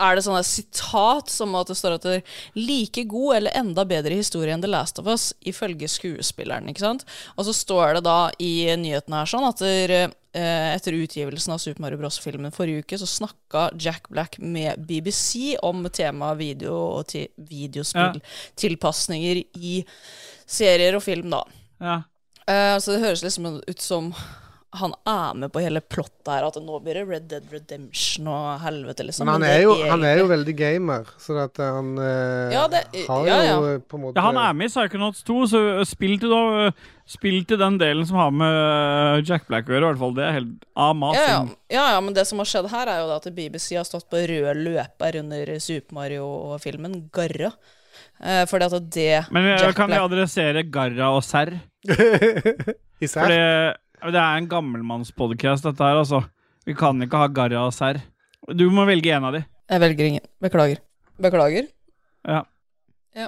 Speaker 3: Er det sånne sitat som at det står at det er like god eller enda bedre historie enn The Last of Us, ifølge skuespilleren, ikke sant? Og så står det da i nyheten her sånn at der, eh, etter utgivelsen av Super Mario Bros-filmen forrige uke, så snakka Jack Black med BBC om temaet video og ti- videospill,
Speaker 2: Ja.
Speaker 3: tilpasninger i serier og film, da.
Speaker 2: Ja.
Speaker 3: Eh, så det høres liksom ut som han er med på hele plottet her, at nå blir det Red Dead Redemption og helvete, liksom.
Speaker 1: Men han
Speaker 3: det
Speaker 1: er, jo,
Speaker 3: egentlig-
Speaker 1: han er jo veldig gamer, så at eh, han eh,
Speaker 3: Ja, det-
Speaker 1: har
Speaker 3: ja, ja.
Speaker 1: jo eh, på en måte
Speaker 2: Ja, han er med i Psychonauts 2, så ø, spill til, da, ø, spill til den delen som har med ø, Jack Black å gjøre, i hvert fall. Det er helt
Speaker 3: ja, ja.
Speaker 2: amazing.
Speaker 3: ja, ja, men det som har skjedd her, er jo da at BBC har stått på rød løper under Super Mario-filmen, Garra. Eh, fordi at det
Speaker 2: Men ø,
Speaker 3: Jack
Speaker 2: kan vi
Speaker 3: Black-
Speaker 2: adressere Garra og Serr?
Speaker 1: Især?
Speaker 2: For det er en gammelmannspodkast, dette her, altså. Vi kan ikke ha Garra og Serr. Du må velge en av de.
Speaker 3: Jeg velger ingen. Beklager. Beklager.
Speaker 2: Ja.
Speaker 3: Ja.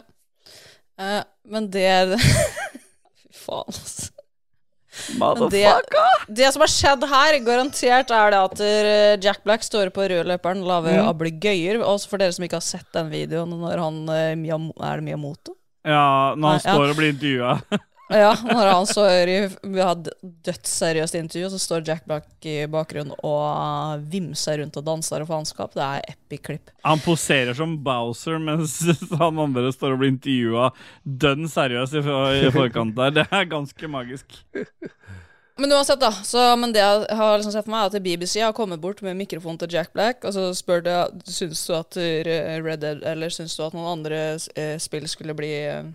Speaker 3: Eh, men det er Fy faen, altså. Men det, det som har skjedd her, garantert er det at eh, Jack Black står på rødløperen, lager
Speaker 2: Mm.
Speaker 3: ablegøyer. Også for dere som ikke har sett den videoen når han eh, Miyam- Er det Miyamoto?
Speaker 2: Ja, når han
Speaker 3: Nei, ja.
Speaker 2: står og blir intervjua.
Speaker 3: Ja, når han står i Vi har et dødsseriøst intervju, og så står Jack Black i bakgrunnen og vimser rundt og danser og faenskap. Det er epic klipp.
Speaker 2: Han poserer som Bowser mens han andre står og blir intervjua dønn seriøst i, for- i forkant der. Det er ganske magisk.
Speaker 3: Men uansett, da. Så, men det jeg har liksom sett for meg, er at BBC har kommet bort med mikrofon til Jack Black, og så spør de syns du at eh, Red Dead eller syns du at noen andre eh, spill skulle bli eh,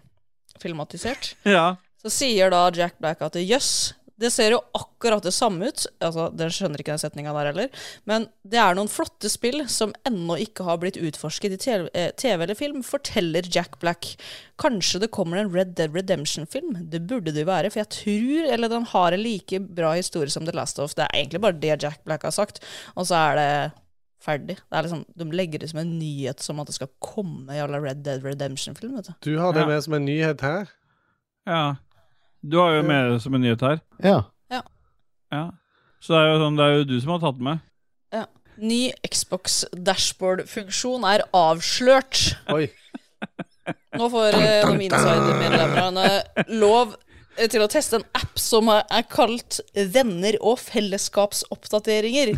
Speaker 3: filmatisert.
Speaker 2: Ja.
Speaker 3: Så sier da Jack Black at jøss, det ser jo akkurat det samme ut. Altså, Dere skjønner ikke den setninga der heller. Men det er noen flotte spill som ennå ikke har blitt utforsket i TV, eh, TV eller film, forteller Jack Black. Kanskje det kommer en Red Dead Redemption-film? Det burde det jo være, for jeg tror eller den har en like bra historie som The Last of. Det er egentlig bare det Jack Black har sagt, og så er det ferdig. Det er liksom, de legger det som en nyhet som at det skal komme jævla Red Dead Redemption-film, vet du.
Speaker 1: Du har det
Speaker 2: Ja.
Speaker 1: med som en nyhet her.
Speaker 2: Ja. Du har jo med det som en nyhet her.
Speaker 9: Ja.
Speaker 3: Ja.
Speaker 2: Ja. Så det er jo sånn, det er jo du som har tatt den med.
Speaker 3: Ja. Ny Xbox dashboard-funksjon er avslørt.
Speaker 1: Oi.
Speaker 3: Nå får eh, de insider-medlemmerne lov eh, til å teste en app som er er kalt Venner og fellesskapsoppdateringer.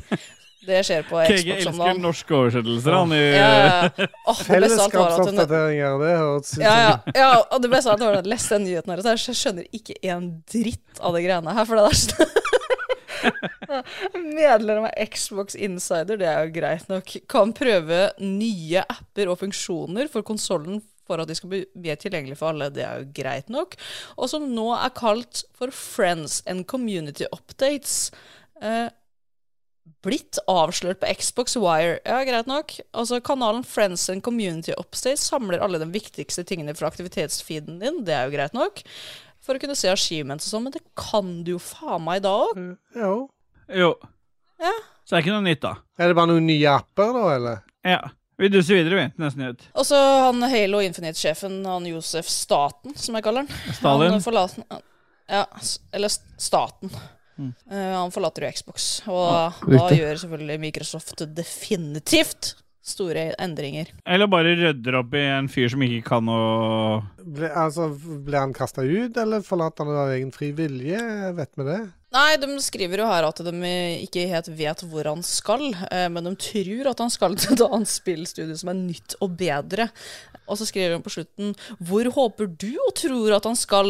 Speaker 3: Det skjer på
Speaker 2: KG
Speaker 3: Xbox om
Speaker 2: elsker
Speaker 3: dagen.
Speaker 2: norske oversettelser, han. I,
Speaker 3: Ja, ja, ja. Åh, det beste av alt var at hun-
Speaker 1: Fellesskapsoppdateringer, det høres ut
Speaker 3: Ja, ja,
Speaker 1: som
Speaker 3: ja, og det ble sånn at når jeg leste den nyheten her, så jeg skjønner ikke en dritt av de greiene her, for det er sånn Medlem av Xbox Insider, det er jo greit nok, kan prøve nye apper og funksjoner for konsollen for at de skal bli mer tilgjengelig for alle, det er jo greit nok, og som nå er kalt for Friends and Community Updates. Eh, blitt avslørt på Xbox Wire. Ja, greit nok. Altså, Kanalen Friends and Community Upstate samler alle de viktigste tingene fra aktivitetsfeeden din. Det er jo greit nok. For å kunne se achievements og sånn, men det kan du jo faen meg da òg.
Speaker 1: Jo.
Speaker 2: Jo.
Speaker 3: Ja.
Speaker 2: Så det er ikke noe nytt, da.
Speaker 1: Er det bare noen nye apper, da, eller?
Speaker 2: Ja. Vi duser videre, vi. til Neste nyhet.
Speaker 3: Og så han Halo Infinite-sjefen, han Josef Staten, som jeg kaller han.
Speaker 2: Stalin.
Speaker 3: Han forlater Ja, s- eller s- Staten.
Speaker 2: Mm.
Speaker 3: Eh, han forlater jo Xbox, og da
Speaker 2: riktig.
Speaker 3: gjør selvfølgelig Microsoft definitivt store endringer.
Speaker 2: Eller bare rydder opp i en fyr som ikke kan å
Speaker 1: Ble, altså, ble han kasta ut, eller forlater han det av egen fri vilje? Vet vi det?
Speaker 3: Nei, de skriver jo her at de eh, ikke helt vet hvor han skal, eh, men de tror at han skal til et annet spillstudio som er nytt og bedre. Og så skriver de på slutten Hvor håper du og tror at han skal?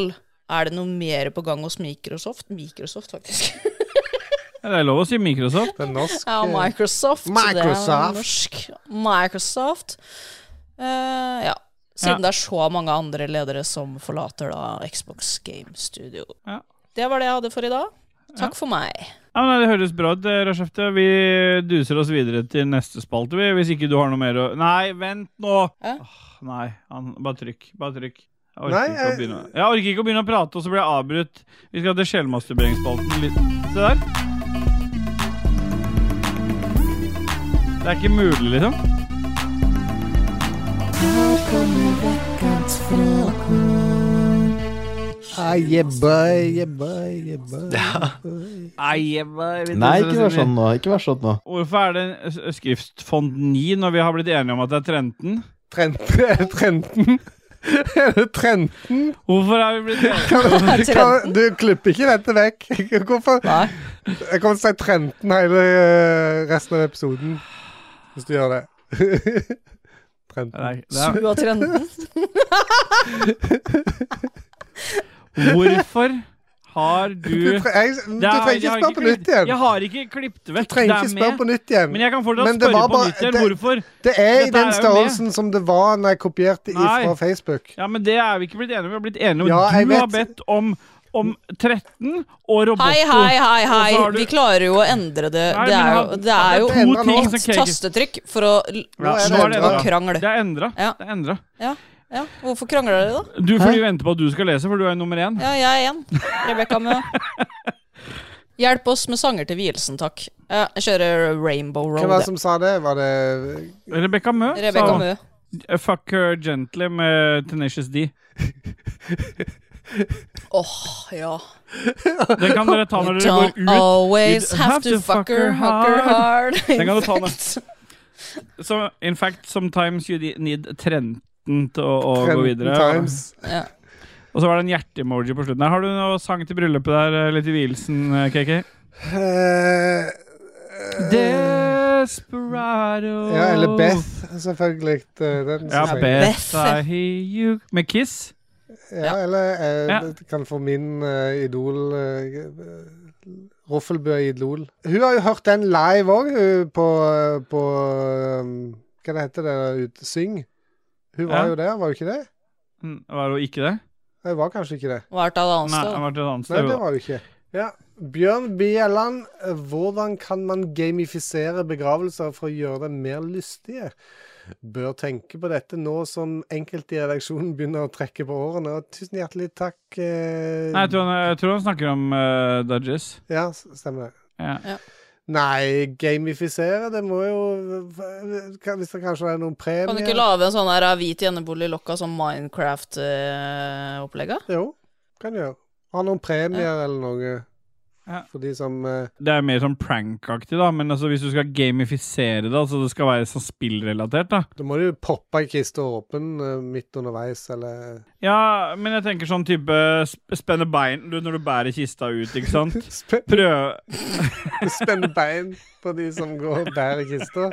Speaker 3: Er det noe mer på gang hos Microsoft? Microsoft, faktisk.
Speaker 2: Ja, Det er lov å si Microsoft.
Speaker 1: Det er norsk.
Speaker 3: Ja, Microsoft. så Det er
Speaker 2: Microsoft.
Speaker 3: norsk. Microsoft. Eh, ja. Siden det er så mange andre ledere som forlater da Xbox Game Studio.
Speaker 2: Ja.
Speaker 3: Det var det jeg hadde for i dag. Takk for meg.
Speaker 2: Ja, men Det høres bra ut, eh, Rashefte. Vi duser oss videre til neste spalte, vi. Hvis ikke du har noe mer å Nei, vent nå! Åh, nei, han, bare trykk. Bare trykk. Jeg orker,
Speaker 1: Nei,
Speaker 2: ikke å
Speaker 1: jeg-
Speaker 2: begynne. jeg orker ikke å begynne å prate, og så blir jeg avbrutt. Vi skal til sjelmasturberingsspalten. litt- Se der. Det er ikke mulig, liksom.
Speaker 1: Ah, yeah, boy, yeah, boy, yeah, boy.
Speaker 2: Nei, jeg bare- vi
Speaker 9: Nei,
Speaker 2: duser
Speaker 9: ikke
Speaker 2: oss
Speaker 9: vær sånn
Speaker 2: videre.
Speaker 9: nå. Ikke vær sånn nå.
Speaker 2: Hvorfor er det en s- skriftfont 9 når vi har blitt enige om at det er Trenten?
Speaker 1: Trent, er det Trenten? Er det Trenten?
Speaker 2: Hvorfor er vi blitt
Speaker 1: Kan,
Speaker 2: enige?
Speaker 1: kan, du klipper ikke dette vekk. Hvorfor? Jeg kommer til å si Trenten hele eh, resten av episoden, hvis du gjør det. Trenten.
Speaker 3: Sju av trenden.
Speaker 2: Hvorfor har du
Speaker 1: Du tre- jeg-
Speaker 2: Det
Speaker 1: du
Speaker 2: er-
Speaker 1: trenger
Speaker 2: jeg
Speaker 1: ikke
Speaker 2: har
Speaker 1: spørre på
Speaker 2: klipp-
Speaker 1: nytt igjen.
Speaker 2: Jeg har ikke klippet vekk.
Speaker 1: Du trenger
Speaker 2: Det er
Speaker 1: ikke spørre
Speaker 2: med.
Speaker 1: på nytt igjen.
Speaker 2: Men jeg kan fortsatt
Speaker 1: Men det var
Speaker 2: spørre på
Speaker 1: bare-
Speaker 2: nytt igjen.
Speaker 1: det-
Speaker 2: Hvorfor?
Speaker 1: Det er i
Speaker 2: Dette
Speaker 1: den
Speaker 2: er jo
Speaker 1: størrelsen som det var når jeg kopierte
Speaker 2: Nei.
Speaker 1: fra Facebook.
Speaker 2: Ja, men det er vi ikke blitt enige om. Vi har blitt enige om
Speaker 1: Ja,
Speaker 2: at
Speaker 1: jeg
Speaker 2: du
Speaker 1: vet-
Speaker 2: har bedt om, om 13 og Roboto.
Speaker 3: Hei, hei, hei,
Speaker 2: Og så
Speaker 3: hei.
Speaker 2: har du-
Speaker 3: Vi klarer jo å endre det.
Speaker 2: Nei, men
Speaker 3: Det er
Speaker 2: han-
Speaker 3: jo, det er
Speaker 2: han
Speaker 3: jo
Speaker 2: endret nå.
Speaker 3: ett tastetrykk for å l-
Speaker 2: Ja, nå
Speaker 3: slutte
Speaker 2: er det
Speaker 3: å
Speaker 2: endret.
Speaker 3: krangle.
Speaker 2: Det er endra. Det er endra.
Speaker 3: Ja, ja. Hvorfor krangler dere, da?
Speaker 2: Du får jo vente på at du skal lese, for du er nummer én.
Speaker 3: Ja, jeg er igjen. Rebekka Mø. Hjelp oss med sanger til vielsen, takk. Ja, jeg kjører Rainbow Road.
Speaker 1: Hvem var det
Speaker 3: jeg.
Speaker 1: som sa det? Var det
Speaker 2: Rebekka Mø
Speaker 3: Rebecca Mø.
Speaker 2: Uh, Fuck her gently med Tenacious D.
Speaker 3: Åh, ja.
Speaker 2: Den kan dere ta når dere går
Speaker 3: Don't
Speaker 2: ut.
Speaker 3: always
Speaker 2: You
Speaker 3: have to fuck her, fuck her hard.
Speaker 2: Den kan du ta
Speaker 3: In
Speaker 2: når Så, In fact, sometimes you need Trenten til å, å gå
Speaker 1: Trenten
Speaker 2: videre.
Speaker 1: times.
Speaker 3: Ja.
Speaker 2: Og så var det en hjerte-emoji på slutten. her Har du noe sang til bryllupet der, eller til vielsen, eh, KK?
Speaker 1: Eh,
Speaker 2: Desperado
Speaker 1: eh, Ja, eller Beth, selvfølgelig. eh, Den
Speaker 2: Ja,
Speaker 1: som sang.
Speaker 2: Beth, I hear you Med Kiss?
Speaker 1: Ja, eller eh,
Speaker 2: Ja.
Speaker 1: det kan få min eh, idol eh, Roffelbø idol. Hun har jo hørt den live òg, hun på, på um, Hva det heter det der ute? Syng. Hun var
Speaker 2: Ja.
Speaker 1: jo der, var hun ikke det?
Speaker 2: Mm, Var hun ikke det?
Speaker 1: Nei, hun var kanskje ikke det.
Speaker 3: Var det et annet
Speaker 2: Nei,
Speaker 3: sted?
Speaker 2: han var til et annet
Speaker 1: Nei,
Speaker 2: sted.
Speaker 1: det var hun ikke. Ja. Bjørn Bjelland, eh, hvordan kan man gamifisere begravelser for å gjøre dem mer lystige? Bør tenke på dette nå som enkelte i redaksjonen begynner å trekke på årene. Og tusen hjertelig takk. eh,
Speaker 2: Nei, jeg tror, han, jeg tror han snakker om eh, Dodges.
Speaker 1: Ja, s- stemmer det.
Speaker 2: Ja.
Speaker 1: Nei, gamifisere, det må jo kan- Hvis det kanskje er noen premier
Speaker 3: Kan du ikke lage en sånn her hvit gjennebolig lokka som eh, Minecraft-opplegget?
Speaker 1: Jo, kan du gjøre. Ha noen premier eller noe.
Speaker 2: Ja.
Speaker 1: For de som eh,
Speaker 2: Det er mer sånn prank-aktig, da, men altså, hvis du skal gamifisere det, altså det skal være sånn spillrelatert, da
Speaker 1: Da må du jo poppe ei kiste åpen eh, midt underveis, eller
Speaker 2: Ja, men jeg tenker sånn type sp- spenne bein du, når du bærer kista ut, ikke sant? Prøv
Speaker 1: Spenne bein på de som går og bærer kista.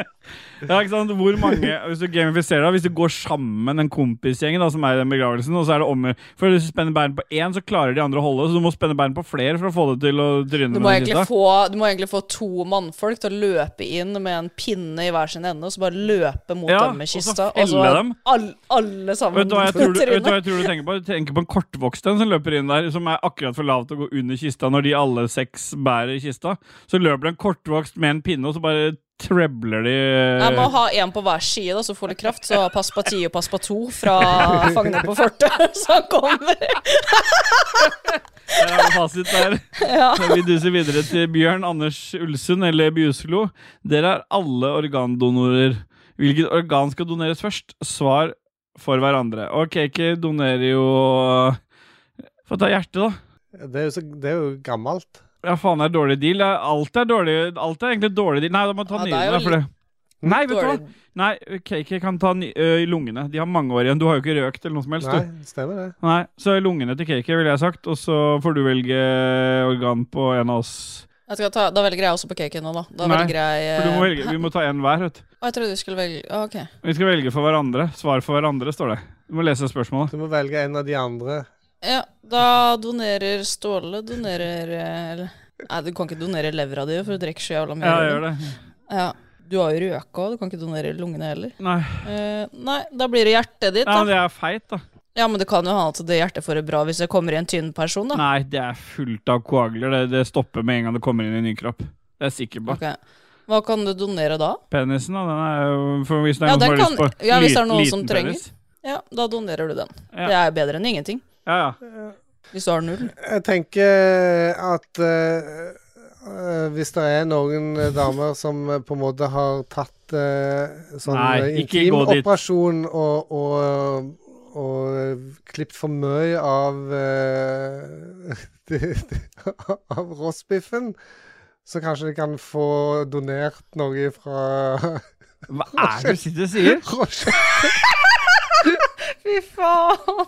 Speaker 2: Ja, ikke sant? Hvor mange Hvis du gamifiserer det, hvis du går sammen en kompisgjeng da, som er i den begravelsen, og så er det om For hvis du spenner bein på én, så klarer de andre å holde, så du må spenne bein på flere for å få det til å tryne
Speaker 3: Du
Speaker 2: med
Speaker 3: må,
Speaker 2: den
Speaker 3: egentlig
Speaker 2: kista.
Speaker 3: få, du må egentlig få to mannfolk til å løpe inn med en pinne i hver sin ende, og så bare løpe mot
Speaker 2: Ja,
Speaker 3: dem med
Speaker 2: og så
Speaker 3: kista.
Speaker 2: felle dem.
Speaker 3: all, alle sammen
Speaker 2: Vet du, hva jeg tror du,
Speaker 3: trynet.
Speaker 2: vet du hva jeg tror du tenker på? Du tenker på en kortvokst en som løper inn der, som er akkurat for lav til å gå under kista når de alle seks bærer kista. Så løper det en kortvokst med en pinne, og så bare trebler de
Speaker 3: Jeg må ha en på hver side, da, så får du kraft. Så pass på ti og pass på to fra fangene på fortet, så han kommer.
Speaker 2: Der er det eh, fasit der.
Speaker 3: Ja.
Speaker 2: Vi duser videre til Bjørn Anders Ulsund eller Bjuslo. Dere er alle organdonorer. Hvilket organ skal doneres først? Svar for hverandre. Og Kiki donerer jo Få ta hjertet, da.
Speaker 1: Det er jo, så, det er jo gammelt.
Speaker 2: Ja, faen, det er dårlig deal. Det er- Alt er dårlig Alt er egentlig dårlig deal. Nei, da må jeg ta
Speaker 1: Ja, det er
Speaker 2: nyrene,
Speaker 1: jo
Speaker 2: for det.
Speaker 1: litt
Speaker 2: Nei, vet du hva?
Speaker 1: dårlig.
Speaker 2: Nei, Kiki kan ta ny ø, lungene. De har mange år igjen. Du har jo ikke røkt eller noe som helst.
Speaker 1: Nei,
Speaker 2: du.
Speaker 1: stemmer det.
Speaker 2: Nei, så lungene til Kiki ville jeg sagt, og så får du velge organ på en av oss.
Speaker 3: Jeg skal ta, da velger jeg også på caken nå, da. Da
Speaker 2: Nei,
Speaker 3: velger jeg
Speaker 2: for du må
Speaker 3: eh,
Speaker 2: velge, vi må ta en hver, vet du.
Speaker 3: Å, jeg trodde du skulle velge Å, OK.
Speaker 2: Vi skal velge for hverandre. Svar for hverandre, står det. Du må lese spørsmålet.
Speaker 1: Du må velge en av de andre.
Speaker 3: Ja, da donerer Ståle Donerer eh, eller- Nei, du kan ikke donere levra di, for du drikker så jævla mye.
Speaker 2: Ja, jeg
Speaker 3: øl.
Speaker 2: gjør det.
Speaker 3: Ja, Du har jo røka òg, du kan ikke donere lungene heller.
Speaker 2: Nei.
Speaker 3: Eh, nei, da blir det hjertet ditt,
Speaker 2: Nei,
Speaker 3: da.
Speaker 2: men det er feit, da.
Speaker 3: Ja, men det kan jo ha at det hjertet får det bra hvis det kommer i en tynn person, da.
Speaker 2: Nei, det er fullt av koagler. Det, det stopper med en gang det kommer inn i en ny kropp. Det er jeg sikker på.
Speaker 3: Ok. Hva kan du donere da?
Speaker 2: Penisen, da, den er jo for Hvis det er
Speaker 3: Ja,
Speaker 2: noen som
Speaker 3: den
Speaker 2: har
Speaker 3: kan,
Speaker 2: lyst på
Speaker 3: ja, hvis det er
Speaker 2: liten-
Speaker 3: noen som
Speaker 2: liten
Speaker 3: trenger.
Speaker 2: penis.
Speaker 3: Ja, da donerer du den.
Speaker 2: Ja.
Speaker 3: Det er jo bedre enn ingenting.
Speaker 2: Ja, ja.
Speaker 3: Hvis du har null.
Speaker 1: Jeg tenker at eh, eh, hvis det er noen eh, damer som eh, på en måte har tatt eh, sånn
Speaker 2: Nei,
Speaker 1: eh,
Speaker 2: ikke gå dit.
Speaker 1: intimoperasjon og, og, og eh, klippet for mye av eh, av rossbiffen, så kanskje de kan få donert noe fra Hva
Speaker 2: er det du sitter og sier?
Speaker 3: Fy faen!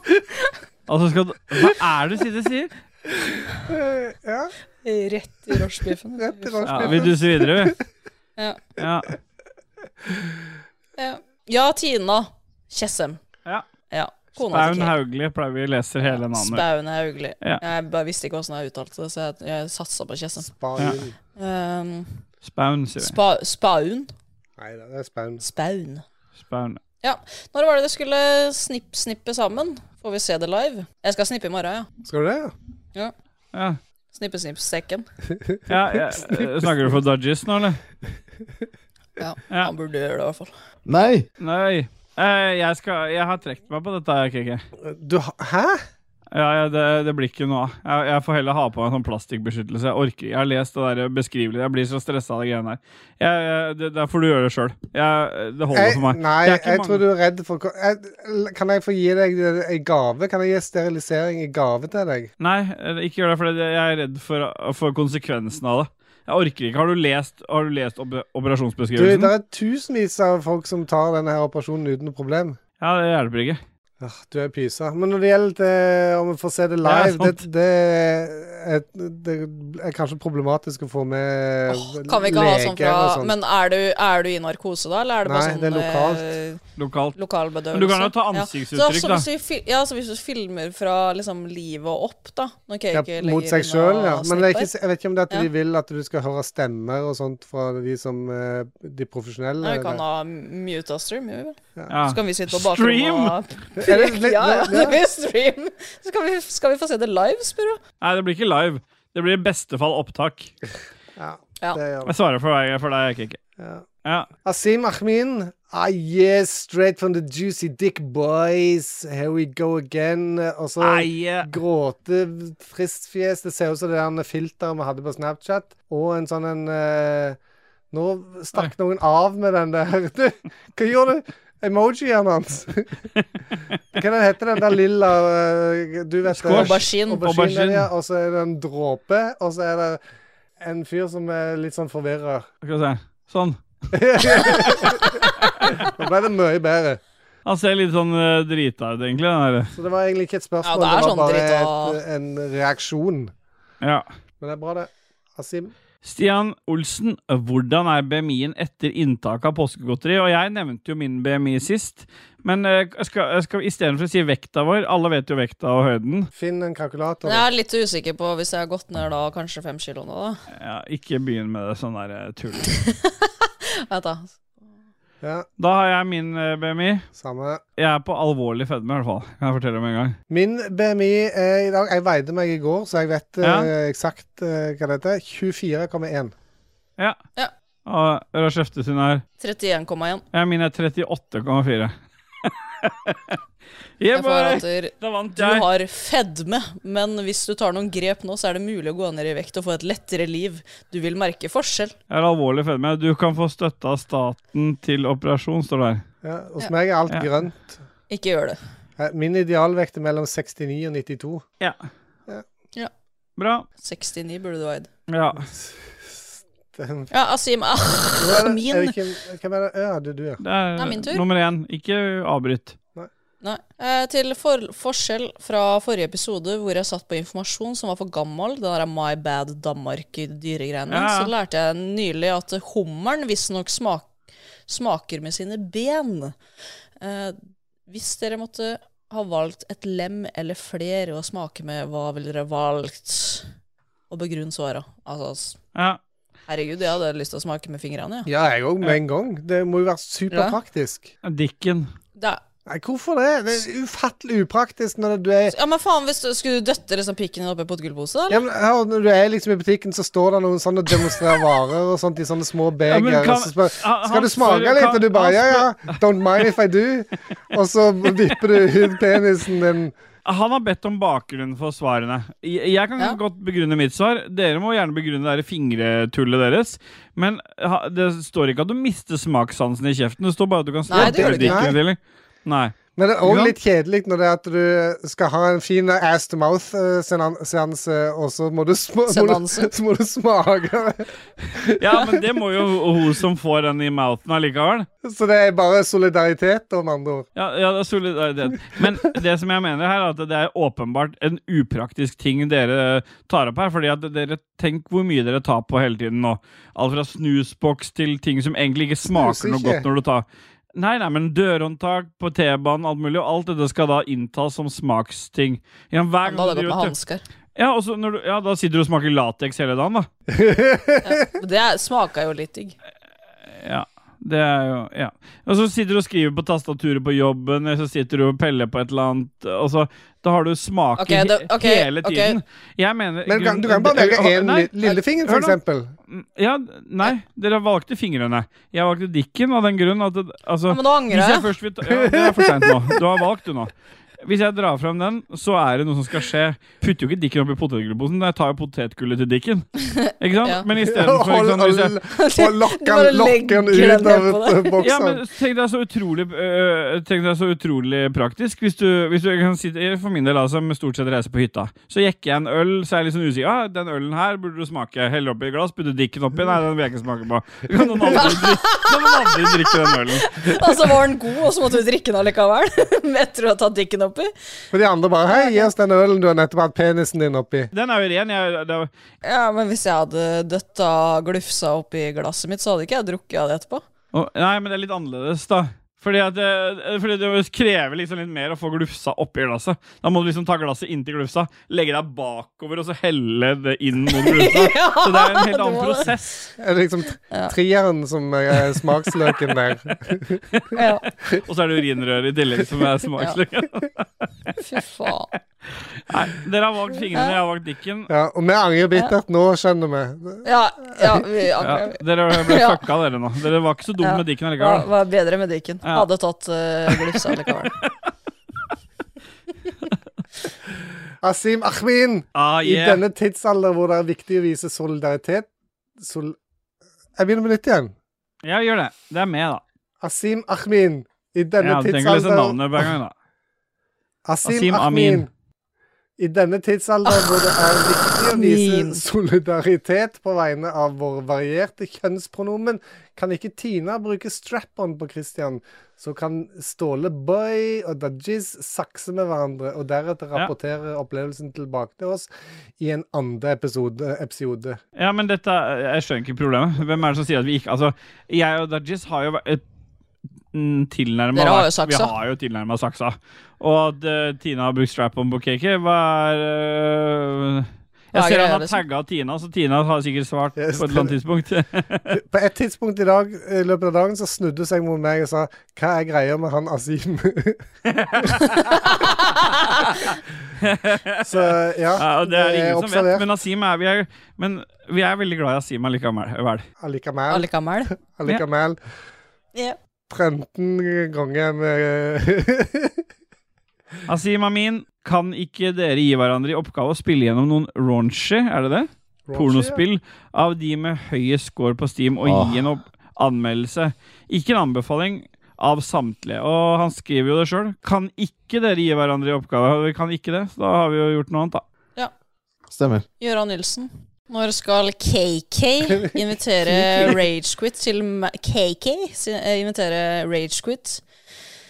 Speaker 2: Altså, skal du Hva er det du sitter og sier?
Speaker 1: ja.
Speaker 3: Rett i rochebiffen.
Speaker 1: Rett i
Speaker 2: Ja, vi duser videre, vi.
Speaker 3: Ja.
Speaker 2: Ja.
Speaker 3: Ja. ja, Tina Tjessem.
Speaker 2: Ja.
Speaker 3: Kona til
Speaker 2: Spaun
Speaker 3: Kate.
Speaker 2: Hauglie pleier vi leser hele navnet.
Speaker 3: Spaun Hauglie.
Speaker 2: Ja.
Speaker 3: Jeg bare visste ikke hvordan jeg uttalte det, så jeg, jeg satsa på Kjessen.
Speaker 2: Spaun.
Speaker 3: Um,
Speaker 2: Spaun, sier vi.
Speaker 3: spa, spaun?
Speaker 1: Nei, det er spaun.
Speaker 3: Spaun.
Speaker 2: Spaun.
Speaker 3: Ja. Når var det det skulle snipp-snippe sammen? Får vi se det live? Jeg skal snippe i morgen, ja.
Speaker 1: Skal du det? ja?
Speaker 3: ja.
Speaker 2: Ja.
Speaker 3: Snippe-snipp-sekken.
Speaker 2: Ja, ja, eh, snakker du for Dodges nå, eller?
Speaker 3: Ja, han burde gjøre det, i hvert fall.
Speaker 9: Nei!
Speaker 2: Nei. Eh, jeg, skal, jeg har trukket meg på dette, KK.
Speaker 1: Du Hæ?
Speaker 2: Ja, ja det, det blir ikke noe av. Jeg, jeg får heller ha på meg en sånn plastikkbeskyttelse. Jeg orker Jeg har lest det der beskrivelig. Jeg blir så stressa av de greiene der. Jeg, jeg, det, der får du gjøre det sjøl. Det holder for meg.
Speaker 1: Jeg, nei,
Speaker 2: Det er ikke
Speaker 1: jeg
Speaker 2: mange-
Speaker 1: tror du er redd for ko- jeg, Kan jeg få gi deg en gave? Kan jeg gi sterilisering i gave til deg?
Speaker 2: Nei, eh, ikke gjør det, for det- jeg er redd for, for konsekvensen av det. Jeg orker ikke. Har du lest, har du lest oper-
Speaker 1: Du, det
Speaker 2: operasjonsbeskrivelsen?
Speaker 1: er tusenvis av folk som tar denne her operasjonen uten noe problem.
Speaker 2: Ja, det hjelper ikke.
Speaker 1: Ah, Du er pysa. Men når det gjelder eh, om vi får se det live,
Speaker 2: Ja,
Speaker 1: det, det, er, det er kanskje problematisk å få med
Speaker 3: Kan vi ikke ha sånn
Speaker 1: leger og
Speaker 3: fra
Speaker 1: sånt.
Speaker 3: Men er du, er du i narkose da, eller er det bare
Speaker 1: Nei,
Speaker 3: sånn
Speaker 1: det er lokalt.
Speaker 3: eh,
Speaker 2: Lokalt.
Speaker 3: lokal bedøvelse?
Speaker 2: Men du kan jo ta
Speaker 3: Ja.
Speaker 2: ansiktsuttrykk, da.
Speaker 3: så, da. Hvis vi, fil- ja, så hvis du filmer fra liksom livet og opp, da når jeg
Speaker 1: Ja,
Speaker 3: ikke
Speaker 1: mot
Speaker 3: legger
Speaker 1: seg
Speaker 3: inn
Speaker 1: sjøl,
Speaker 3: og
Speaker 1: ja. Men det er ikke,
Speaker 3: snipper.
Speaker 1: jeg vet ikke om det er at
Speaker 3: Ja.
Speaker 1: de vil at du skal høre stemmer og sånt fra de som eh, De profesjonelle.
Speaker 3: Nei, vi kan
Speaker 1: der.
Speaker 3: ha mute og stream, gjør vi vel?
Speaker 1: Ja.
Speaker 3: Så kan vi sitte på
Speaker 1: Stream?
Speaker 3: bakrommet og
Speaker 1: Er det litt-
Speaker 3: Ja, ja,
Speaker 1: ja.
Speaker 3: det blir stream. Så kan vi, skal vi få se det live, spør du?
Speaker 2: Nei, det blir ikke live. Det blir i beste fall opptak.
Speaker 3: Ja.
Speaker 2: Jeg svarer for deg, for deg KK. Ja.
Speaker 1: Asim Ahmin. Ah, yes, straight from the juicy dick boys. Here we go again. Og så
Speaker 2: Ah, yeah.
Speaker 1: gråte, trist fjes. Det ser ut som det der filteret vi hadde på Snapchat. Og en sånn en eh, Nå stakk noen av med den der. Du, hva gjorde du? Emojien hans. Hva den heter den der lilla eh, Du vet det.
Speaker 3: Squash. Aubergine.
Speaker 1: Aubergine,
Speaker 3: Aubergine.
Speaker 1: ja. Og så er det en dråpe, og så er det en fyr som er litt sånn forvirra.
Speaker 2: Skal vi se. Sånn.
Speaker 1: Nå ble det mye bedre.
Speaker 2: Han ser litt sånn eh, drita ut, egentlig. Den der.
Speaker 1: Så det var egentlig ikke et spørsmål,
Speaker 3: Ja, det
Speaker 1: det,
Speaker 3: er
Speaker 1: var
Speaker 3: sånn
Speaker 1: bare
Speaker 3: dritt å-
Speaker 1: et, eh, en reaksjon.
Speaker 2: Ja.
Speaker 1: Men det er bra, det. Asim.
Speaker 2: Stian Olsen, hvordan er BMI-en etter inntak av påskegodteri? Og jeg nevnte jo min BMI sist, men eh, skal, jeg skal, istedenfor å si vekta vår Alle vet jo vekta og høyden.
Speaker 1: Finn en kalkulator.
Speaker 3: Men Jeg er litt usikker på hvis jeg har gått ned da kanskje fem kilo nå, da.
Speaker 2: Ja, ikke begynn med det sånn der eh, tull.
Speaker 3: Vent, da.
Speaker 2: Da har jeg min eh, BMI.
Speaker 1: Samme.
Speaker 2: Jeg er på alvorlig fedme, i hvert fall. Kan jeg fortelle om en gang.
Speaker 1: Min BMI er i dag Jeg veide meg i går, så jeg vet eh,
Speaker 2: Ja.
Speaker 1: eksakt eh, hva det heter. 24,1.
Speaker 2: Ja. Og Rashefte sin er
Speaker 3: 31,1.
Speaker 2: Ja, min er 38,4.
Speaker 3: Jeg
Speaker 2: Yeah, boy.
Speaker 3: forhater
Speaker 2: vant
Speaker 3: Du
Speaker 2: jeg.
Speaker 3: har fedme, men hvis du tar noen grep nå, så er det mulig å gå ned i vekt og få et lettere liv. Du vil merke forskjell.
Speaker 2: Jeg er alvorlig fedme. Du kan få støtte av staten til operasjon, står det her.
Speaker 1: Ja, hos meg er alt
Speaker 2: Ja.
Speaker 1: grønt.
Speaker 3: Ikke gjør det.
Speaker 1: Eh, Min idealvekt er mellom 69 og 92.
Speaker 2: Ja.
Speaker 3: Ja.
Speaker 2: Bra.
Speaker 3: 69 burde du ha eid.
Speaker 2: Ja.
Speaker 1: Den-
Speaker 3: Ja, Asim ah,
Speaker 1: Nå er det- Er
Speaker 3: Min.
Speaker 1: det, ikke- hvem er det? Ja, det er du, ja.
Speaker 2: Det er,
Speaker 3: Det er min tur.
Speaker 2: nummer én. Ikke avbryt.
Speaker 3: Nei. Eh, til for forskjell fra forrige episode, hvor jeg satt på informasjon som var for gammel, den der My Bad Danmark-dyregreiene,
Speaker 12: Ja.
Speaker 3: så lærte jeg nylig at hummeren visstnok smak smaker med sine ben. Eh, hvis dere måtte ha valgt et lem eller flere å smake med, hva ville dere valgt? Og begrunn svaret. Altså, s-
Speaker 2: Ja.
Speaker 3: herregud, jeg hadde lyst til å smake med fingrene,
Speaker 1: Ja,
Speaker 3: ja.
Speaker 1: jeg òg, med en gang. Det må jo være superpraktisk.
Speaker 2: Dikken.
Speaker 3: Da-
Speaker 1: Nei, hvorfor det? Det er ufattelig upraktisk når du er
Speaker 3: Ja, men faen, hvis du, skulle du døtte liksom pikken din oppi potetgullposen, eller?
Speaker 1: Ja, men hør, Når du er liksom i butikken, så står det noen sånn og demonstrerer varer og sånt i sånne små beger.
Speaker 2: men kan-
Speaker 1: og så spør,
Speaker 2: han- han
Speaker 1: skal du smake
Speaker 2: spør-
Speaker 1: litt?
Speaker 2: kan-
Speaker 1: og du bare
Speaker 2: han
Speaker 1: ja, ja. Don't mind if I do. Og så vipper du ut penisen din.
Speaker 2: Han har bedt om bakgrunnen for svarene. Jeg jeg kan godt begrunne mitt svar. Dere må gjerne begrunne det der fingretullet deres. Men ha- det står ikke at du mister smakssansen i kjeften. Det står bare at du kan
Speaker 1: Nei, det
Speaker 2: snakke
Speaker 1: gjør det ikke.
Speaker 2: dikken til. Nei.
Speaker 1: Men det er
Speaker 2: Ikke
Speaker 1: òg
Speaker 2: sant?
Speaker 1: litt kjedelig når det er at du skal ha en fin ass to mouth-seanse, og så må du, sma må du,
Speaker 2: Seanse.
Speaker 1: så må du smake.
Speaker 2: Ja, men det må jo hun som får den i mouthen allikevel.
Speaker 1: Så det er bare solidaritet, om andre ord.
Speaker 2: Ja, ja, det er solidaritet. Men det som jeg mener her, er at det er åpenbart en upraktisk ting dere tar opp her. fordi at dere Tenk hvor mye dere tar på hele tiden nå. Alt fra snusboks til ting som egentlig ikke smaker
Speaker 1: Snus
Speaker 2: noe
Speaker 1: ikke.
Speaker 2: godt når du tar Nei, nei, men dørhåndtak på T-banen, alt mulig, og alt dette skal da inntas som smaksting. Ja, hver gang
Speaker 3: Da hadde jeg
Speaker 2: du
Speaker 3: gått med
Speaker 2: driver-
Speaker 3: hansker.
Speaker 2: Ja, og så når du, ja, da sitter du og smaker lateks hele dagen, da.
Speaker 3: Det smaka jo litt digg.
Speaker 2: Ja, det er jo Ja. Og så sitter du og skriver på tastaturet på jobben, eller så sitter du og peller på et eller annet, og så Da har du smaker
Speaker 3: Ok, da- ok,
Speaker 2: he- hele
Speaker 3: ok.
Speaker 2: tiden. Jeg mener
Speaker 1: Men du kan- du kan bare velge en li- lillefinger, for
Speaker 2: hør nå.
Speaker 1: eksempel.
Speaker 2: Ja, nei, dere valgte fingrene. Jeg valgte dikken av den grunn at det, altså,
Speaker 3: Ja, men nå angrer
Speaker 2: hvis jeg.
Speaker 3: jeg.
Speaker 2: Først vil ta, ja, det er for seint nå. Du har valgt, du nå. Hvis jeg drar fram den, så er det noe som skal skje. Putter jo ikke dikken oppi potetgullposen. Jeg tar jo potetgullet til dikken. Ikke sant?
Speaker 1: Ja.
Speaker 2: Men istedenfor
Speaker 1: Og- og- og lokker den- Du bare lokker den legger ut den av nedpå et, deg. boksen.
Speaker 2: Ja, men tenk deg så utrolig øh, Tenk deg så utrolig praktisk. Hvis du, hvis du kan si For min del, da, som stort sett reiser på hytta, så jekker jeg en øl, så er jeg litt sånn usikker. Ah, 'Den ølen her burde du smake.' Heller oppi et glass, putter dikken oppi. Nei, den vil jeg ikke smake på. Kan noen andre drikke, kan noen andre drikke den ølen?
Speaker 3: Og så Altså, var den god, og så måtte du drikke den allikevel. Etter å ha tatt dikken oppi.
Speaker 1: For de andre bare Hei, gi oss den ølen du har nettopp hatt penisen din oppi.
Speaker 2: Den er jo ren. Jeg, det, er-
Speaker 3: Ja, men hvis jeg hadde døtta glufsa oppi glasset mitt, så hadde ikke jeg drukket av det etterpå.
Speaker 2: Å, nei, men det er litt annerledes, da. Fordi, at, eh, fordi det krever liksom litt mer å få glufsa oppi glasset. Da må du liksom ta glasset inntil glufsa, legge deg bakover og så helle det inn mot glufsa.
Speaker 1: Ja,
Speaker 2: Så det er en helt
Speaker 1: du
Speaker 2: annen
Speaker 1: må det.
Speaker 2: prosess.
Speaker 1: Er det liksom treeren som er smaksløken der?
Speaker 2: Og så er det urinrøret i tillegg som er smaksløken.
Speaker 3: Fy faen.
Speaker 2: Nei, dere har valgt fingrene, jeg har valgt dikken.
Speaker 1: Ja, og vi angrer bittert nå, skjønner vi.
Speaker 3: Ja, ja, vi angrer.
Speaker 2: Ja, dere ble
Speaker 3: Ja.
Speaker 2: fucka, dere nå. Dere var ikke så dumme
Speaker 3: Ja.
Speaker 2: med dikken
Speaker 3: Var,
Speaker 2: allikevel.
Speaker 3: var bedre med dikken.
Speaker 2: Ja.
Speaker 3: Hadde tatt eh, glufsa allikevel.
Speaker 1: Asim Ahmin,
Speaker 2: Ah,
Speaker 1: i
Speaker 2: yeah.
Speaker 1: denne tidsalder hvor det er viktig å vise solidaritet sol Jeg begynner med nytt igjen.
Speaker 2: Ja, gjør det. Det er med, da.
Speaker 1: Asim Ahmin, i denne
Speaker 2: Ja, du trenger ikke lese
Speaker 1: tidsalder
Speaker 2: navnet hver gang, da.
Speaker 1: Asim,
Speaker 2: Asim
Speaker 1: Ahmin.
Speaker 2: Amin. Ah,
Speaker 1: I denne tidsalder hvor det er viktig å
Speaker 2: Amin.
Speaker 1: vise solidaritet på vegne av våre varierte kjønnspronomen, kan ikke Tina bruke strap-on på Christian. Så kan Ståle Boy og Dajis sakse med hverandre, og deretter rapportere opplevelsen tilbake til oss i en andre episode. episode.
Speaker 2: Ja, men dette Jeg skjønner ikke problemet. Hvem er det som sier at vi ikke Altså, jeg og Dajis har jo vært eh, Tilnærma
Speaker 3: Dere har jo saksa.
Speaker 2: Vi har jo tilnærma saksa. Og at eh, Tina har brukt strap-on på cake, hva er eh,
Speaker 1: Hva er
Speaker 2: Jeg ser
Speaker 1: greia,
Speaker 2: han har
Speaker 1: liksom?
Speaker 2: tagga Tina, så Tina har sikkert svart på et eller annet tidspunkt.
Speaker 1: På et tidspunkt i dag, i løpet av dagen så snudde hun seg mot meg og sa Hva er greia med han Asim? så ja,
Speaker 2: Ja, og det
Speaker 1: Eh,
Speaker 2: er ingen som vet,
Speaker 1: observert.
Speaker 2: men Asim er vi er, Men vi er veldig glad i Asim allikevel.
Speaker 1: Allikevel.
Speaker 3: Allikevel.
Speaker 1: Allikevel.
Speaker 3: Ja.
Speaker 1: 13 ganger med
Speaker 2: Asim Amin, kan ikke dere gi hverandre i oppgave å spille gjennom noen raunchy, er det det?
Speaker 1: Raunchy,
Speaker 2: Pornospill av de med høyest score på Steam, og
Speaker 5: Åh.
Speaker 2: gi en opp anmeldelse. Ikke en anbefaling av samtlige. Og han skriver jo det sjøl. Kan ikke dere gi hverandre i oppgave? Vi kan ikke det, så da har vi jo gjort noe annet, da.
Speaker 9: Stemmer.
Speaker 3: Gøran Nilsen. Når skal KK invitere Ragequit til ma- KK si- eh, invitere Ragequit?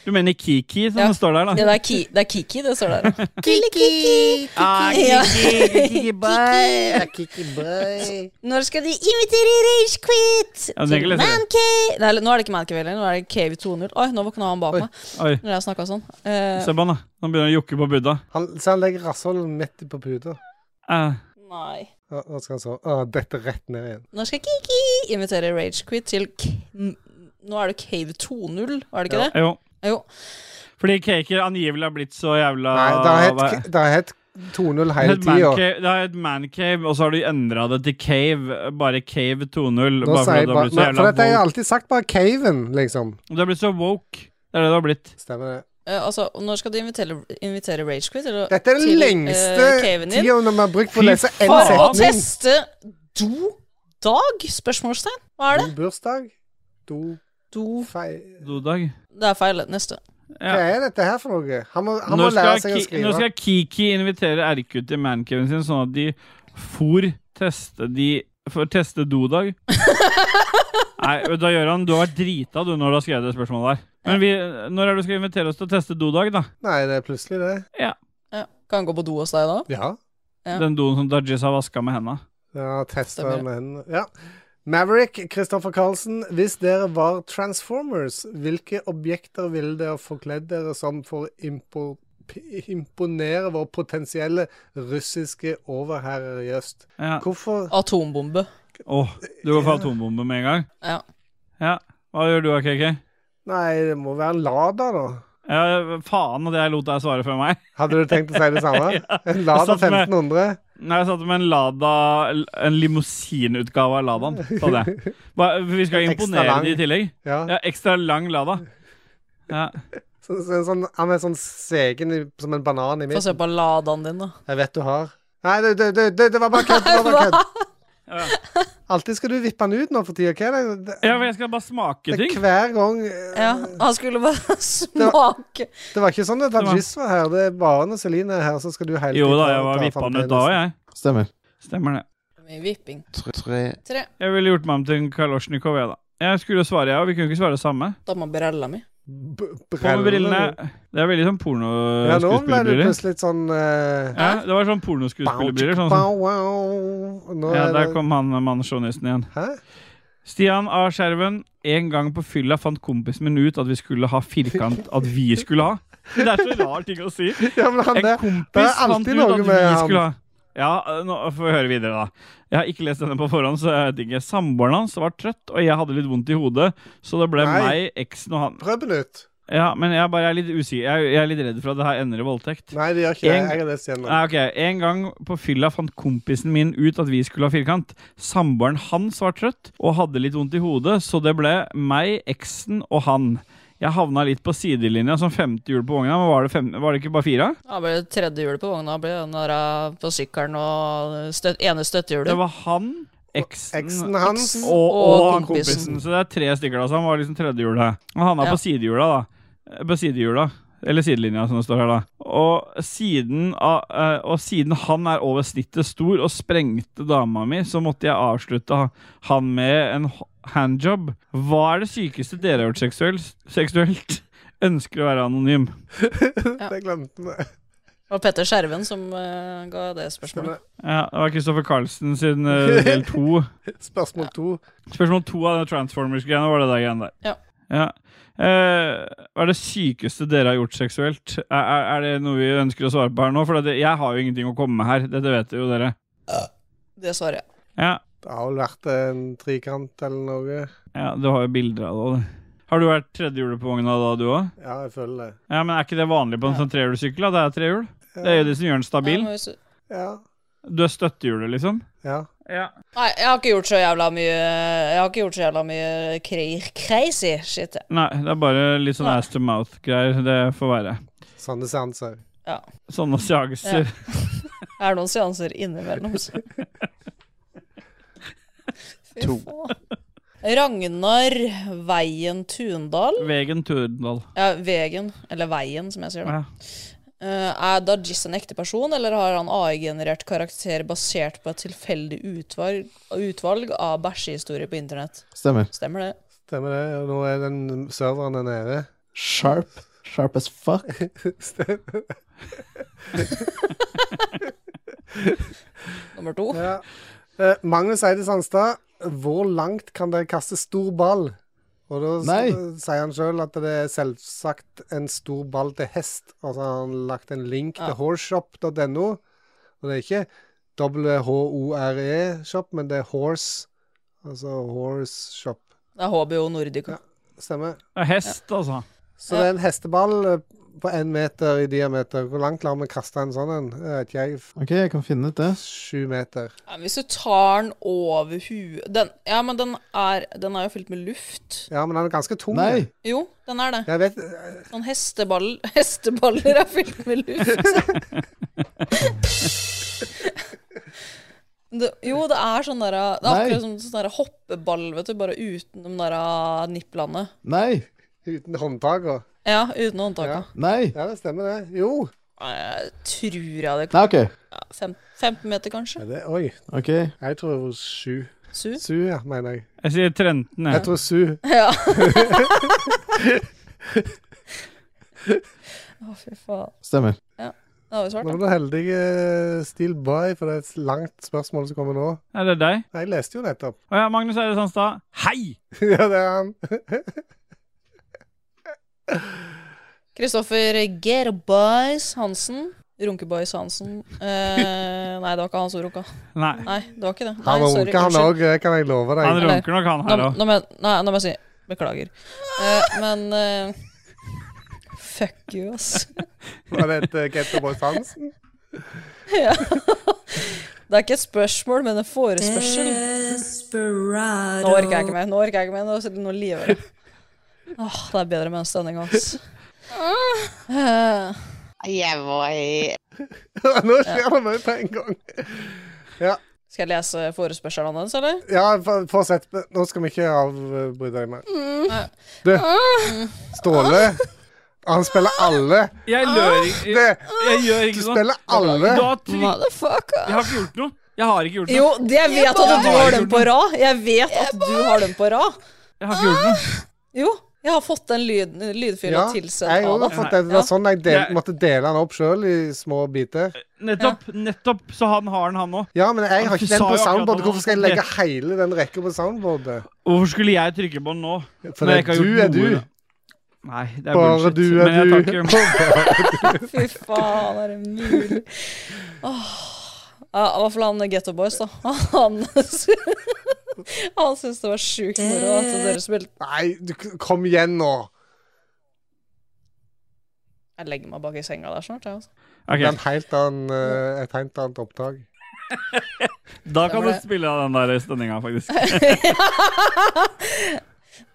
Speaker 2: Du mener Kiki, som det står der, da?
Speaker 3: Ja, det, er ki, det er Kiki det står der.
Speaker 6: Kiki, Kiki,
Speaker 2: Ah,
Speaker 3: Ja.
Speaker 6: Kiki boy.
Speaker 3: Når skal de invitere Ragequit
Speaker 6: Ja, det er ikke
Speaker 3: til
Speaker 6: lett, det.
Speaker 3: Man Cave? Nei, nå er det ikke Man Cave lenger, nå er det Cave 2.0. Oi, nå våkna han bak meg.
Speaker 2: Oi.
Speaker 3: Når jeg snakket sånn. Eh,
Speaker 2: Se på han, da. Han begynner å jokke på Buddha.
Speaker 1: han, Så han legger rassholden midt på puta.
Speaker 2: Eh.
Speaker 3: nei.
Speaker 1: Ja, nå skal han så Å, dette rett ned igjen.
Speaker 3: Når skal Kiki invitere Ragequit til k m- Nå er det Cave 2.0, er det ikke det?
Speaker 2: Jo.
Speaker 3: Jo.
Speaker 2: Fordi Kaker angivelig har blitt så jævla
Speaker 1: Nei, det har
Speaker 2: Ah, hva-
Speaker 1: hett- det har hett 2-0 hele
Speaker 2: Det er et
Speaker 1: tida.
Speaker 2: mancave- Det er et mancave, og så har du endra det til cave. Bare cave 2.0.
Speaker 1: Nå
Speaker 2: Bare
Speaker 1: sier
Speaker 2: fordi
Speaker 1: jeg
Speaker 2: du har
Speaker 1: bare-
Speaker 2: blitt så
Speaker 1: Nei,
Speaker 2: jævla
Speaker 1: For dette har jeg
Speaker 2: woke.
Speaker 1: alltid sagt, bare caven, liksom.
Speaker 2: Du har blitt så woke. Det er det du har blitt.
Speaker 1: Stemmer det.
Speaker 3: Eh, altså, når skal du invitere, invitere Ragequit til å-
Speaker 1: Dette er den
Speaker 3: til, eh,
Speaker 1: lengste
Speaker 3: caven din?
Speaker 1: tida når vi har brukt på å
Speaker 2: Fy
Speaker 1: lese én
Speaker 3: For å
Speaker 1: setning.
Speaker 3: teste do-dag? Spørsmålstegn? Hva er det?
Speaker 1: Bursdag. Do.
Speaker 3: Do.
Speaker 1: Feil.
Speaker 2: Dodag.
Speaker 3: Det er feil. Neste.
Speaker 1: Hva er dette her for noe? Han må, han må
Speaker 2: Nå
Speaker 1: lære
Speaker 2: skal,
Speaker 1: seg å
Speaker 2: Ki- nå
Speaker 1: skrive.
Speaker 2: skal Kiki invitere RQ til mancaven sin, sånn at de for teste de For teste dodag. Nei, da gjør han Du har vært drita, du, når du har skrevet det spørsmålet der. Men vi, når er det du skal invitere oss til å teste dodag, da?
Speaker 1: Nei, det er plutselig det.
Speaker 2: Ja.
Speaker 3: Ja. Kan han gå på do hos deg da?
Speaker 1: Ja.
Speaker 3: Ja.
Speaker 2: Den doen som Dajis har vaska med henda.
Speaker 1: Ja, testa
Speaker 3: Stemmer.
Speaker 1: med hendene. Ja. Maverick, Kristoffer Karlsen, hvis dere var Transformers, hvilke objekter ville dere forkledd dere som for å impo p- imponere vår potensielle russiske overherrer i øst? Hvorfor
Speaker 3: Atombombe.
Speaker 2: Åh, du går for atombombe med en gang?
Speaker 3: Ja.
Speaker 2: Ja, Hva gjør du, KK?
Speaker 1: Nei, det må være en Lada, da.
Speaker 2: Ja, faen at jeg lot deg svare før meg.
Speaker 1: Hadde du tenkt å si det samme? En
Speaker 2: Sånn
Speaker 1: Lada 1500?
Speaker 2: Nei, jeg satt med en Lada En limousinutgave av Ladaen. Sa det. Ba- Vi
Speaker 1: Ekstra
Speaker 2: skal imponere
Speaker 1: lang.
Speaker 2: de i tillegg.
Speaker 1: Ja.
Speaker 2: Ekstra lang Lada. Ja.
Speaker 1: Så, så, sånn, han er sånn segen i- som en banan i
Speaker 3: Få se
Speaker 1: midten.
Speaker 3: på ladaen din, da.
Speaker 1: Jeg vet du har. Nei, det, det, det, det, det var bare kødd. det var bare kødd. Alltid skal du vippe den ut nå for tida. Hva er det? det
Speaker 2: Ja, for jeg skal bare smake
Speaker 1: det
Speaker 2: ting.
Speaker 1: er hver gang eh,
Speaker 3: Ja, han skulle bare smake.
Speaker 1: Det var ikke sånn at
Speaker 2: Det var-
Speaker 1: Dajis var her. Det er bare når Celine er her, så skal du hele
Speaker 2: Jo
Speaker 1: tiden
Speaker 2: da,
Speaker 1: ta-
Speaker 2: jeg var
Speaker 1: ta
Speaker 2: vippa
Speaker 1: fram
Speaker 2: den ut da òg,
Speaker 1: penisen.
Speaker 2: jeg.
Speaker 8: Stemmer.
Speaker 2: Stemmer det.
Speaker 3: Mye vipping.
Speaker 8: Tre, tre.
Speaker 3: Tre.
Speaker 2: Jeg ville gjort meg om til en Kalosjnikov, jeg, da. Jeg skulle jo svare, jeg, og vi kunne ikke svare det samme.
Speaker 3: Da må brella mi.
Speaker 2: På med brillene. Det er veldig sånn
Speaker 1: Ja, nå ble du
Speaker 2: pornoskuespillerbriller.
Speaker 1: plutselig litt sånn eh,
Speaker 2: Ja, det var sånn pornoskuespillerbriller. Sånn,
Speaker 1: bow,
Speaker 2: som-
Speaker 1: wow. Nå
Speaker 2: ja,
Speaker 1: er
Speaker 2: der
Speaker 1: det-
Speaker 2: kom han eh, mansjonisten igjen.
Speaker 1: Hæ?
Speaker 2: Stian A. Skjerven. En gang på fylla fant kompisen min ut at vi skulle ha firkant At vi skulle ha. Det er så rar ting å si.
Speaker 1: Ja, men han,
Speaker 2: en
Speaker 1: det-
Speaker 2: kompis
Speaker 1: det er
Speaker 2: fant
Speaker 1: alltid
Speaker 2: ut
Speaker 1: noe
Speaker 2: at vi
Speaker 1: med han.
Speaker 2: skulle ha Ja, nå får vi høre videre, da. Jeg har ikke lest denne på forhånd, så jeg vet ikke. Samboeren hans var trøtt, og jeg hadde litt vondt i hodet, så det ble
Speaker 1: Nei.
Speaker 2: meg, eksen og han.
Speaker 1: Prøv den ut.
Speaker 2: Ja, men jeg bare er litt usikker. Jeg, jeg er litt redd for at det her ender i voldtekt.
Speaker 1: Nei, det gjør ikke det.
Speaker 2: En-
Speaker 1: Jeg har lest igjennom.
Speaker 2: Nei, ok. En gang på fylla fant kompisen min ut at vi skulle ha firkant. Samboeren hans var trøtt og hadde litt vondt i hodet, så det ble meg, eksen og han. Jeg havna litt på sidelinja som femte hjul på vogna, men var det, fem, var det ikke bare fire?
Speaker 3: Da ble det tredje hjulet på vogna, ble den der eh, på sykkelen og støt, ene støttehjulet.
Speaker 2: Det var han, eksen,
Speaker 1: Eksen hans
Speaker 2: og, og, han kompisen. Så det er tre stykker, altså. Han var liksom tredjehjulet. Han havna
Speaker 3: Ja.
Speaker 2: på sidehjula, da. Eh, På sidehjula. Eller sidelinja, som det står her, da. Og siden, av, eh, og siden han er over snittet stor og sprengte dama mi, så måtte jeg avslutte ha- han med en h- handjob. Hva er det sykeste dere har gjort seksuelt? seksuelt? Ønsker å være anonym.
Speaker 1: Det glemte vi.
Speaker 3: Det var Petter Skjerven som eh, ga det spørsmålet.
Speaker 2: Ja, det var Kristoffer Carlsen sin eh, del to.
Speaker 1: Spørsmål to.
Speaker 2: Spørsmål to av den Transformers-greiene var det der greiene der.
Speaker 3: Ja.
Speaker 2: Ja. Eh, hva er det sykeste dere har gjort seksuelt? Er, er, er det noe vi ønsker å svare på her nå? For det, jeg har jo ingenting å komme med her. Dette vet jo dere.
Speaker 3: Det svarer jeg.
Speaker 2: Ja,
Speaker 1: Det har vel vært en trikant eller noe.
Speaker 2: ja du har jo bilder av det. og det. Har du vært tredjehjulet på vogna da, du òg?
Speaker 1: Ja, jeg føler det.
Speaker 2: Ja, men er ikke det vanlig på en sånn trehjulssykkel? da? Det er trehjul. Det er jo det som gjør den stabil.
Speaker 3: Ja, men hvis-
Speaker 1: Ja.
Speaker 2: Du er støttehjulet, liksom?
Speaker 1: ja.
Speaker 3: Nei, jeg har ikke gjort så jævla mye Jeg har ikke gjort så jævla mye kre- crazy shit. jeg.
Speaker 2: Nei, det er bare litt sånn ass to mouth-greier. Det får være.
Speaker 1: Sånne seanser.
Speaker 3: Ja.
Speaker 2: Sånne
Speaker 3: ja.
Speaker 2: seanser.
Speaker 3: Det er noen seanser innimellom. så. Fy
Speaker 8: To.
Speaker 3: faen. Ragnar Veien Tundal.
Speaker 2: Vegen Turdal.
Speaker 3: Ja, Vegen, eller Veien, som jeg sier. da.
Speaker 2: Ja.
Speaker 3: Eh, er Dajis en ekte person, eller har han AI-generert karakter basert på et tilfeldig utvalg, utvalg av bæsjehistorier på internett?
Speaker 8: Stemmer.
Speaker 3: Stemmer det?
Speaker 1: Stemmer det. og Nå er den serveren er nede.
Speaker 9: Sharp. Sharp as fuck.
Speaker 1: Stemmer.
Speaker 3: Nummer to.
Speaker 1: Ja. Eh, Magnus Eide Sandstad, hvor langt kan dere kaste stor ball? Og da s-
Speaker 9: Nei.
Speaker 1: sier han sjøl at det er selvsagt en stor ball til hest. Og så har han lagt en link til horseshop.no. Og det er ikke W-H-O-R-E-shop, E men det er horse. Altså horse shop.
Speaker 3: Det er HBO Nordica.
Speaker 1: Stemmer.
Speaker 2: Det er hest, altså.
Speaker 1: Så det er en hesteball eh, på én meter i diameter. Hvor langt lar vi kaste en sånn en? Jeg vet ikke, jeg. F-
Speaker 8: OK, jeg kan finne ut det.
Speaker 1: Sju meter.
Speaker 3: Ja, men hvis du tar den over huet den, Ja, men den er, den er jo fylt med luft.
Speaker 1: Ja, men han er ganske tung.
Speaker 8: Nei!
Speaker 1: jeg.
Speaker 3: Jo, den er det.
Speaker 1: Jeg vet eh,
Speaker 3: Sånn hesteball, hesteballer er fylt med luft. Det, jo, det er sånn der Det er
Speaker 8: Nei.
Speaker 3: akkurat som sånn der hoppeball, vet du, bare uten de der ah, nipplene.
Speaker 8: Nei!
Speaker 1: Uten håndtak og
Speaker 3: Ja, uten håndtaka.
Speaker 8: Nei!
Speaker 1: Ja, det stemmer, det. Jo.
Speaker 3: Nei, Jeg tror jeg det
Speaker 8: Nei, OK.
Speaker 3: ja, fem, 15 meter, kanskje?
Speaker 1: Ja, det, oi.
Speaker 8: OK.
Speaker 1: Jeg tror det var sju.
Speaker 3: Su?
Speaker 1: Su, ja, mener jeg.
Speaker 2: Jeg sier Trenten,
Speaker 1: Jeg
Speaker 2: jeg.
Speaker 1: tror su.
Speaker 3: Ja. Å, fy faen.
Speaker 8: Stemmer.
Speaker 3: Det har vi svart,
Speaker 1: Nå
Speaker 3: da.
Speaker 1: var det heldige Steel By, for det er et langt spørsmål som kommer nå.
Speaker 2: Er det deg?
Speaker 1: Nei, jeg leste jo nettopp.
Speaker 2: Å ja, Magnus Eide Sandstad. Hei!
Speaker 1: ja, det er han.
Speaker 3: Kristoffer Gerboys Hansen. Runkeboys Hansen. Eh, nei, det var ikke han som runka.
Speaker 2: Nei.
Speaker 3: Nei, det var ikke det. Nei,
Speaker 1: Han
Speaker 3: sorry,
Speaker 1: runker, han
Speaker 3: unnskyld.
Speaker 1: òg, kan jeg love deg.
Speaker 2: Han runker nok, han her
Speaker 3: Nå-
Speaker 2: òg.
Speaker 3: nå må jeg- Nei, nå må jeg si beklager. Eh, men eh, Fuck you, ass.
Speaker 1: Var det et eh, Get the Boys Hansen?
Speaker 3: ja. Det er ikke et spørsmål, men en forespørsel. Nå orker jeg ikke mer. Nå orker jeg ikke mer. Nå, nå liver jeg. Åh, det er bedre med en stønning, ass. Eh,
Speaker 12: Jeg var i
Speaker 1: Nå skjer det mye på en gang. Ja,
Speaker 3: Skal jeg lese forespørselen hans, eller?
Speaker 1: ja for- fortsett. Nå skal vi ikke avbryte deg mer.
Speaker 3: Nei.
Speaker 1: Du, Ståle. Han spiller alle.
Speaker 2: Jeg lører ikke.
Speaker 1: Ah! Det-
Speaker 2: Jeg gjør ikke
Speaker 1: Du
Speaker 2: sånn.
Speaker 1: spiller alle.
Speaker 2: Du har trykt-
Speaker 3: Motherfucker.
Speaker 2: Jeg har ikke gjort noe. Jeg har ikke gjort noe.
Speaker 3: Jo, det- jeg vet at du har den på rad. Jeg vet at du har den på rad.
Speaker 2: Jeg har ikke gjort noe.
Speaker 3: Jo, jeg har fått den lyd, lydfila
Speaker 1: Ja,
Speaker 3: tilsendt
Speaker 1: jeg
Speaker 3: av
Speaker 1: òg har
Speaker 3: deg.
Speaker 1: fått det. Det var sånn jeg del,
Speaker 2: Jeg-
Speaker 1: måtte dele den opp sjøl i små biter.
Speaker 2: Nettopp. nettopp, Så han har den, han òg.
Speaker 1: Ja, men jeg
Speaker 2: Han
Speaker 1: har ikke den
Speaker 2: sa jo
Speaker 1: på
Speaker 2: akkurat
Speaker 1: soundboardet.
Speaker 2: nå.
Speaker 1: Hvorfor skal jeg legge hele den rekka på soundboardet?
Speaker 2: Hvorfor skulle jeg trykke på den nå?
Speaker 1: For
Speaker 2: når jeg
Speaker 1: det
Speaker 2: ikke
Speaker 1: du
Speaker 2: har gjort
Speaker 1: er
Speaker 2: noe?
Speaker 1: du.
Speaker 2: Nei, det er
Speaker 1: Bare
Speaker 2: bullshit.
Speaker 1: du er
Speaker 2: men jeg
Speaker 1: du.
Speaker 2: tar ikke-
Speaker 3: Fy faen, er det mulig? Åh. Ja, I hvert fall han Getto Boys, da. Han, han syntes det var sjukt moro at dere spilte
Speaker 1: Nei, du, kom igjen nå.
Speaker 3: Jeg legger meg bak i senga der snart, jeg, altså.
Speaker 2: Ok.
Speaker 1: Det er en helt annen, eh, et helt annet opptak.
Speaker 2: Da kan
Speaker 3: Stemmer
Speaker 2: du
Speaker 3: det.
Speaker 2: spille av den der stønninga, faktisk.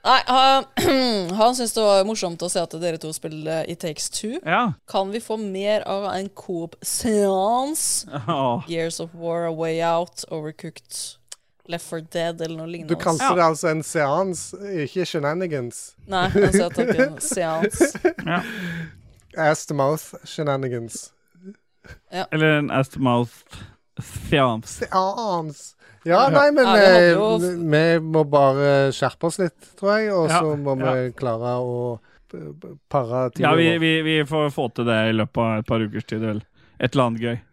Speaker 3: Nei, han, han syntes det var morsomt å se at dere to spiller It Takes Two.
Speaker 2: Ja.
Speaker 3: Kan vi få mer av en coop-seans?
Speaker 2: Åh.
Speaker 3: Gears of War, A Way Out, Overcooked, Left for Dead eller noe lignende.
Speaker 1: Du kalte det altså en seans, ikke shenanigans.
Speaker 3: Nei, jeg sa takk, en seans.
Speaker 1: Ass to mouth shenanigans.
Speaker 2: Eller en ass-to-mouth fjams.
Speaker 1: Seans. Ja,
Speaker 2: Ja.
Speaker 1: nei, men
Speaker 2: Ja, det
Speaker 1: eh,
Speaker 2: håper jeg
Speaker 1: vi må bare skjerpe oss litt, tror jeg. Og
Speaker 2: Ja,
Speaker 1: så må vi
Speaker 2: ja.
Speaker 1: klare å eh, pare tida
Speaker 2: Ja, vi,
Speaker 1: vår.
Speaker 2: vi, vi får få til det i løpet av et par ukers tid, vel. Et eller annet gøy.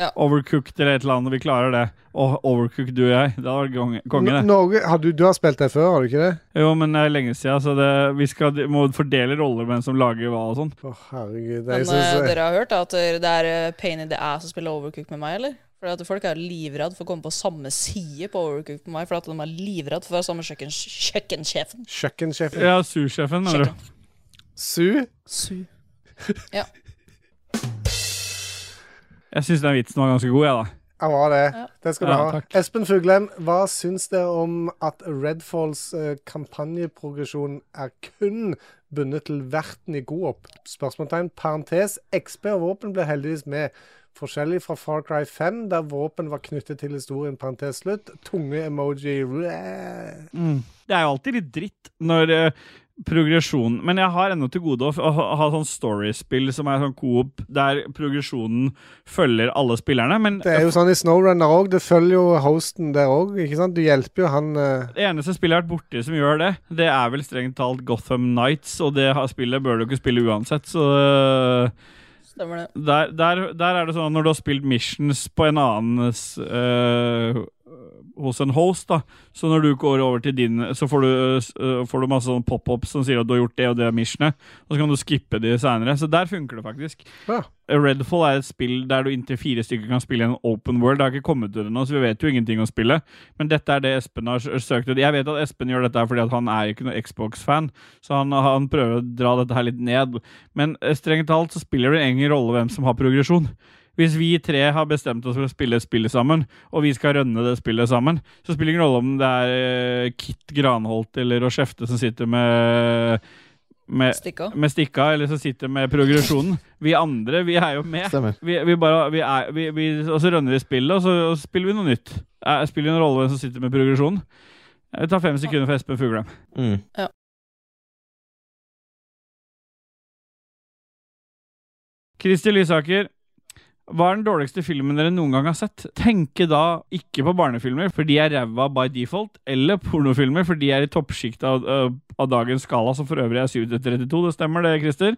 Speaker 3: Ja.
Speaker 2: Overcooked eller et eller annet. Vi klarer det. Og overcooked, du og jeg. Det hadde vært konge- konge,
Speaker 1: N-
Speaker 2: det.
Speaker 1: Norge, har du, du har spilt det før, har du ikke det?
Speaker 2: Jo, men det er lenge siden, så det, vi skal, må fordele roller hvem som lager hva og sånn.
Speaker 1: Å, herregud.
Speaker 3: Men
Speaker 1: Jeg synes,
Speaker 3: eh,
Speaker 1: eh,
Speaker 3: dere har hørt at det er eh, pain in the ass å spille Overcooked med meg, eller? Fordi at Folk er livredd for å komme på samme side på Overcooked med meg, fordi at de er livredd for å være samme kjøkken, kjøkkensjefen.
Speaker 1: Kjøkkensjefen.
Speaker 2: Ja, sursjefen, mener du.
Speaker 1: Su?
Speaker 3: Su. Ja.
Speaker 2: Jeg syns den vitsen var ganske god, jeg, da.
Speaker 1: Han var det. Det skal du
Speaker 2: Ja,
Speaker 1: ha. Espen Fuglem, hva syns dere om at Redfalls eh, kampanjeprogresjon er kun bundet til verten i Goop? Spørsmålstegn, parentes. XP og våpen ble heldigvis med. Forskjellig fra Far Cry 5, der våpen var knyttet til historien, parentes slutt. Tunge-emoji. Ræ.
Speaker 2: Det er jo alltid litt dritt når eh, progresjonen Men jeg har ennå til gode å, f- å ha- ha sånn storiespill som er sånn coop, der progresjonen følger alle spillerne, men
Speaker 1: Det er jo sånn i Snowrunner òg. Det følger jo hosten der òg, ikke sant? Du hjelper jo han eh,
Speaker 2: Det eneste spillet jeg har vært borti som gjør det, det er vel strengt talt Gotham Nights, og det har- spillet bør du ikke spille uansett, så øh,
Speaker 3: Stemmer det.
Speaker 2: der, der, der er det sånn at når du har spilt missions på en annens øh, hos en host, da, så når du går over til din, så får du, øh, får du masse sånne pop-ups som sier at du har gjort det og det missionet, og så kan du skippe de senere. Så der funker det faktisk.
Speaker 1: Ja.
Speaker 2: Redfall er et spill der du inntil fire stykker kan spille i en open world. Det har ikke kommet til det nå, så vi vet jo ingenting om spillet. Men dette er det Espen har s- søkt ut. Jeg vet at Espen gjør dette her fordi at han er jo ikke noen Xbox-fan, så han, han prøver å dra dette her litt ned. Men eh, strengt talt så spiller det ingen rolle hvem som har progresjon. Hvis vi tre har bestemt oss for å spille spillet sammen, og vi skal rønne det spillet sammen, så spiller det ingen rolle om det er eh, Kit Granholt eller Rochefte som sitter med med
Speaker 3: Stikka.
Speaker 2: med stikka, eller som sitter med progresjonen. Vi andre, vi er jo med.
Speaker 8: Stemmer.
Speaker 2: Vi, vi bare, vi er, vi, vi, og så rønner vi spillet, og så og så spiller vi noe nytt. Eh, Spiller en rolle hvem som sitter med progresjonen. Det tar fem sekunder for Espen Fuglem.
Speaker 9: Mm.
Speaker 2: Kristi Lysaker, Hva er den dårligste filmen dere noen gang har sett? Tenke da ikke på barnefilmer, for de er ræva by default, eller pornofilmer, for de er i toppsjiktet av, av- av dagens skala, som for øvrig er 7 til 32. Det stemmer det, Christer?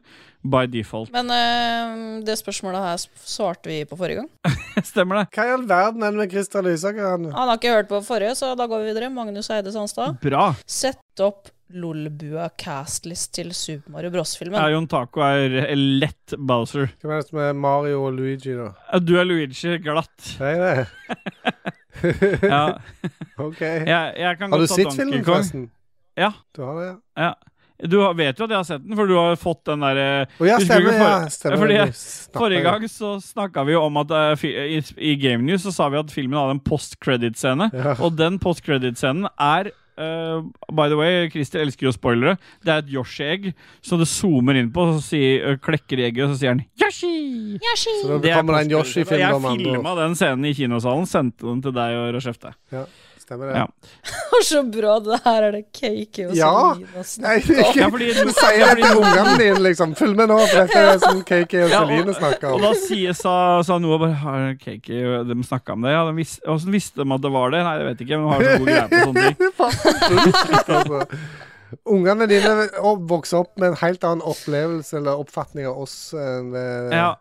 Speaker 2: By default.
Speaker 3: Men eh, det spørsmålet her sp- svarte vi på forrige gang.
Speaker 2: stemmer det.
Speaker 1: Hva i all verden er det med Christian Lysaker? Han?
Speaker 3: Han har ikke hørt på forrige, så da går vi videre. Magnus Eide Sandstad.
Speaker 2: Bra.
Speaker 3: Sett opp Lolbua castlist til Super Mario Bros-filmen.
Speaker 2: Ja, Jon Taco er lett Bowser.
Speaker 1: Hvem er det som er Mario og Luigi, da?
Speaker 2: Ja, Du er Luigi glatt.
Speaker 1: Det er det.
Speaker 2: Ja.
Speaker 1: OK.
Speaker 2: Jeg, jeg kan
Speaker 1: Har
Speaker 2: godt
Speaker 1: du
Speaker 2: ta
Speaker 1: sett
Speaker 2: Donkey
Speaker 1: filmen,
Speaker 2: Kong.
Speaker 1: forresten?
Speaker 2: Ja.
Speaker 1: Du har det, ja.
Speaker 2: Ja. Du har- vet jo at jeg har sett den, for du har fått den derre
Speaker 1: Å ja,
Speaker 2: Husker du ikke
Speaker 1: stemmer, ja, stemmer,
Speaker 2: Fordi
Speaker 1: du snakket,
Speaker 2: Forrige
Speaker 1: ja.
Speaker 2: gang så snakka vi jo om at eh, fi- i, i Game News så sa vi at filmen hadde en post-credit-scene, og den post-credit-scenen er eh, by the way, Christer elsker jo spoilere. Det er et Yoshi-egg som det zoomer inn på, og så sier, eh, klekker i egget, og så sier han Yoshi!
Speaker 3: Yoshi!
Speaker 1: Så da kommer det en Yoshi-film
Speaker 2: Jeg
Speaker 1: om andre
Speaker 2: filma den scenen i kinosalen, sendte den til deg og Rochefte.
Speaker 1: Ja, stemmer
Speaker 2: Ja.
Speaker 3: så bra det her er det cake og
Speaker 1: Ja!
Speaker 3: Selina
Speaker 1: Nei,
Speaker 3: snakker om.
Speaker 1: ikke
Speaker 2: Ja, fordi-
Speaker 1: Du sier det til ungene dine, liksom. Følg med nå, for dette er som Kiki og
Speaker 2: Ja, og-
Speaker 1: Celine snakker
Speaker 2: Og
Speaker 1: om.
Speaker 2: da sier, sa, sa Noah bare Har Kiki De snakka om det? Ja, de vis, Hvordan visste de at det var det? Nei, jeg vet ikke. Men de har så god greie på sånne ting.
Speaker 1: Altså, Ungene dine å- vokser opp med en helt annen opplevelse eller oppfatning av oss enn det
Speaker 2: Ja,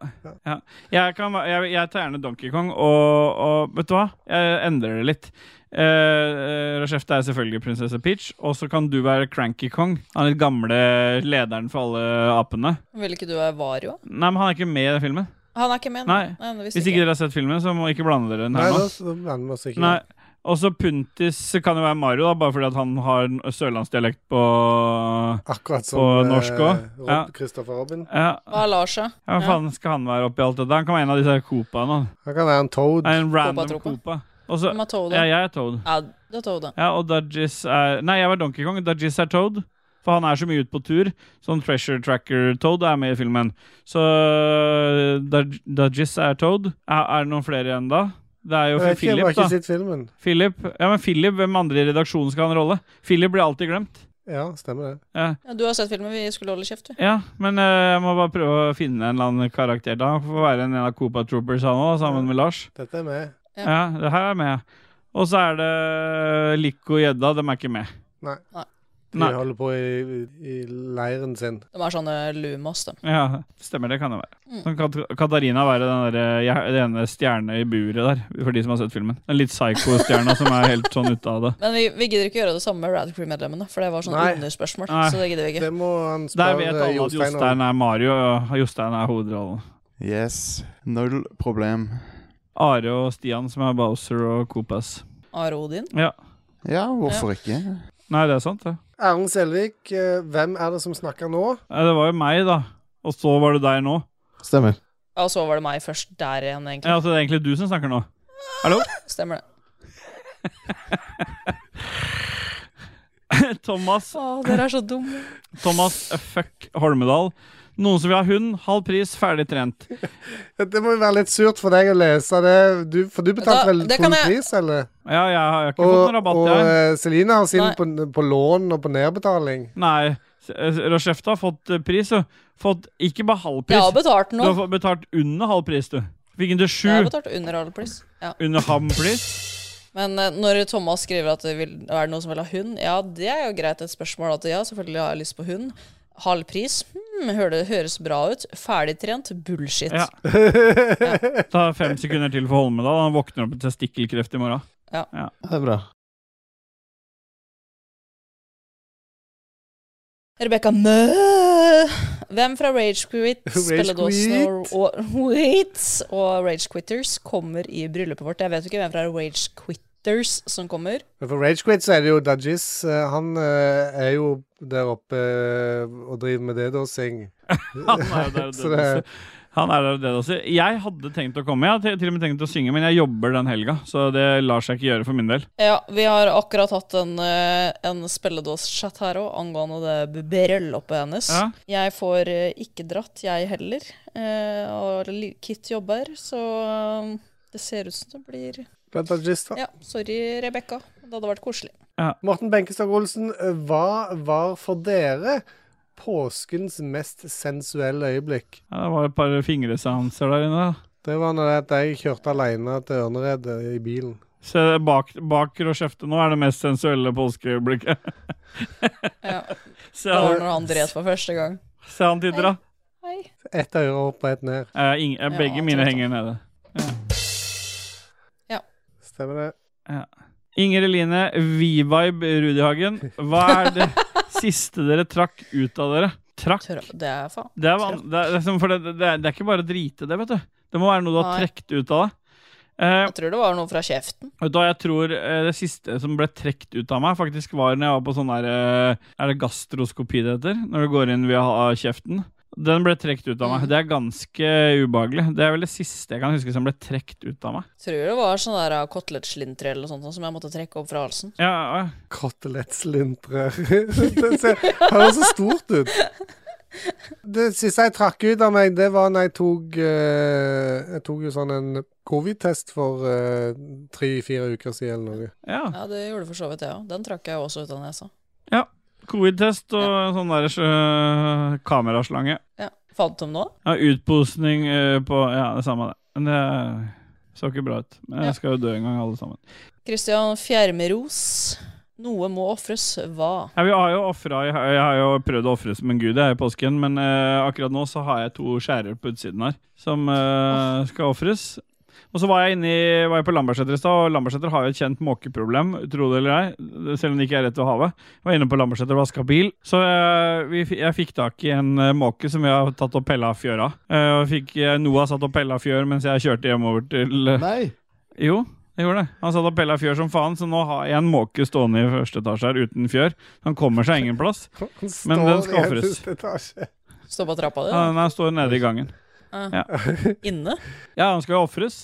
Speaker 2: ja. Jeg, kan, jeg, jeg tar gjerne Donkey Kong, og, og vet du hva? Jeg endrer det litt. Uh, Rashefta er selvfølgelig prinsesse Peach, og så kan du være Cranky Kong. Han er den gamle lederen for alle apene.
Speaker 3: Vil ikke du være Vario?
Speaker 2: Nei, men han er ikke med i den filmen.
Speaker 3: Han er ikke med? nå.
Speaker 2: Nei,
Speaker 3: det visste
Speaker 2: Hvis ikke dere har sett filmen, så må ikke blande dere inn
Speaker 1: Nei,
Speaker 2: her
Speaker 1: da
Speaker 2: nå.
Speaker 1: så blander vi oss ikke.
Speaker 2: Nei. Og så Puntis kan jo være Mario, da, bare fordi at han har en sørlandsdialekt på
Speaker 1: Akkurat som
Speaker 2: på
Speaker 1: eh,
Speaker 2: norsk òg.
Speaker 1: Rob,
Speaker 2: Ja.
Speaker 1: Christopher Robin.
Speaker 2: Ja.
Speaker 3: Hva er Lars, da?
Speaker 2: Ja, Hva faen skal han være oppi alt dette? Han kan være en av disse Copaene. han.
Speaker 1: Han kan være en toad.
Speaker 2: Nei, En random
Speaker 3: Copa-tropa.
Speaker 2: Copa. Og så-
Speaker 3: Hvem er Toad, da?
Speaker 2: ja, jeg er Toad.
Speaker 3: Ja, du er Toad, da.
Speaker 2: Ja, og Dudgies er Nei, jeg var Donkey Kong. Dudgies er Toad. For han er så mye ute på tur. Sånn Treasure Tracker Toad er med i filmen. Så Dud- Dudgies er Toad. Er, er det noen flere igjen, da? Det er jo
Speaker 1: Jeg vet ikke, jeg
Speaker 2: Philip,
Speaker 1: Eh, har ikke
Speaker 2: da.
Speaker 1: sett filmen.
Speaker 2: Philip. Ja, men Philip, Hvem andre i redaksjonen skal ha en rolle? Philip blir alltid glemt.
Speaker 1: Ja, stemmer det.
Speaker 2: Ja.
Speaker 3: Ja, du har sett filmen, vi skulle holde kjeft, du.
Speaker 2: Ja, men eh, jeg må bare prøve å finne en eller annen karakter. da Han får være en av Copa Troopers, han òg, sammen med Lars.
Speaker 1: Dette er med.
Speaker 2: Ja. det her er med. Og så er det Lico og Gjedda. De er ikke med.
Speaker 1: Nei.
Speaker 3: Nei.
Speaker 1: De
Speaker 2: Nei.
Speaker 1: holder på i, i leiren sin.
Speaker 3: De er sånne sånn, eh, lumos, de.
Speaker 2: Ja, stemmer det kan det være.
Speaker 3: Mm.
Speaker 2: Sånn Kat Katarina være den, der, eh, jeg- den ene stjerna i buret der, for de som har sett filmen. Den litt psycho-stjerna som er helt sånn ute av det.
Speaker 3: Men vi, vi gidder ikke gjøre det samme med Rad Crew-medlemmene, for det var sånn
Speaker 1: Nei.
Speaker 3: underspørsmål.
Speaker 2: Nei.
Speaker 3: Så det gidder vi ikke.
Speaker 1: Det må han
Speaker 2: Der
Speaker 1: spørre
Speaker 2: vet alle at
Speaker 1: Jostein
Speaker 2: Jostein
Speaker 1: om.
Speaker 2: er Mario, og Jostein er hovedrollen.
Speaker 8: Yes. Null problem.
Speaker 2: Are og Stian som er Bowser og Copas.
Speaker 3: Are Odin.
Speaker 2: Ja.
Speaker 8: Ja, hvorfor ikke?
Speaker 2: Nei, det er sant, det.
Speaker 1: Erlend Selvik, eh, hvem er det som snakker nå?
Speaker 2: Nei, Det var jo meg, da. Og så var det deg nå.
Speaker 9: Stemmer.
Speaker 3: Ja, og så var det meg først der igjen, egentlig.
Speaker 2: Ja, altså, det er egentlig du som snakker nå. Hallo?
Speaker 3: Stemmer det.
Speaker 2: Thomas,
Speaker 3: Å, dere er så dumme.
Speaker 2: Thomas fuck Holmedal. Noen som vil ha hund, halv pris, ferdig trent.
Speaker 1: Det må jo være litt surt for deg å lese det, du, for du betalte
Speaker 3: Da-
Speaker 1: vel
Speaker 3: det
Speaker 1: full
Speaker 3: kan jeg-
Speaker 1: pris, eller?
Speaker 2: Ja, jeg har ikke fått
Speaker 1: Og,
Speaker 2: noen rabatt,
Speaker 1: og
Speaker 2: jeg.
Speaker 1: eh, Celine har sin
Speaker 3: Nei.
Speaker 1: på, på lån og på nedbetaling.
Speaker 2: Nei. Rochefte har fått eh, pris, jo. Fått ikke bare halv pris.
Speaker 3: Jeg har betalt
Speaker 2: du har
Speaker 3: nå.
Speaker 2: fått betalt under halv pris, du. Fikk den til
Speaker 3: Jeg har
Speaker 2: sju.
Speaker 3: betalt under all pris. Ja.
Speaker 2: Under ham, please.
Speaker 3: Men eh, når Thomas skriver at det vil, er det noen som vil ha hund, ja, det er jo greit et spørsmål. At ja, selvfølgelig har jeg lyst på hund. Halv pris, hmm, hører det høres bra ut. Ferdigtrent, bullshit.
Speaker 2: Ja. Ta fem sekunder til for Holmedal. Han våkner opp med testikkelkreft i morgen.
Speaker 9: Det er bra.
Speaker 3: Rebekka Mø! Hvem fra Rage Quit,
Speaker 1: Rage
Speaker 3: Spelledåsen og, og, Wait og Rage Quitters kommer i bryllupet vårt? Jeg vet ikke hvem fra Rage Quitters som kommer.
Speaker 1: Men for Ragequit så er det jo Dudgies. eh, Han eh, er jo der oppe eh, og driver med det, da, Sing.
Speaker 2: Han er jo der og
Speaker 1: Så
Speaker 2: død
Speaker 1: det-
Speaker 2: også. Han er der og død også. Jeg hadde tenkt å komme, jeg hadde til og med tenkt å synge, men jeg jobber den helga, så det lar seg ikke gjøre for min del.
Speaker 3: Ja, vi har akkurat hatt en, eh, en spelledås-chat her òg, angående det b- bryllupet hennes.
Speaker 2: Ja.
Speaker 3: Jeg får eh, ikke dratt, jeg heller. Eh, og li- Kit jobber, så eh, det ser ut som det blir
Speaker 1: Blant Dudgies, da.
Speaker 3: Ja, sorry, Rebekka. Det hadde vært koselig.
Speaker 1: Morten Benkestad Olsen, eh, hva var for dere påskens mest sensuelle øyeblikk?
Speaker 2: Ja, det var et par fingreseanser der inne. da.
Speaker 1: Det var når det at jeg kjørte alene til Ørneredet i bilen.
Speaker 2: Se bak, baker og kjefte nå er det mest sensuelle påskeøyeblikket.
Speaker 3: Ja.
Speaker 2: Se
Speaker 3: Det var
Speaker 2: han-
Speaker 3: når han dret for første gang.
Speaker 2: Se han titter, da.
Speaker 1: Ett øre opp og ett ned.
Speaker 2: Eh, ing- eh, begge
Speaker 3: Ja,
Speaker 2: mine
Speaker 3: tror jeg.
Speaker 2: henger nede.
Speaker 1: Stemmer det.
Speaker 2: Ja. Inger Eline, V-vibe Rudihagen. Hva er det siste dere trakk ut av dere? Trakk?
Speaker 3: Tra- Det er faen.
Speaker 2: Det er, van det, er, det, er, som- for det, det, er, det er ikke bare å drite det, vet du. Det må være noe du har
Speaker 3: Nei.
Speaker 2: trukket ut av deg. Eh,
Speaker 3: Jeg tror det var noe fra kjeften.
Speaker 2: Vet du hva, jeg tror eh, det siste som ble trukket ut av meg, faktisk var når jeg var på sånn der eh, Er det gastroskopi det heter? Når du går inn via ha- kjeften. Den ble trukket ut av meg. Det er ganske ubehagelig. Det er vel det siste jeg kan huske som ble trukket ut av meg.
Speaker 3: Tror det var sånn der kotelettslintrer eller sånt som jeg måtte trekke opp fra halsen.
Speaker 2: Ja, ja.
Speaker 1: Kotelettslintrer. det ser- høres så stort ut. Det siste jeg trakk ut av meg, det var når jeg tok eh, Jeg tok jo sånn en covid-test for tre-fire uker siden eller noe.
Speaker 2: Ja.
Speaker 3: det gjorde for så vidt jeg òg. Den trakk jeg også ut av nesa.
Speaker 2: ja. Covid-test og sånn der eh, kameraslange.
Speaker 3: Ja. Fant de nå?
Speaker 2: Ja, utposning eh, på Ja, det samme, det. Men det eh, så ikke bra ut. Men jeg skal jo dø en gang, alle sammen.
Speaker 3: Christian Fjermeros. Noe må ofres. Hva?
Speaker 2: Ja, vi har jo offret, jeg, har- jeg har jo prøvd å ofre som en gud jeg, i påsken, men eh, akkurat nå så har jeg to skjærer på utsiden her som eh, skal ofres. Og så var jeg, inne i, var jeg på Lambertseter i stad, og Lambertseter har jo et kjent måkeproblem, tro det eller ei, selv om det ikke er rett ved havet. Jeg var inne på Lambertseter og vaska bil, så jeg, vi, fi- jeg fikk tak i en eh, måke som vi har tatt og pella fjøra. Uh, fikk, eh, Noah satt og pella fjør mens jeg kjørte hjemover til eh,
Speaker 9: Nei!
Speaker 2: jo, det gjorde det. Han satt og pella fjør som faen, så nå har jeg en måke stående i første etasje her uten fjør. Han kommer seg ingen plass. Men den skal ofres.
Speaker 3: Stå på trappa di?
Speaker 2: Ja,
Speaker 3: da.
Speaker 2: den her står nede i gangen.
Speaker 3: Ja.
Speaker 2: Ja,
Speaker 3: Inne?
Speaker 2: ja han skal jo ofres.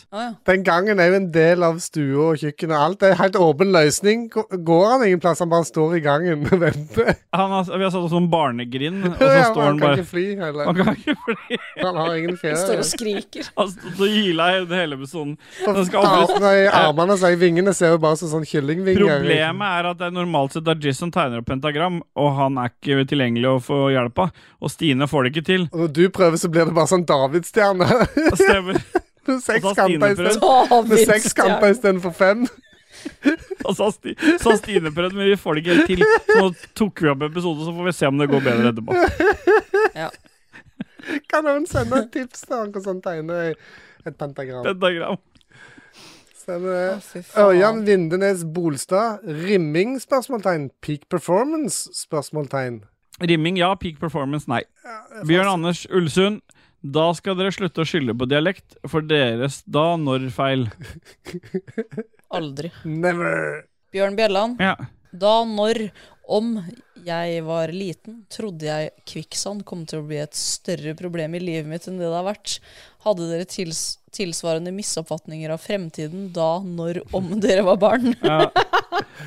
Speaker 1: Den gangen er jo en del av stua og kjøkkenet og alt. Det er helt åpen løsning. Gå- Går han ingen plass, han bare står i gangen og venter.
Speaker 2: Han har, vi har satt oss sånn barnegrind, og så
Speaker 1: Ja,
Speaker 2: står
Speaker 1: han kan
Speaker 2: han
Speaker 1: ikke
Speaker 2: bare
Speaker 1: fly heller.
Speaker 2: Han kan ikke fly.
Speaker 1: Han har ingen fjær.
Speaker 3: Står og skriker.
Speaker 2: Han stod og hyla hele, hele episoden. Den skal ofres.
Speaker 1: Armene, armene så i vingene ser jo bare ut som sånn kyllingvinger.
Speaker 2: Problemet er at det er normalt sett er Jizz som tegner opp pentagram, og han er ikke tilgjengelig å få hjelp av. Og Stine får det ikke til.
Speaker 1: Og når du prøver, så blir det bare sånn davidsstjerne.
Speaker 2: Stemmer.
Speaker 1: Med seks
Speaker 2: Og så har Stine
Speaker 1: kanter
Speaker 2: prøvd.
Speaker 1: isteden- med seks kanter istedenfor fem.
Speaker 2: Og så har Sti- så har Stine prøvd, men vi får det ikke helt til. Så nå tok vi opp episoden, så får vi se om det går bedre etterpå.
Speaker 1: Kan noen sende et tips til han hvordan tegne et pentagram?
Speaker 2: Pentagram.
Speaker 1: Stemmer det. Ørjan Vindenes Bolstad. Rimming? spørsmålstegn. Peak performance? spørsmålstegn.
Speaker 2: Rimming ja, peak performance nei. Bjørn Anders Ulsund, da skal dere slutte å skylde på dialekt for deres da-når-feil.
Speaker 3: Aldri.
Speaker 1: Never.
Speaker 3: Bjørn Bjelland.
Speaker 2: Ja.
Speaker 3: Da, når, om jeg var liten, trodde jeg kvikksand kom til å bli et større problem i livet mitt enn det det har vært. Hadde dere tils tilsvarende misoppfatninger av fremtiden da, når, om dere var barn?
Speaker 2: Ja.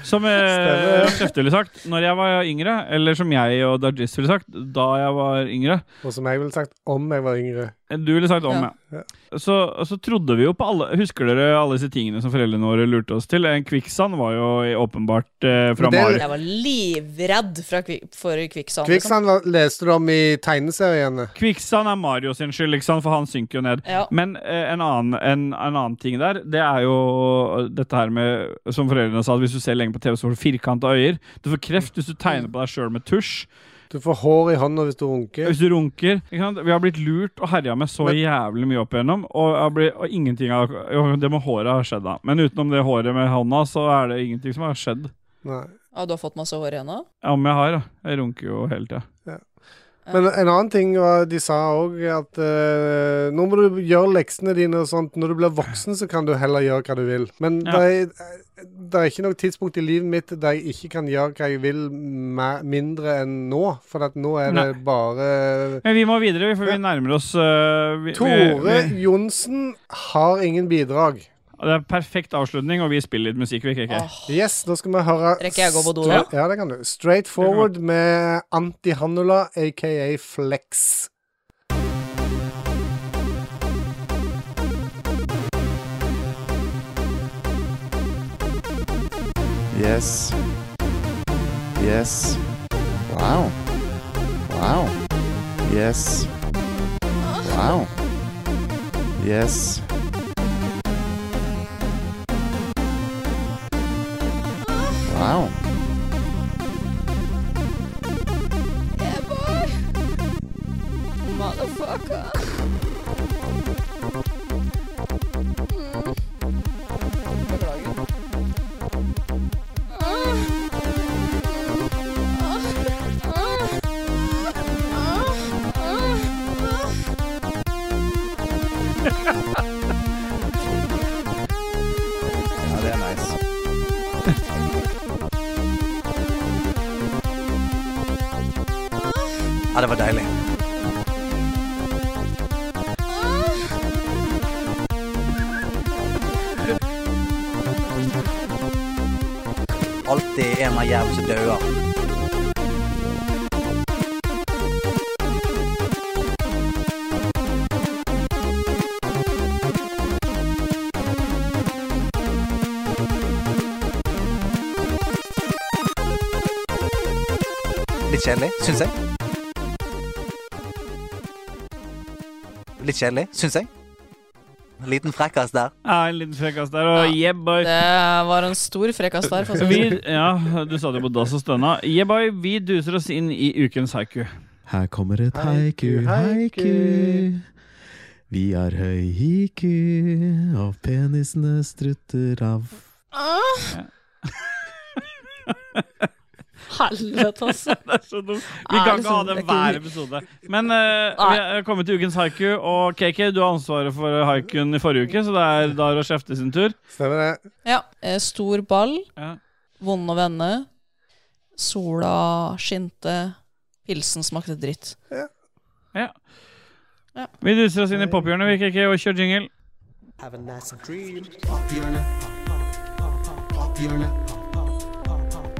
Speaker 2: Som eh,
Speaker 3: Stemmer.
Speaker 2: Skjefte ville sagt, når jeg var yngre, eller som jeg og Dargis ville sagt, da jeg var yngre
Speaker 1: Og som jeg ville sagt om jeg var yngre.
Speaker 2: Du ville sagt om, ja. Så, så trodde vi jo på alle Husker dere alle disse tingene som foreldrene våre lurte oss til? En kvikksand var jo åpenbart eh, fra Mari.
Speaker 3: Jeg var livredd fra kvik for kvikksand. liksom.
Speaker 1: Kvikksand var- leste du om i tegneseriene.
Speaker 2: Kvikksand er Mario sin skyld, ikke sant? for han synker jo ned.
Speaker 3: Ja.
Speaker 2: Men eh, en, annen, en, en annen ting der, det er jo dette her med Som foreldrene sa, at hvis du ser lenge på TV, så får du firkanta øyer. Du får kreft hvis du tegner på deg sjøl med tusj.
Speaker 1: Du får hår i hånda hvis du runker.
Speaker 2: Hvis du runker. Ikke sant? Vi har blitt lurt og herja med så
Speaker 1: Men-
Speaker 2: jævlig mye opp igjennom, og, jeg har blitt- og ingenting av jo, Det med håret har skjedd, da. Men utenom det håret med hånda, så er det ingenting som har skjedd.
Speaker 1: Nei.
Speaker 3: Ja, du har fått masse hår i henda?
Speaker 2: Ja, Om jeg har, da. Jeg runker jo hele tida.
Speaker 1: Men en annen ting var, de sa òg, at eh, nå må du gjøre leksene dine og sånt. Når du blir voksen, så kan du heller gjøre hva du vil. Men
Speaker 2: Ja.
Speaker 1: det, er, det er ikke noe tidspunkt i livet mitt der jeg ikke kan gjøre hva jeg vil me- mindre enn nå. For at nå er det
Speaker 2: Nei.
Speaker 1: bare
Speaker 2: Men vi må videre, for vi nærmer oss øh, vi, vi-
Speaker 1: Tore
Speaker 2: vi-
Speaker 1: Johnsen har ingen bidrag.
Speaker 2: Det er perfekt avslutning, og vi spiller litt musikk. vi, KK.
Speaker 1: Yes, nå skal vi høre
Speaker 3: Rekker jeg å gå på do
Speaker 1: stra-
Speaker 3: da?
Speaker 1: Ja, det kan du. Straight forward med Anti-Hannula, aka Flex.
Speaker 8: Yes. Yes. Wow. Wow. Yes. Wow. Yes. Wow.
Speaker 3: Yeah, boy. Motherfucker. Mm. Beklager. Ah. Ah. Ah. Ah.
Speaker 8: Ja, det er nice.
Speaker 5: Ja, det var deilig.
Speaker 12: Alltid en av jævlene som dauer. Litt kjedelig, syns jeg. Litt kjedelig, syns jeg. En liten frekkas der.
Speaker 2: Ja, en liten frekkas der, og yeah, boy.
Speaker 3: Det var en stor frekkas der. for å si det
Speaker 2: Vi,
Speaker 3: sånn.
Speaker 2: ja, du sa det på dass og stønna. Yeah, boy, vi duser oss inn i ukens haiku.
Speaker 13: Her kommer et haiku, haiku. Vi har høy hiku, og penisene strutter av.
Speaker 3: Ah. Helvete, altså.
Speaker 2: Det er så dumt. Vi
Speaker 3: Er
Speaker 2: kan
Speaker 3: det
Speaker 2: ikke ha
Speaker 3: sånn?
Speaker 2: det
Speaker 3: Det er
Speaker 2: hver
Speaker 3: ikke-
Speaker 2: episode. Men eh, vi er kommet til ukens haiku, og KK, du har ansvaret for haikuen i forrige uke, så det er Dar og Skjefte sin tur.
Speaker 1: Stemmer det.
Speaker 3: Ja. eh, Stor ball,
Speaker 2: Ja.
Speaker 3: vond å vende, sola skinte, pilsen smakte dritt.
Speaker 2: Vi duser oss inn i pophjørnet, vi, KK, og kjører jingle.
Speaker 9: Have a nice dream. Pophjørnet. Pophjørnet. Pophjørnet.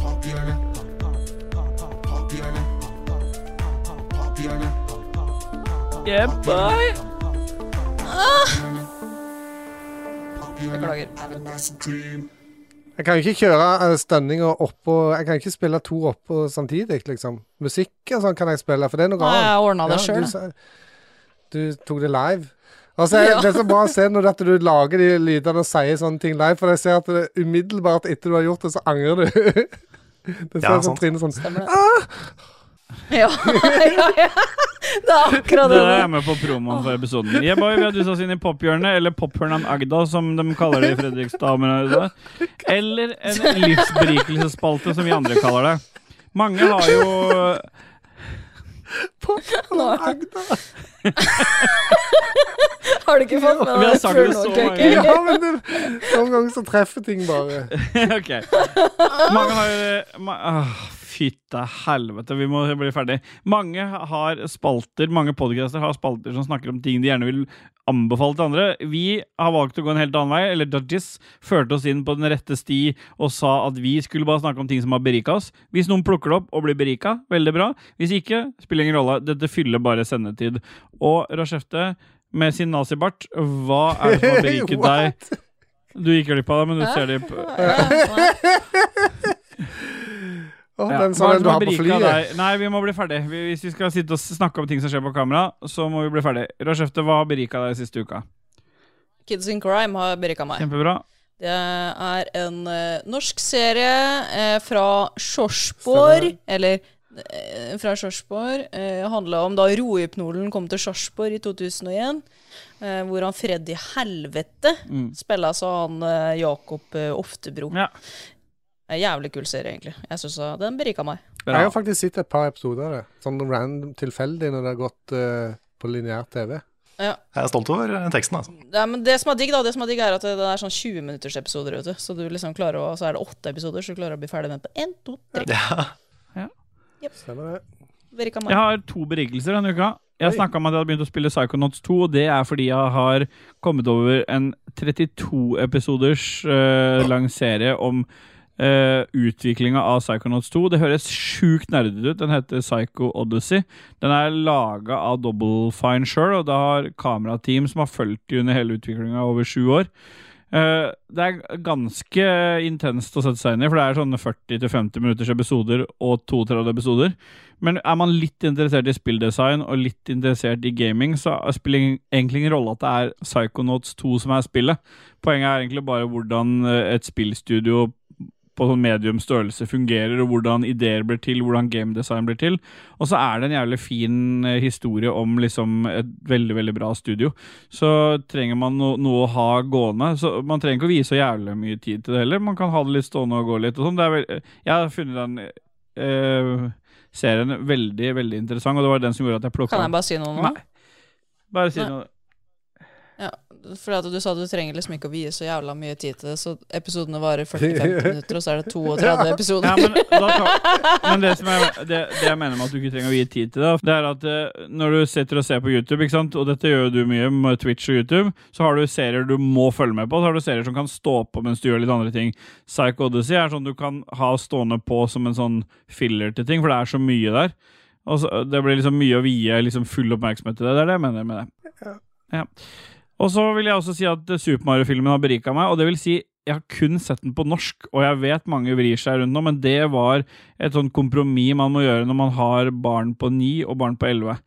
Speaker 9: Pophjørnet. Pophjørnet.
Speaker 2: Yeah, boy.
Speaker 3: Beklager.
Speaker 9: Have a nice dream.
Speaker 1: Jeg kan jo ikke kjøre eh, stønninger oppå Jeg kan ikke spille to oppå samtidig, liksom. Musikk og sånn kan jeg spille, for det er noe
Speaker 3: Nei,
Speaker 1: annet.
Speaker 3: jeg ordna
Speaker 1: Ja,
Speaker 3: det
Speaker 1: du
Speaker 3: selv, da.
Speaker 1: sa- Du tok det live. Altså, jeg,
Speaker 3: Ja.
Speaker 1: Det er så bra å se når at du lager de lydene og sier sånne ting live, for jeg ser at det er umiddelbart etter du har gjort det, så angrer du. Det ser
Speaker 5: Ja,
Speaker 1: ut som
Speaker 5: sant.
Speaker 1: Trine sånn
Speaker 3: Stemmer det.
Speaker 1: ah!
Speaker 3: Ja, ja, ja. Det er akkurat
Speaker 2: Det
Speaker 3: det.
Speaker 2: er med på promoen for episoden. Yeah, boy, vi har dusa oss inn i pophjørnet, eller Pophørnan Agda, som de kaller det i Fredrikstad-området. Eller en livsberikelsesspalte, som vi andre kaller det. Mange har jo
Speaker 3: Har du ikke fått med deg
Speaker 1: Vi har
Speaker 3: det
Speaker 1: sagt
Speaker 3: før
Speaker 1: det
Speaker 3: nå,
Speaker 1: så
Speaker 3: KK?
Speaker 1: mange ganger. Ja, men det- Noen ganger så treffer ting bare.
Speaker 2: Ok. Mange har jo ma ah, Fytte helvete, vi må bli ferdig. Mange har spalter, mange podcaster har spalter som snakker om ting de gjerne vil anbefale til andre. Vi har valgt å gå en helt annen vei, eller Dudgies førte oss inn på den rette sti og sa at vi skulle bare snakke om ting som har berika oss. Hvis noen plukker det opp og blir berika, veldig bra. Hvis ikke, spiller ingen rolle. Dette fyller bare sendetid. Og Rashefte, med sin nazibart, hva er det som har beriket deg? Du gikk glipp av det, men du ser det på
Speaker 1: Å,
Speaker 2: Ja.
Speaker 1: Den
Speaker 2: Hva
Speaker 1: sånn en
Speaker 2: er det
Speaker 1: du har
Speaker 2: som har
Speaker 1: på
Speaker 2: beriket
Speaker 1: flyet.
Speaker 2: deg? Nei, vi må bli ferdig. Vi, hvis vi skal sitte og s- snakke om ting som skjer på kamera, så må vi bli ferdig. Rashefte, hva har berika deg siste uka?
Speaker 3: Kids in Crime har berika meg.
Speaker 2: Kjempebra.
Speaker 3: Det er en eh, norsk serie eh, fra Sjorsborg, eller eh, fra Sjorsborg. Eh, handla om da rohypnolen kom til Sjorsborg i 2001. Eh, hvor han Freddy Helvete
Speaker 2: Mm.
Speaker 3: spilla så han eh, Jakob eh, Oftebro. Eh,
Speaker 2: Ja.
Speaker 3: Jævlig kul serie, egentlig. Jeg syns den berika meg.
Speaker 1: Jeg har faktisk sett et par episoder av det. Sånn random tilfeldig når det har gått eh, på lineær TV.
Speaker 3: Ja.
Speaker 5: Jeg er stolt over teksten, altså.
Speaker 3: Det, er, men det som er digg, da, det som er digg er at det, det er sånn 20 minutters episoder. Vet du. Så du liksom klarer å, så er det åtte episoder, så du klarer å bli ferdig med den på én, to, tre.
Speaker 1: Stemmer det.
Speaker 3: Berika meg.
Speaker 2: Jeg har to berikelser denne uka. Jeg snakka om at jeg hadde begynt å spille Psychonauts 2, og det er fordi jeg har kommet over en 32-episoders lang serie om uh, utviklinga av Psychonauts 2. Det høres sjukt nerdete ut. Den heter Psycho Odyssey. Den er laga av Double Fine sjøl, og det har kamerateam som har fulgt de under hele utviklinga over sju år. Eh, det er ganske intenst å sette seg inn i, for det er sånne 40-50 minutters episoder og 32 episoder. Men er man litt interessert i spilldesign og litt interessert i gaming, så spiller ing- egentlig ingen rolle at det er Psychonauts 2 som er spillet. Poenget er egentlig bare hvordan eh, et spillstudio på sånn medium størrelse fungerer, og hvordan ideer blir til, hvordan gamedesign blir til. Og så er det en jævlig fin eh, historie om liksom et veldig, veldig bra studio. Så trenger man no noe å ha gående. Så man trenger ikke å vie så jævlig mye tid til det heller. Man kan ha det litt stående og gå litt og sånn. Det er vel- Jeg har funnet den eh, serien veldig, veldig interessant, og det var den som gjorde at jeg plukka
Speaker 3: Kan jeg bare si noe nå?
Speaker 2: Nei. Bare si
Speaker 3: Nei.
Speaker 2: noe.
Speaker 3: Ja, fordi at du sa du trenger liksom ikke å vie så jævla mye tid til det, så episodene varer 45 minutter, og så er det 32 episoder.
Speaker 2: Ja, men, da tar, men det, som er, det, det jeg mener med at du ikke trenger å gi tid til det, det er at eh, når du sitter og ser på YouTube, ikke sant? og dette gjør jo du mye med Twitch og YouTube, så har du serier du må følge med på, så har du serier som kan stå på mens du gjør litt andre ting. Psycho Odyssey er sånn du kan ha stående på som en sånn filler til ting, for det er så mye der. Og så, det blir liksom mye å vie liksom full oppmerksomhet til det. Det er det jeg mener med det. Ja. Og så vil jeg også si at eh, Super Mario-filmen har berika meg. Og det vil si, jeg har kun sett den på norsk, og jeg vet mange vrir seg rundt nå, men det var et sånn kompromiss man må gjøre når man har barn på ni og barn på elleve.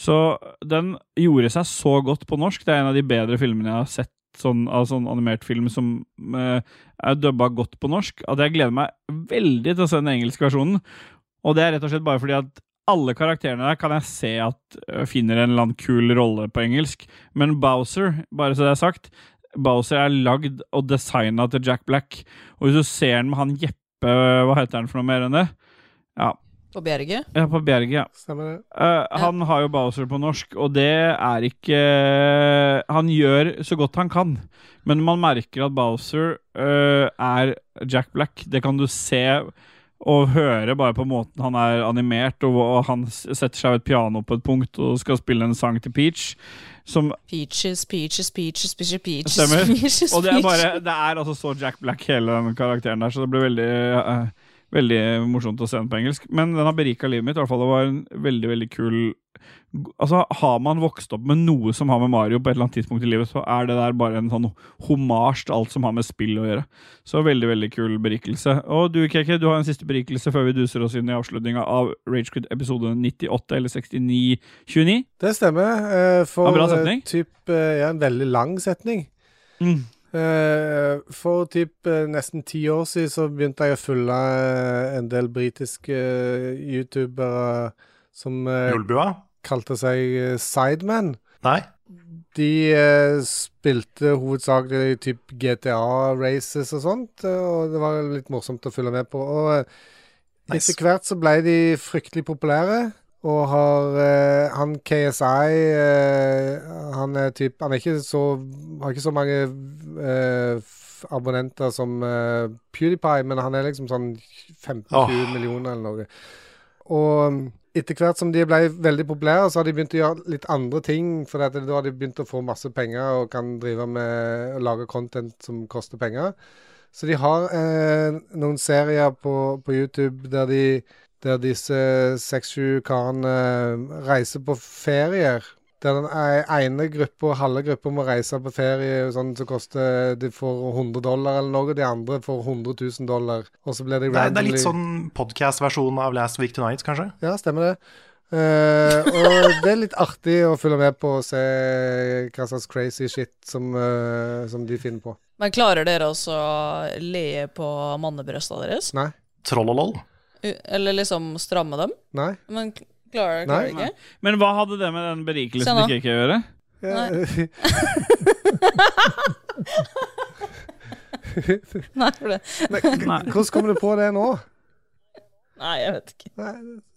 Speaker 2: Så den gjorde seg så godt på norsk. Det er en av de bedre filmene jeg har sett. Sånn, av sånn animert film som eh, er dubba godt på norsk. At jeg gleder meg veldig til å se den engelske versjonen. Og det er rett og slett bare fordi at alle karakterene der kan jeg se at ø, finner en eller annen kul rolle på engelsk. Men Bowser, bare så det er sagt, Bowser er lagd og designa til Jack Black. Og hvis du ser den med han Jeppe, hva heter han for noe mer enn det? Ja,
Speaker 3: På Bjerget.
Speaker 2: ja, på Bjerget, ja.
Speaker 1: Stemmer det.
Speaker 2: Eh, han har jo Bowser på norsk, og det er ikke eh, Han gjør så godt han kan, men man merker at Bowser eh, er Jack Black. Det kan du se og høre bare på måten han er animert, og, og han s- setter seg ved et piano på et punkt og skal spille en sang til Peach, som
Speaker 3: Peaches, peaches, peaches, peaches, peaches,
Speaker 2: Stemmer.
Speaker 3: peaches,
Speaker 2: Og det er bare
Speaker 3: peaches.
Speaker 2: Det er altså så Jack Black, hele den karakteren der, så det blir veldig eh, Veldig morsomt å se den på engelsk. Men den har berika livet mitt. i hvert fall Det var en veldig, veldig kul Altså, Har man vokst opp med noe som har med Mario på et eller annet tidspunkt i livet, så er det der bare en sånn homasj til alt som har med spill å gjøre. Så veldig, veldig kul berikelse. Og du, KK, du har en siste berikelse før vi duser oss inn i avslutninga av Ragequid episode 98 eller 69-29.
Speaker 1: Det stemmer. eh, for
Speaker 2: Ja, bra
Speaker 1: eh,
Speaker 2: setning.
Speaker 1: typ eh, Ja, en veldig lang setning. Eh, for typ eh, nesten ti år siden så begynte jeg å følge eh, en del britiske eh, youtubere som eh,
Speaker 5: Lolbua?
Speaker 1: kalte seg eh, Sidemen.
Speaker 5: Nei.
Speaker 1: De eh, spilte hovedsakelig typ GTA-races og sånt, eh, og det var litt morsomt å følge med på. Og eh,
Speaker 5: Nice.
Speaker 1: etter hvert så ble de fryktelig populære. Og har eh, han KSI eh, Han er typ Han er ikke så Har ikke så mange eh, f- abonnenter som eh, PewDiePie, men han er liksom sånn 15-20
Speaker 5: Åh.
Speaker 1: millioner eller noe. Og mm, etter hvert som de ble veldig populære, så har de begynt å gjøre litt andre ting. For at da har de begynt å få masse penger og kan drive med å lage content som koster penger. Så de har eh, noen serier på, på YouTube der, de, der disse seks-sju karene eh, reiser på ferier. Der den e- ene gruppa og halve gruppa må reise på ferie sånn som koster De får 100 dollar eller noe, de andre får 100 000 dollar. Og så blir de
Speaker 5: Det er, det er
Speaker 1: randomly-
Speaker 5: litt sånn podcast-versjon av Last Week Tonight, kanskje?
Speaker 1: ja, stemmer det. Eh, og det er litt artig å følge med på og se hva slags crazy shit som, eh, som de finner på.
Speaker 3: Men klarer dere også å le på mannebrøsta deres?
Speaker 1: Nei.
Speaker 5: Troll og lol?
Speaker 3: U- Eller liksom stramme dem?
Speaker 1: Nei.
Speaker 3: Men k- klarer
Speaker 1: Nei.
Speaker 3: dere ikke?
Speaker 2: Men hva hadde det med den
Speaker 3: Se
Speaker 2: berikelsen
Speaker 3: nå.
Speaker 2: til KK å gjøre?
Speaker 1: Nei.
Speaker 3: Nei, for det
Speaker 1: Nei. Hvordan kom du på det nå?
Speaker 3: Nei, jeg vet ikke.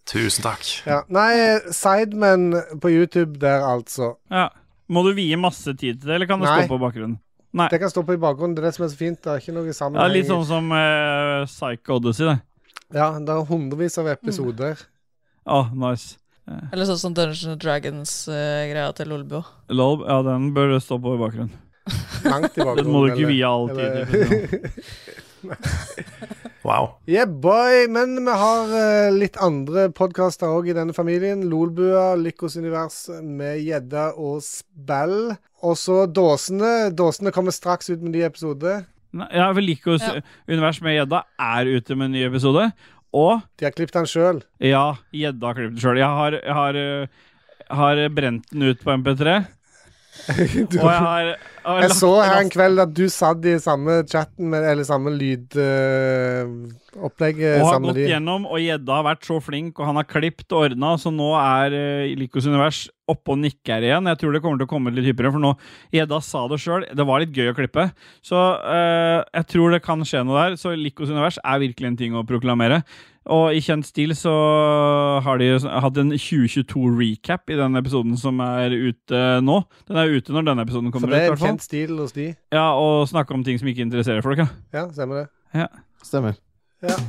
Speaker 5: Tusen takk.
Speaker 1: Ja. Nei, Sidemen på YouTube der, altså.
Speaker 2: Ja. Må du vie masse tid til det, eller kan det
Speaker 1: Nei.
Speaker 2: stå på bakgrunnen?
Speaker 1: Det kan stå på i bakgrunnen. Det er det som er så fint. Det er ikke noe
Speaker 2: Ja,
Speaker 1: sammenheng.
Speaker 2: Litt sånn som eh, Psycho Odyssey, det.
Speaker 1: Ja, det er hundrevis av episoder.
Speaker 2: Mm. Å, nice. Eh,
Speaker 3: Eller sånn som Dungeons and Dragons-greia til Lolbo.
Speaker 2: Lol, ja, den bør stå på i bakgrunnen.
Speaker 1: Langt i bakgrunnen.
Speaker 2: Den må du ikke
Speaker 1: eller-
Speaker 2: vie all tid
Speaker 1: eller-
Speaker 2: til. for å si det sånn.
Speaker 5: Wow.
Speaker 1: Yeah, boy! Men vi har eh, litt andre podkaster òg i denne familien. Lolbua, Lykkos univers med gjedda og spill. Og så Dåsene. Dåsene kommer straks ut med ny episode.
Speaker 2: Nei, Ja, vel Likos univers med gjedda er ute med en ny episode. Og
Speaker 1: De har klippet den sjøl.
Speaker 2: Ja, gjedda har klippet den sjøl. Jeg har, jeg har, øh, har brent den ut på MP3.
Speaker 1: Du-
Speaker 2: og jeg har, har
Speaker 1: Jeg
Speaker 2: lagt-
Speaker 1: så her en kveld at du satt i samme chatten, med, eller samme lydopplegg
Speaker 2: og har
Speaker 1: eh, sammen med
Speaker 2: gått
Speaker 1: de.
Speaker 2: gjennom, og gjedda har vært så flink, og han har klippet og ordna, så nå er uh, Likos univers oppe og nikker igjen. Jeg tror det kommer til å komme litt hyppigere, for nå Gjedda sa det sjøl. Det var litt gøy å klippe. Så eh, jeg tror det kan skje noe der. Så Likos univers er virkelig en ting å proklamere. Og i kjent stil så har de jo sn- hatt en 2022-recap i den episoden som er ute eh, nå. Den er ute når denne episoden
Speaker 1: For
Speaker 2: kommer ut.
Speaker 1: det
Speaker 2: i
Speaker 1: er
Speaker 2: hvert
Speaker 1: en
Speaker 2: fall.
Speaker 1: kjent stil hos de.
Speaker 2: Ja, og snakke om ting som ikke interesserer folk, ja.
Speaker 1: Ja, stemmer det.
Speaker 2: ja.
Speaker 13: Stemmer.
Speaker 1: Ja.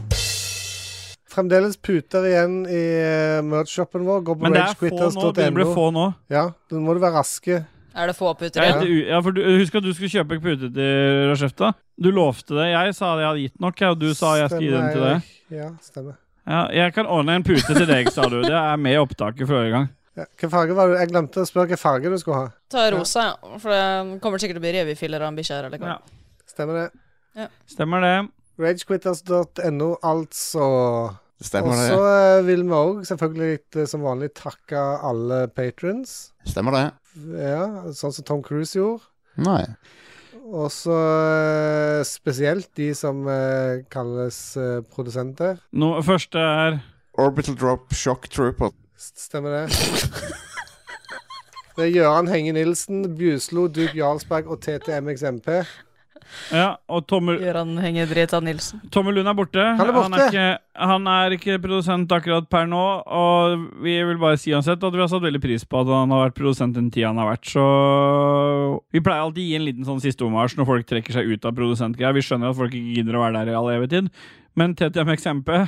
Speaker 1: Fremdeles puter igjen i eh, merch-shoppen vår. Gå på
Speaker 2: Men det er få nå,
Speaker 1: ragequitters.no.
Speaker 2: begynner det å bli få nå.
Speaker 1: Ja, da må du være raske.
Speaker 3: Er det få
Speaker 2: Ja,
Speaker 3: puter igjen?
Speaker 2: etter, u- ja, for du, Husk at du skulle kjøpe pute til Rashefta. Du lovte det. Jeg sa jeg hadde gitt nok, jeg, og du sa jeg skulle gi den til deg.
Speaker 1: Ja, stemmer.
Speaker 2: Ja, jeg kan ordne en pute til deg, sa du. Det er med i opptaket forrige gang.
Speaker 1: Ja. Hva farge var du? Jeg glemte å spørre hvilken farge du skulle ha.
Speaker 3: Ta rosa, ja. For det kommer sikkert til å bli revyfiller av en bikkje her. eller hva?
Speaker 1: Stemmer det.
Speaker 3: Ja.
Speaker 2: Stemmer det.
Speaker 1: Ragequitters.no, altså.
Speaker 8: Stemmer
Speaker 1: og
Speaker 8: det.
Speaker 1: så eh, vil vi òg selvfølgelig eh, som vanlig takke alle patrons.
Speaker 8: Stemmer det?
Speaker 1: Ja, sånn som Tom Cruise gjorde.
Speaker 8: Nei.
Speaker 1: Og så eh, spesielt de som eh, kalles eh, produsenter.
Speaker 2: Nå, første er
Speaker 8: Orbital Drop Shock Trooper.
Speaker 1: Stemmer det? Det er Gøran Henge Nilsen, Bjuslo, Duke Jarlsberg og TTMXMP.
Speaker 2: Ja, og Tommel
Speaker 3: Gøran henger dritt av Nilsen.
Speaker 2: Tommel Lund er borte.
Speaker 1: Han er borte.
Speaker 2: Han er, ikke, han er ikke produsent akkurat per nå. Og vi vil bare si uansett at vi har satt veldig pris på at han har vært produsent den tida han har vært. Så vi pleier alltid å gi en liten sånn siste omarsj når folk trekker seg ut av produsentgreia. Vi skjønner at folk ikke gidder å være der i all evig tid. Men TTMX MP,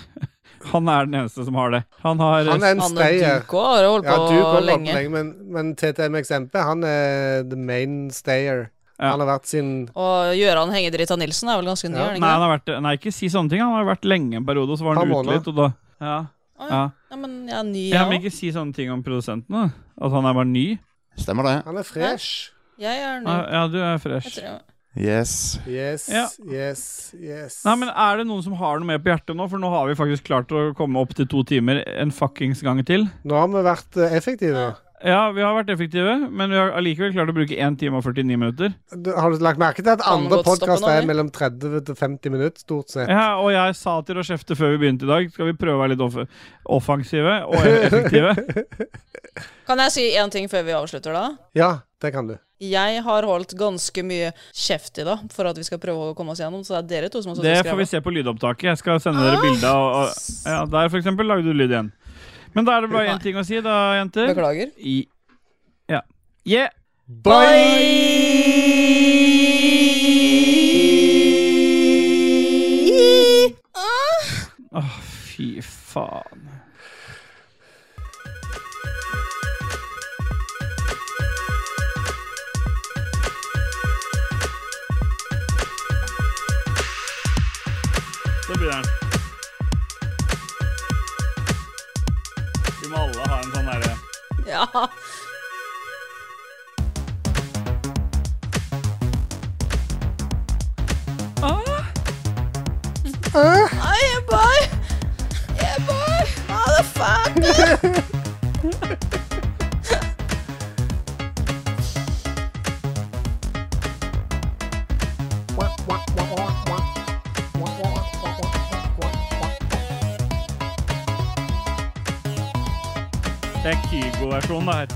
Speaker 2: han er den eneste som har det. Han har
Speaker 1: Han er en stayer.
Speaker 3: Duke også har holdt
Speaker 1: Ja,
Speaker 3: på
Speaker 1: Duke har holdt
Speaker 3: lenge.
Speaker 1: på lenge men, men TTMXMP, han er the main stayer. Han har vært sin
Speaker 3: Og Gøran henger dritt av Nilsen er vel ganske ny?
Speaker 2: ja.
Speaker 3: er
Speaker 2: Nei, han
Speaker 3: han ikke det?
Speaker 2: har vært, nei, ikke si sånne ting. Han har vært lenge en periode, og så var han
Speaker 1: Par
Speaker 2: ute
Speaker 1: måneder.
Speaker 2: litt, og da ja.
Speaker 3: Å,
Speaker 2: ja.
Speaker 3: Ja, men jeg er ny,
Speaker 2: Ja,
Speaker 3: jeg
Speaker 2: men
Speaker 3: òg.
Speaker 2: ikke si sånne ting om produsenten, da. At han er bare ny.
Speaker 8: Stemmer det.
Speaker 1: Han er fresh.
Speaker 3: Jeg er ny.
Speaker 2: Ja, ja, du er fresh.
Speaker 8: Yes.
Speaker 1: Yes,
Speaker 2: Ja.
Speaker 1: yes, yes.
Speaker 2: Nei, men Er det noen som har noe mer på hjertet nå? For nå har vi faktisk klart å komme opp til to timer en fuckings gang til.
Speaker 1: Nå har vi vært eh, effektive.
Speaker 2: Ja, vi har vært effektive, men vi har allikevel klart å bruke 1 time og 49 minutter.
Speaker 1: Du, har du lagt merke til at
Speaker 3: Kan
Speaker 1: andre
Speaker 3: godt stoppe
Speaker 1: podkaster
Speaker 3: nå,
Speaker 1: er
Speaker 3: vi.
Speaker 1: mellom 30 til 50 minutter, stort sett?
Speaker 2: Ja, og jeg sa til Rochefte før vi begynte i dag Skal vi prøve å være litt off offensive og effektive.
Speaker 3: Kan jeg si én ting før vi avslutter, da?
Speaker 1: Ja, det kan du.
Speaker 3: Jeg har holdt ganske mye kjeft i dag for at vi skal prøve å komme oss gjennom, så det er dere to som har
Speaker 2: Det
Speaker 3: sittet og
Speaker 2: får vi se
Speaker 3: skrevet.
Speaker 2: på lydopptaket. Jeg skal sende dere bilde. av- av- Ja, der, for eksempel, lagde du lyd igjen. Men da er det bare én ting å si, da, jenter.
Speaker 3: Beklager.
Speaker 2: I ja. Yeah! Åh, fy faen. Så blir den. Vi må alle ha en sånn derre
Speaker 3: Ja.
Speaker 6: Ah, yeah, boy. Yeah, boy. Motherfucker.
Speaker 2: Det er Kygo-versjonen, det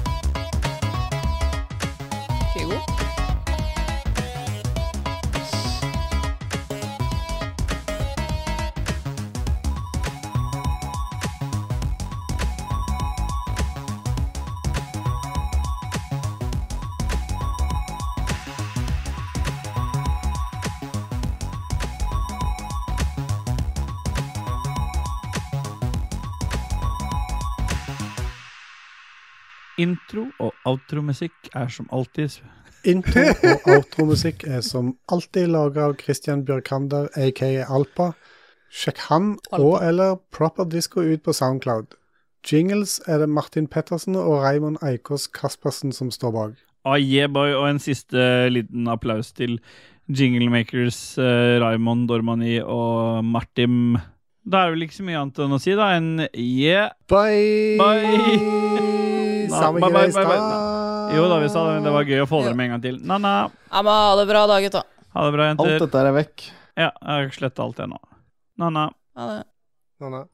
Speaker 2: her.
Speaker 3: Kygo?
Speaker 2: Intro og outromusikk er som alltid
Speaker 1: Intro og outromusikk er som alltid laga av Christian Bjørkander, aka Alpa. Sjekk han og eller Proper Disco ut på Soundcloud. Jingles er det Martin Pettersen og Raymond Eikås Kaspersen som står bak.
Speaker 2: Ah, yeah, boy, og en siste liten applaus til jinglemakers eh, Raymond Dormani og Martin. Det er vel ikke så mye annet enn å si, da, enn yeah.
Speaker 1: Bye!
Speaker 2: bye.
Speaker 1: Samme greie i
Speaker 2: bye. Jo da, vi sa det, men det var gøy å få dere med en gang til. Na-na.
Speaker 14: Ja, men ha det bra da, gutta.
Speaker 2: Ha det bra, jenter.
Speaker 8: Alt dette er vekk.
Speaker 2: Ja, jeg har sletta alt det nå. Na-na.
Speaker 14: Ha det.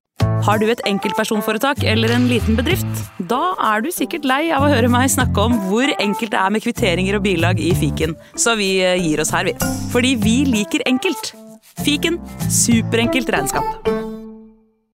Speaker 3: Har du et enkeltpersonforetak eller en liten bedrift? Da er du sikkert lei av å høre meg snakke om hvor enkelt det er med kvitteringer og bilag i fiken, så eh, vi gir oss her, vi. Fordi vi liker enkelt. Fiken superenkelt regnskap.